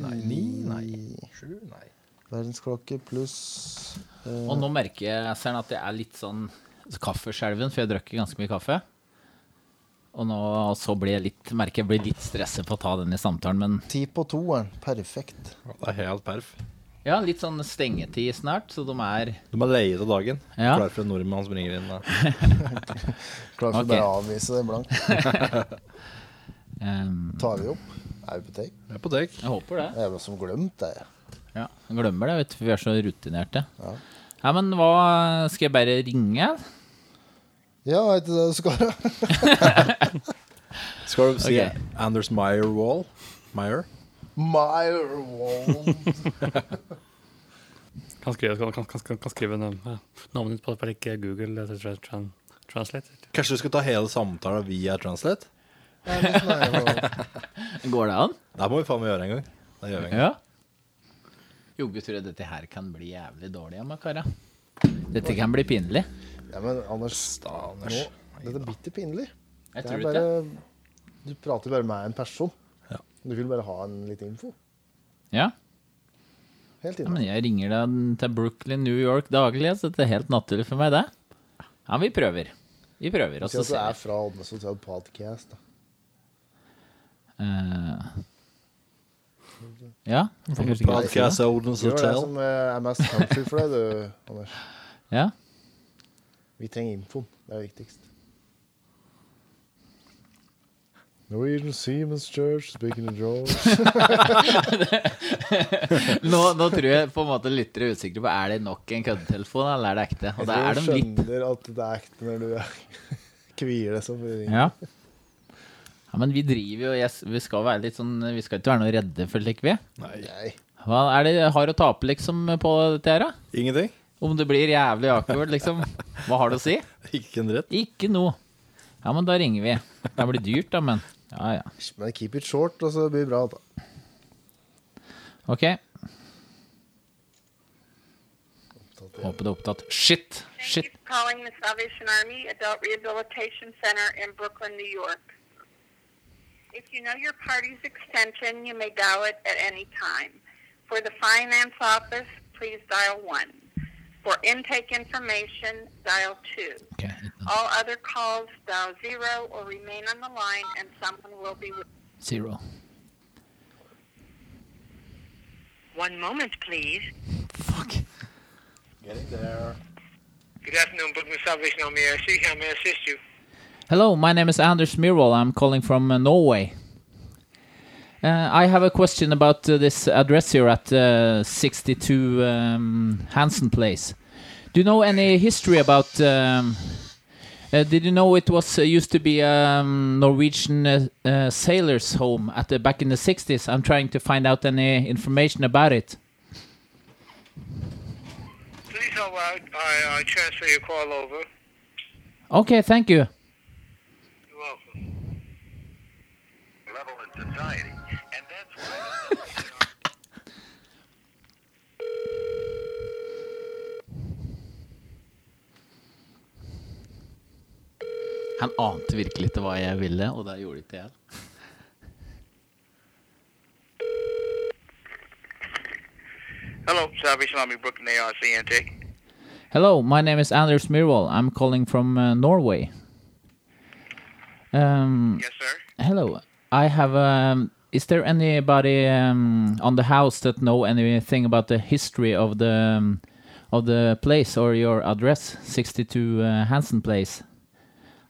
S7: Nei, ni? Nei. Sju? Nei.
S4: Verdensklokke pluss eh,
S1: Og nå merker jeg Seren, at jeg er litt sånn kaffeskjelven, for jeg drikker ganske mye kaffe. Og nå så blir jeg litt, merker jeg blir litt stresset på å ta denne samtalen, men
S4: Ti på toeren. Perfekt.
S7: Ja, Det er helt perf.
S1: Ja, litt sånn stengetid snart, så de er
S7: De er leie av dagen.
S1: Ja.
S7: Klar for en nordmann som ringer inn. Da.
S4: Klar for å
S1: Ok.
S4: bare avvise det blankt.
S1: Ehm,
S4: Tar vi opp? Er vi på take?
S7: Jeg er på dekk.
S1: Jeg håper det.
S4: Jeg er vel som glemt det.
S1: Ja, jeg Glemmer det, vet du, for vi er så rutinerte. Ja. men hva Skal jeg bare ringe?
S4: Ja, er det det du skal?
S7: Skal du si
S1: Ok.
S7: Anders Meyerwall? Meyer?
S4: Myrewall.
S9: Kan skrive, kan, kan, kan, kan skrive navn- ja, navnet ditt på på ikke Google eh, tra, tra, Translate.
S7: Kanskje du skal ta hele samtalen via Translate?
S4: sånn
S1: Går det an?
S7: Det må vi faen meg gjøre en gang. Det gjør vi en gang.
S1: Ja. Jogge tror jeg dette her kan bli jævlig dårlig av meg, kara. Dette kan bli pinlig.
S4: Ja, men Anders,
S7: Anders.
S4: nå, dette er bitte pinlig.
S1: Jeg
S4: Det er
S1: tror
S4: bare,
S1: ikke.
S4: du prater bare med en person.
S7: Ja.
S4: Du vil bare ha en litt info.
S1: Ja.
S4: Helt
S1: ja,
S4: inne.
S1: men jeg ringer deg til Brooklyn, New York daglig, så det er helt naturlig for meg, det. Ja, vi prøver. Vi prøver, og
S4: Si
S1: så
S4: at du
S1: ser
S4: er
S1: vi.
S4: fra Oddnes Hotel Podcast. Da.
S1: Eh, ja, det er kanskje greit å si det.
S7: Podcast Odens
S4: Gjør det
S7: Hotel.
S4: som eh, er mest country for deg, du, Anders.
S1: Ja.
S4: Vi trenger infoen. Det er viktigst. Norwegian Seamen's Church, speaking of Joe.
S1: Nå, nå tror jeg på en måte lyttere er usikre på Er det nok en køddetelefon, eller er det ekte. Og da er
S4: Jeg
S1: de
S4: tror
S1: litt
S4: du skjønner at det er ekte når du er kvier deg som ringer.
S1: Ja. ja men vi driver jo jeg, s- Vi skal være litt sånn Vi skal ikke være noe redde for slik vi er.
S4: Nei.
S1: Hva er det jeg har å tape liksom på dette her, da?
S7: Ingenting?
S1: Om det blir jævlig awkward, liksom. Hva har du å si?
S7: Ikke en dritt?
S1: Ikke noe. Ja, men da ringer vi. Det blir dyrt, da, men Ja, ja.
S4: Men keep it short, og så blir det bra. Da.
S1: Ok. Håper det er opptatt. Shit! Shit!
S12: calling the Salvation Army Adult Rehabilitation Center in Brooklyn, New York. If you know your party's extension, you may dial it at any time. For the finance office, please dial 1. For intake information, dial 2.
S1: Ok.
S12: All other calls, dial 0 or remain on the line and someone will be with
S1: Zero.
S12: One moment, please.
S1: Fuck.
S13: Good afternoon, Brooklyn Salvation Army. I see how may I assist you?
S1: Hello, my name is Anders Myhrvold. I'm calling from uh, Norway. Uh, I have a question about uh, this address here at uh, 62 um, Hansen Place. Do you know any history about? Um, uh, did you know it was uh, used to be a um, Norwegian uh, uh, sailors' home at the back in the 60s? I'm trying to find out any information about it.
S13: Please hold out. I, I transfer your call over.
S1: Okay, thank you.
S13: You're welcome. Level in society. And that's why...
S1: Han ante virkelig ikke hva jeg ville, og det gjorde ikke jeg.
S13: Hello, Salvation Army, Brooklyn ARC intake.
S1: Hello, my name is Anders Myhrvold. I'm calling from uh, Norway. Um,
S13: Yes, sir.
S1: hello. I have. Um, is there anybody um, on the house that know anything about the history of the um, of the place or your address, 62 uh, Hansen Place?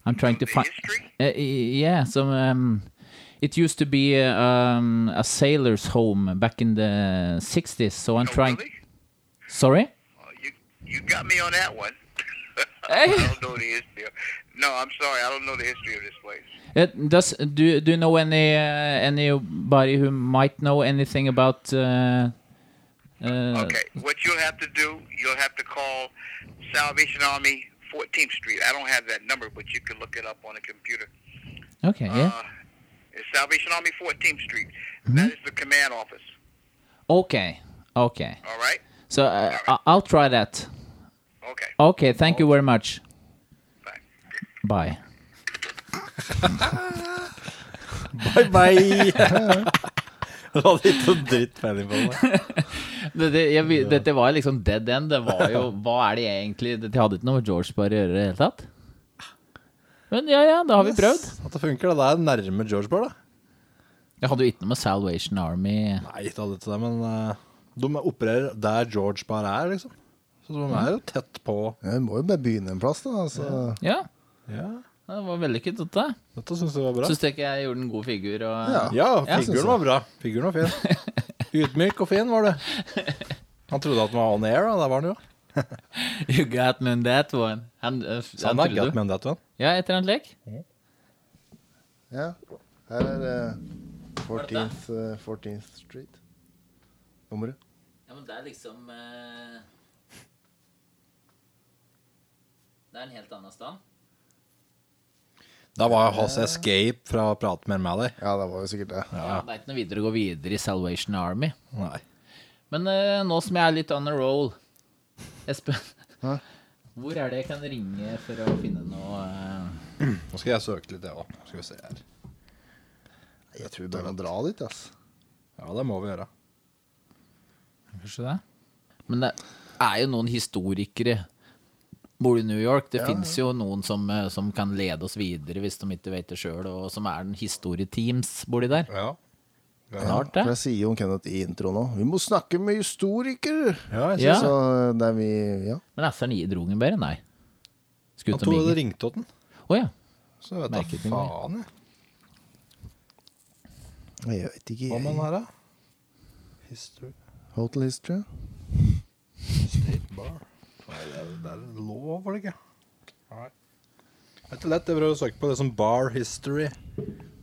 S1: I'm trying to find.
S13: History?
S1: Uh, y- yeah, so um, it used to be uh, um, a sailor's home back in the 60s. So I'm
S13: Oh,
S1: trying.
S13: really?
S1: Sorry.
S13: Oh, you, you got me on that one.
S1: Hey.
S13: I don't know the history. Of, no, I'm sorry. I don't know the history of this place.
S1: Uh, does do do you know any uh, anybody who might know anything about? Uh, uh,
S13: Okay, what you'll have to do, you'll have to call Salvation Army 14th Street. I don't have that number, but you can look it up on a computer.
S1: Okay. Yeah.
S13: Uh, it's Salvation Army 14th Street. That is the command office.
S1: Okay. Okay.
S13: All right?
S1: So uh, I- I'll try that.
S13: Okay.
S1: Okay. Thank you very much. Bye.
S7: Bye, bye! Du hadde ikke noe dritt peiling på det.
S1: Det, det, jeg, vi- dette var liksom dead end. Det var jo Hva er det egentlig Dette hadde ikke noe med George Barr å gjøre i det hele tatt. Men ja, ja, da har vi prøvd.
S7: At det funker, da. Det er nærme George Bar, da.
S1: Jeg hadde jo ikke noe med Salvation Army
S7: Nei, ikke alle til det, men eh, De opererer der George bare er, liksom. Så de er jo tett på.
S4: Ja, vi må jo bare begynne en plass, da. Altså.
S1: Ja.
S7: Ja.
S1: Det var vellykket, dette.
S7: Dette syns jeg var bra.
S1: Syns du ikke jeg gjorde en god figur? Og...
S7: Ja, figuren var bra. Figuren var fin. Ydmyk og fin var det. Han trodde at han var on air, og der var han jo.
S1: You got me on that one. Han, uh,
S7: Så han har got me on that one.
S1: Ja, et eller annet lek.
S4: Ja. Her er det 14th, eh, 14th Street. Nummeret.
S1: Ja, men det er liksom eh, Det er en helt annen stand.
S7: Da var hans escape fra å prate mer med deg.
S4: Ja, det var jo sikkert det.
S1: Ja. Det er ikke noe videre å gå videre i Salvation Army.
S7: Nei.
S1: Men eh, nå som jeg er litt on a roll Espen, hvor er det jeg kan ringe for å finne noe eh,
S7: Nå skal jeg søke litt, jeg òg. Skal vi se her.
S4: Jeg tror vi bør dra dit, ass.
S7: Ja, det må vi gjøre.
S1: Kanskje det? Men det er jo noen historikere bor i New York. Det finnes jo noen som, eh, som kan lede oss videre hvis de ikke vet det sjøl, og som er en historieteams bor de der.
S7: Ja.
S1: Klart
S4: For
S1: det.
S4: jeg sier jo om Kenneth i introen òg. Vi må snakke med historikere!
S7: Ja, jeg
S1: Ja.
S4: Så det er vi Ja.
S1: Men S-en gir drogen bedre? Nei.
S7: Han
S1: Skutt og
S7: trodde det
S1: binger.
S7: ringte åt den.
S1: Å ja.
S7: Så vet jeg
S1: Merket
S7: vet da
S1: ingen vei.
S7: faen, jeg.
S4: Jeg vet ikke.
S7: Hva med den
S4: Jeg.
S7: her, da? History
S4: Hotel History?
S7: State Bar. Nei, det er, det er lov, var det ikke? Nei. Det er ikke lett. Jeg prøver å søke på det som bar history.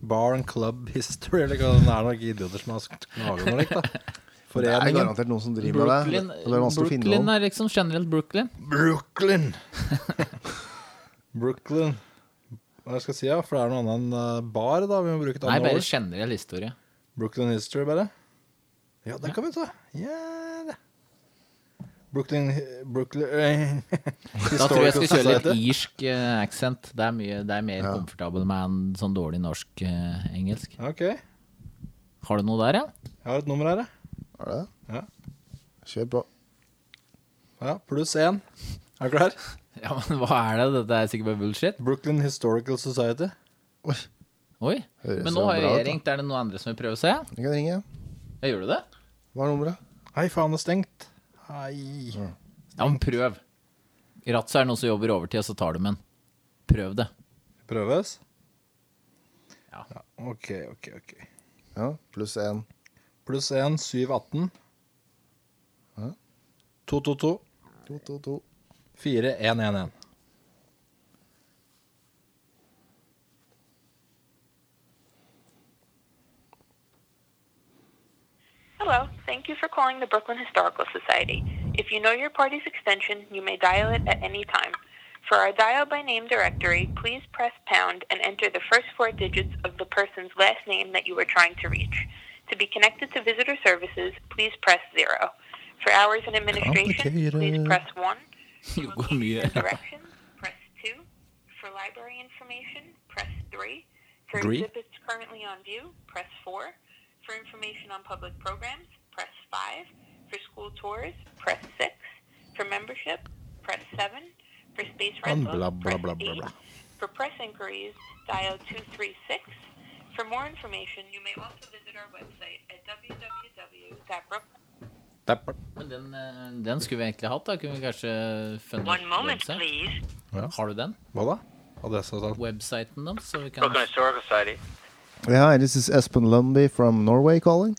S7: Bar and club history. Eller hva det er nok idioter som har laga noe likt, da.
S4: Det er
S7: Foreningen.
S4: garantert noen som driver med det.
S1: Brooklyn,
S4: Det blir vanskelig å finne
S1: Brooklyn
S4: noen.
S1: er liksom generelt Brooklyn.
S7: Brooklyn. Brooklyn. Hva skal jeg si, ja? For det er noe annet enn eh, bar, da. Vi må bruke et
S1: Nei,
S7: annet
S1: bare
S7: ord.
S1: generell historie.
S7: Brooklyn History, bare. Ja, det kan vi ta. Ja, det. Brooklyn Brooklyn eh,
S1: Da tror jeg jeg skal kjøre litt irsk eh, accent. Det er, mye, det er mer komfortabel med en sånn dårlig norsk-engelsk.
S7: Ok. Jeg
S1: Har du noe der, ja?
S7: har et nummer her, jeg.
S4: Er det?
S7: Ja.
S4: Kjør på.
S7: ja pluss én. Er du klar?
S1: Ja, men hva er det? Dette er sikkert bare bullshit.
S7: Brooklyn Historical Society.
S1: Oi.
S4: Høres
S1: Men
S4: jo
S1: nå har
S4: bra ut,
S1: jeg
S4: da.
S1: ringt. Er det noen andre som vil prøve seg?
S4: Jeg kan ringe.
S1: Ja, gjør du det?
S4: Hva er nummeret?
S7: Hei, faen, det er stengt. Hei.
S1: Mm. Ja, men prøv. I Ratset er det noen som jobber overtid, og så tar de en. Prøv det.
S7: Prøves?
S1: Ja.
S7: OK, OK, OK.
S4: Ja, pluss én.
S7: Pluss én, 718.
S4: Ja.
S7: 222.
S4: To, to, to.
S7: 4111.
S12: Hello, thank you for calling the Brooklyn Historical Society. If you know your party's extension, you may dial it at any time. For our dial by name directory, please press pound and enter the first four digits of the person's last name that you are trying to reach. To be connected to visitor services, please press zero. For hours and administration, please
S7: Complicated.
S12: press one.
S1: Det går mye.
S12: Directions, press 2. For library information, press 3. For
S7: Three?
S12: exhibits currently on view, press 4. For information on public programs, press 5. For school tours, press 6. For membership, press 7. For space
S7: And
S12: rentals,
S7: blah, blah,
S12: press
S7: blah, blah,
S12: 8.
S7: blah.
S12: For press inquiries, dial 236. For more information, you may also visit our website at www.brooklyn.com.
S7: Dapper.
S1: Men den, eh, den skulle vi egentlig hatt, da. Kunne vi kanskje funnet
S12: One moment,
S1: website?
S12: please.
S1: Har du den?
S7: Hva da? Adressa sa
S1: Websiten deres? Så vi kan
S13: Historical Society.
S4: Yeah, this is Espen Lundby from Norway calling.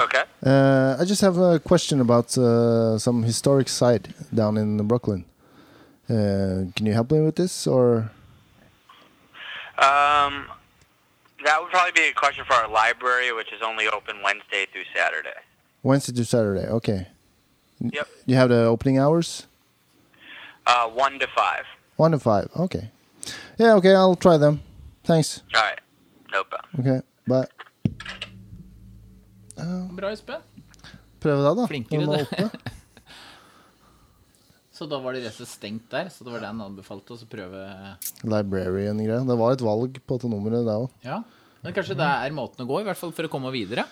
S13: Okay.
S4: Uh, I just have a question about uh, some historic site down in Brooklyn. Uh, can you help me with this, or
S13: Um, that would probably be a question for our library, which is only open Wednesday through Saturday.
S4: Wednesday to Saturday? Okay.
S13: Yep.
S4: You have the opening hours,
S13: Uh, 1 to 5.
S4: one to five. Okay. Yeah. Okay. I'll try them. Thanks.
S13: All right. No problem.
S4: Okay. Bye.
S1: Bra, Espen.
S4: Prøve deg, da.
S1: Flinkere,
S4: Når
S1: du.
S4: man åpner.
S1: Så da var det rett og slett stengt der, så det var det han anbefalte oss å prøve.
S4: Librarian-greia. Det var et valg på dette nummeret, det òg.
S1: Ja. Men kanskje det er måten å gå, i hvert fall for å komme videre.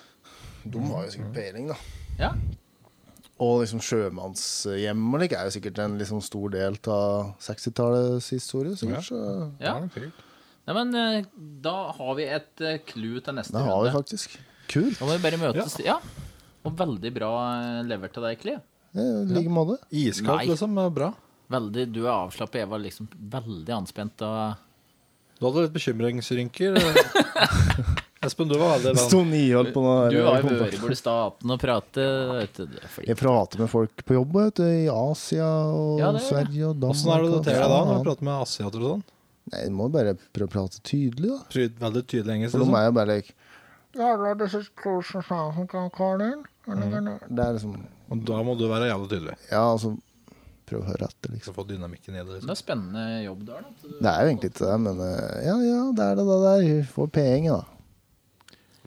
S4: De
S7: Mm.
S4: har jo sikkert peiling, da.
S1: Ja.
S4: Og liksom sjømannshjem og like, er jo sikkert en liksom stor del av 60-tallets historie. sikkert. Så
S1: ja. Nei, men eh, da har vi et eh, clue til neste
S4: det har vi
S1: runde.
S4: faktisk. Kult.
S1: Da må vi bare møtes. Ja. Og veldig bra eh, levert av deg, Kli.
S4: I like måte.
S1: Iskaldt, liksom,
S7: Bra.
S1: Veldig, du er avslappet. Jeg var liksom veldig anspent. Og...
S7: Du hadde litt bekymringsrynker. eh. Espen, du var veldig
S4: Sto niholdt på noe
S1: Du var jo ørebord i staten og prate. Vet du, det er fordi-
S4: Jeg prater med folk på jobb vet du, i Asia og
S1: Ja, det er det.
S4: Sverige og Danmark.
S7: Åssen er det du
S4: og-
S7: noterer deg da, når
S4: Ja.
S7: du prater med asiater og sånn?
S4: Nei, Du må bare prøve å prate tydelig, da.
S7: Tyd- Veldig tydelig engelsk. liksom.
S4: For de er jo bare like,
S14: Yeah, well, this is close as I think I'll call in. And
S7: Mhm.
S14: then, uh,
S4: Det er liksom
S7: Og da må du være jævlig tydelig.
S4: Ja, altså Prøv å høre etter, liksom.
S7: Få dynamikken i det.
S1: Det er spennende jobb du har. da.
S4: Det er jo egentlig ikke det, men eh, ja, ja, det er det, det der. Hun får penger, da.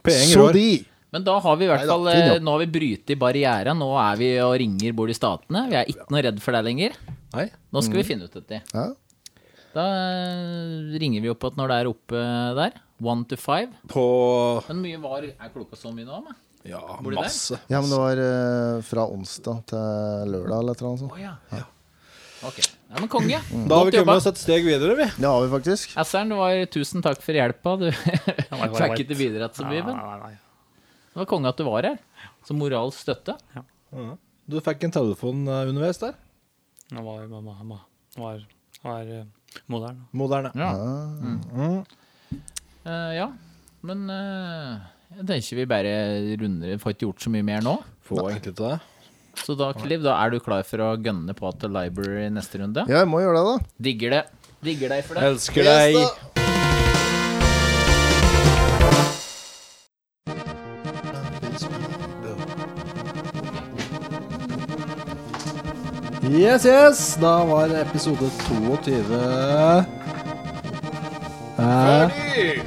S1: Penger
S4: Så
S1: rår.
S4: de!
S1: Men da har vi i hvert
S4: Neida,
S1: fall
S4: fin jobb.
S1: eh, Nå har vi brytet i barrieren. Nå er vi og ringer bort i statene. Vi er ikke noe redd for deg lenger. Nå skal vi
S4: Mm.
S1: finne ut dette.
S4: Ja.
S1: Da eh, ringer vi opp at når det er oppe eh, der. One to five. Men mye var er klokka så mye nå? Med?
S7: Ja,
S1: Bor de der?
S4: Ja, men det var eh, fra onsdag til lørdag eller et eller annet sånt.
S1: ja. Ok. Ja, men konge.
S4: Mm.
S7: Da har vi
S1: Godt jobba.
S7: kommet oss et steg videre, vi.
S4: Det har vi faktisk.
S1: Asseren, det var tusen takk for hjelpa. Du
S9: var-
S1: fikk ikke bidratt så mye, men det var konge at du var her. Som moralsk støtte.
S7: Ja. Du fikk en telefon eh, underveis der?
S9: Det var, var, var, var, var eh, moderne.
S7: Moderne.
S1: Ja. Eh, ja. Men eh, jeg tenker vi bare runder. Vi Får ikke gjort så mye mer nå.
S7: Få egentlig til det.
S1: Så da, Cliff, da er du klar for å gønne på til Library neste runde?
S4: Ja, jeg må gjøre det, da.
S1: Digger det. Digger deg for det.
S4: Elsker deg. Yes,
S7: Yes, yes! Da var episode 22 eh,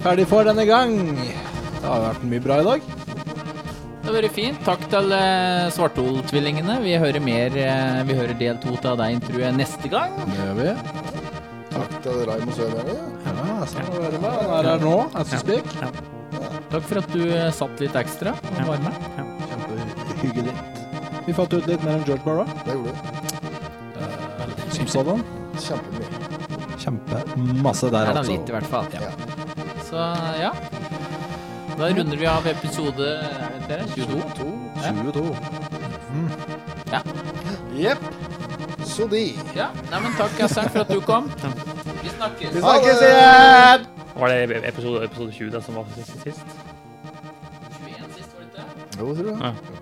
S7: Ferdig for denne gang. Det har vært mye bra i dag.
S1: Det har vært fint. Takk til eh, Svartholtvillingene. Vi hører mer eh, Vi hører del to av deg, tror jeg, neste gang.
S7: Det gjør vi.
S4: Takk til Raymond Søberg.
S7: Ja, sånn må det være med. Han er her nå, as we speak.
S1: Takk for at du eh, satt litt ekstra og var med.
S7: Kjempehyggelig. Vi fant ut litt mer om George Barra.
S4: Det gjorde du.
S7: Som sådan.
S4: Kjempemye.
S7: Kjempemasse der, altså.
S1: er da litt, i hvert fall. Ja. Så ja. Da runder vi av episode er det dere? 22.
S7: 22.
S1: Ja.
S4: Jepp. Så de.
S1: ja. Nei, men takk, Assern, for at du kom. Vi snakkes.
S4: Vi snakkes igjen!
S9: Var det episode, episode 20 det som var sist? sist?
S4: Jo, tror du det?
S9: Ja.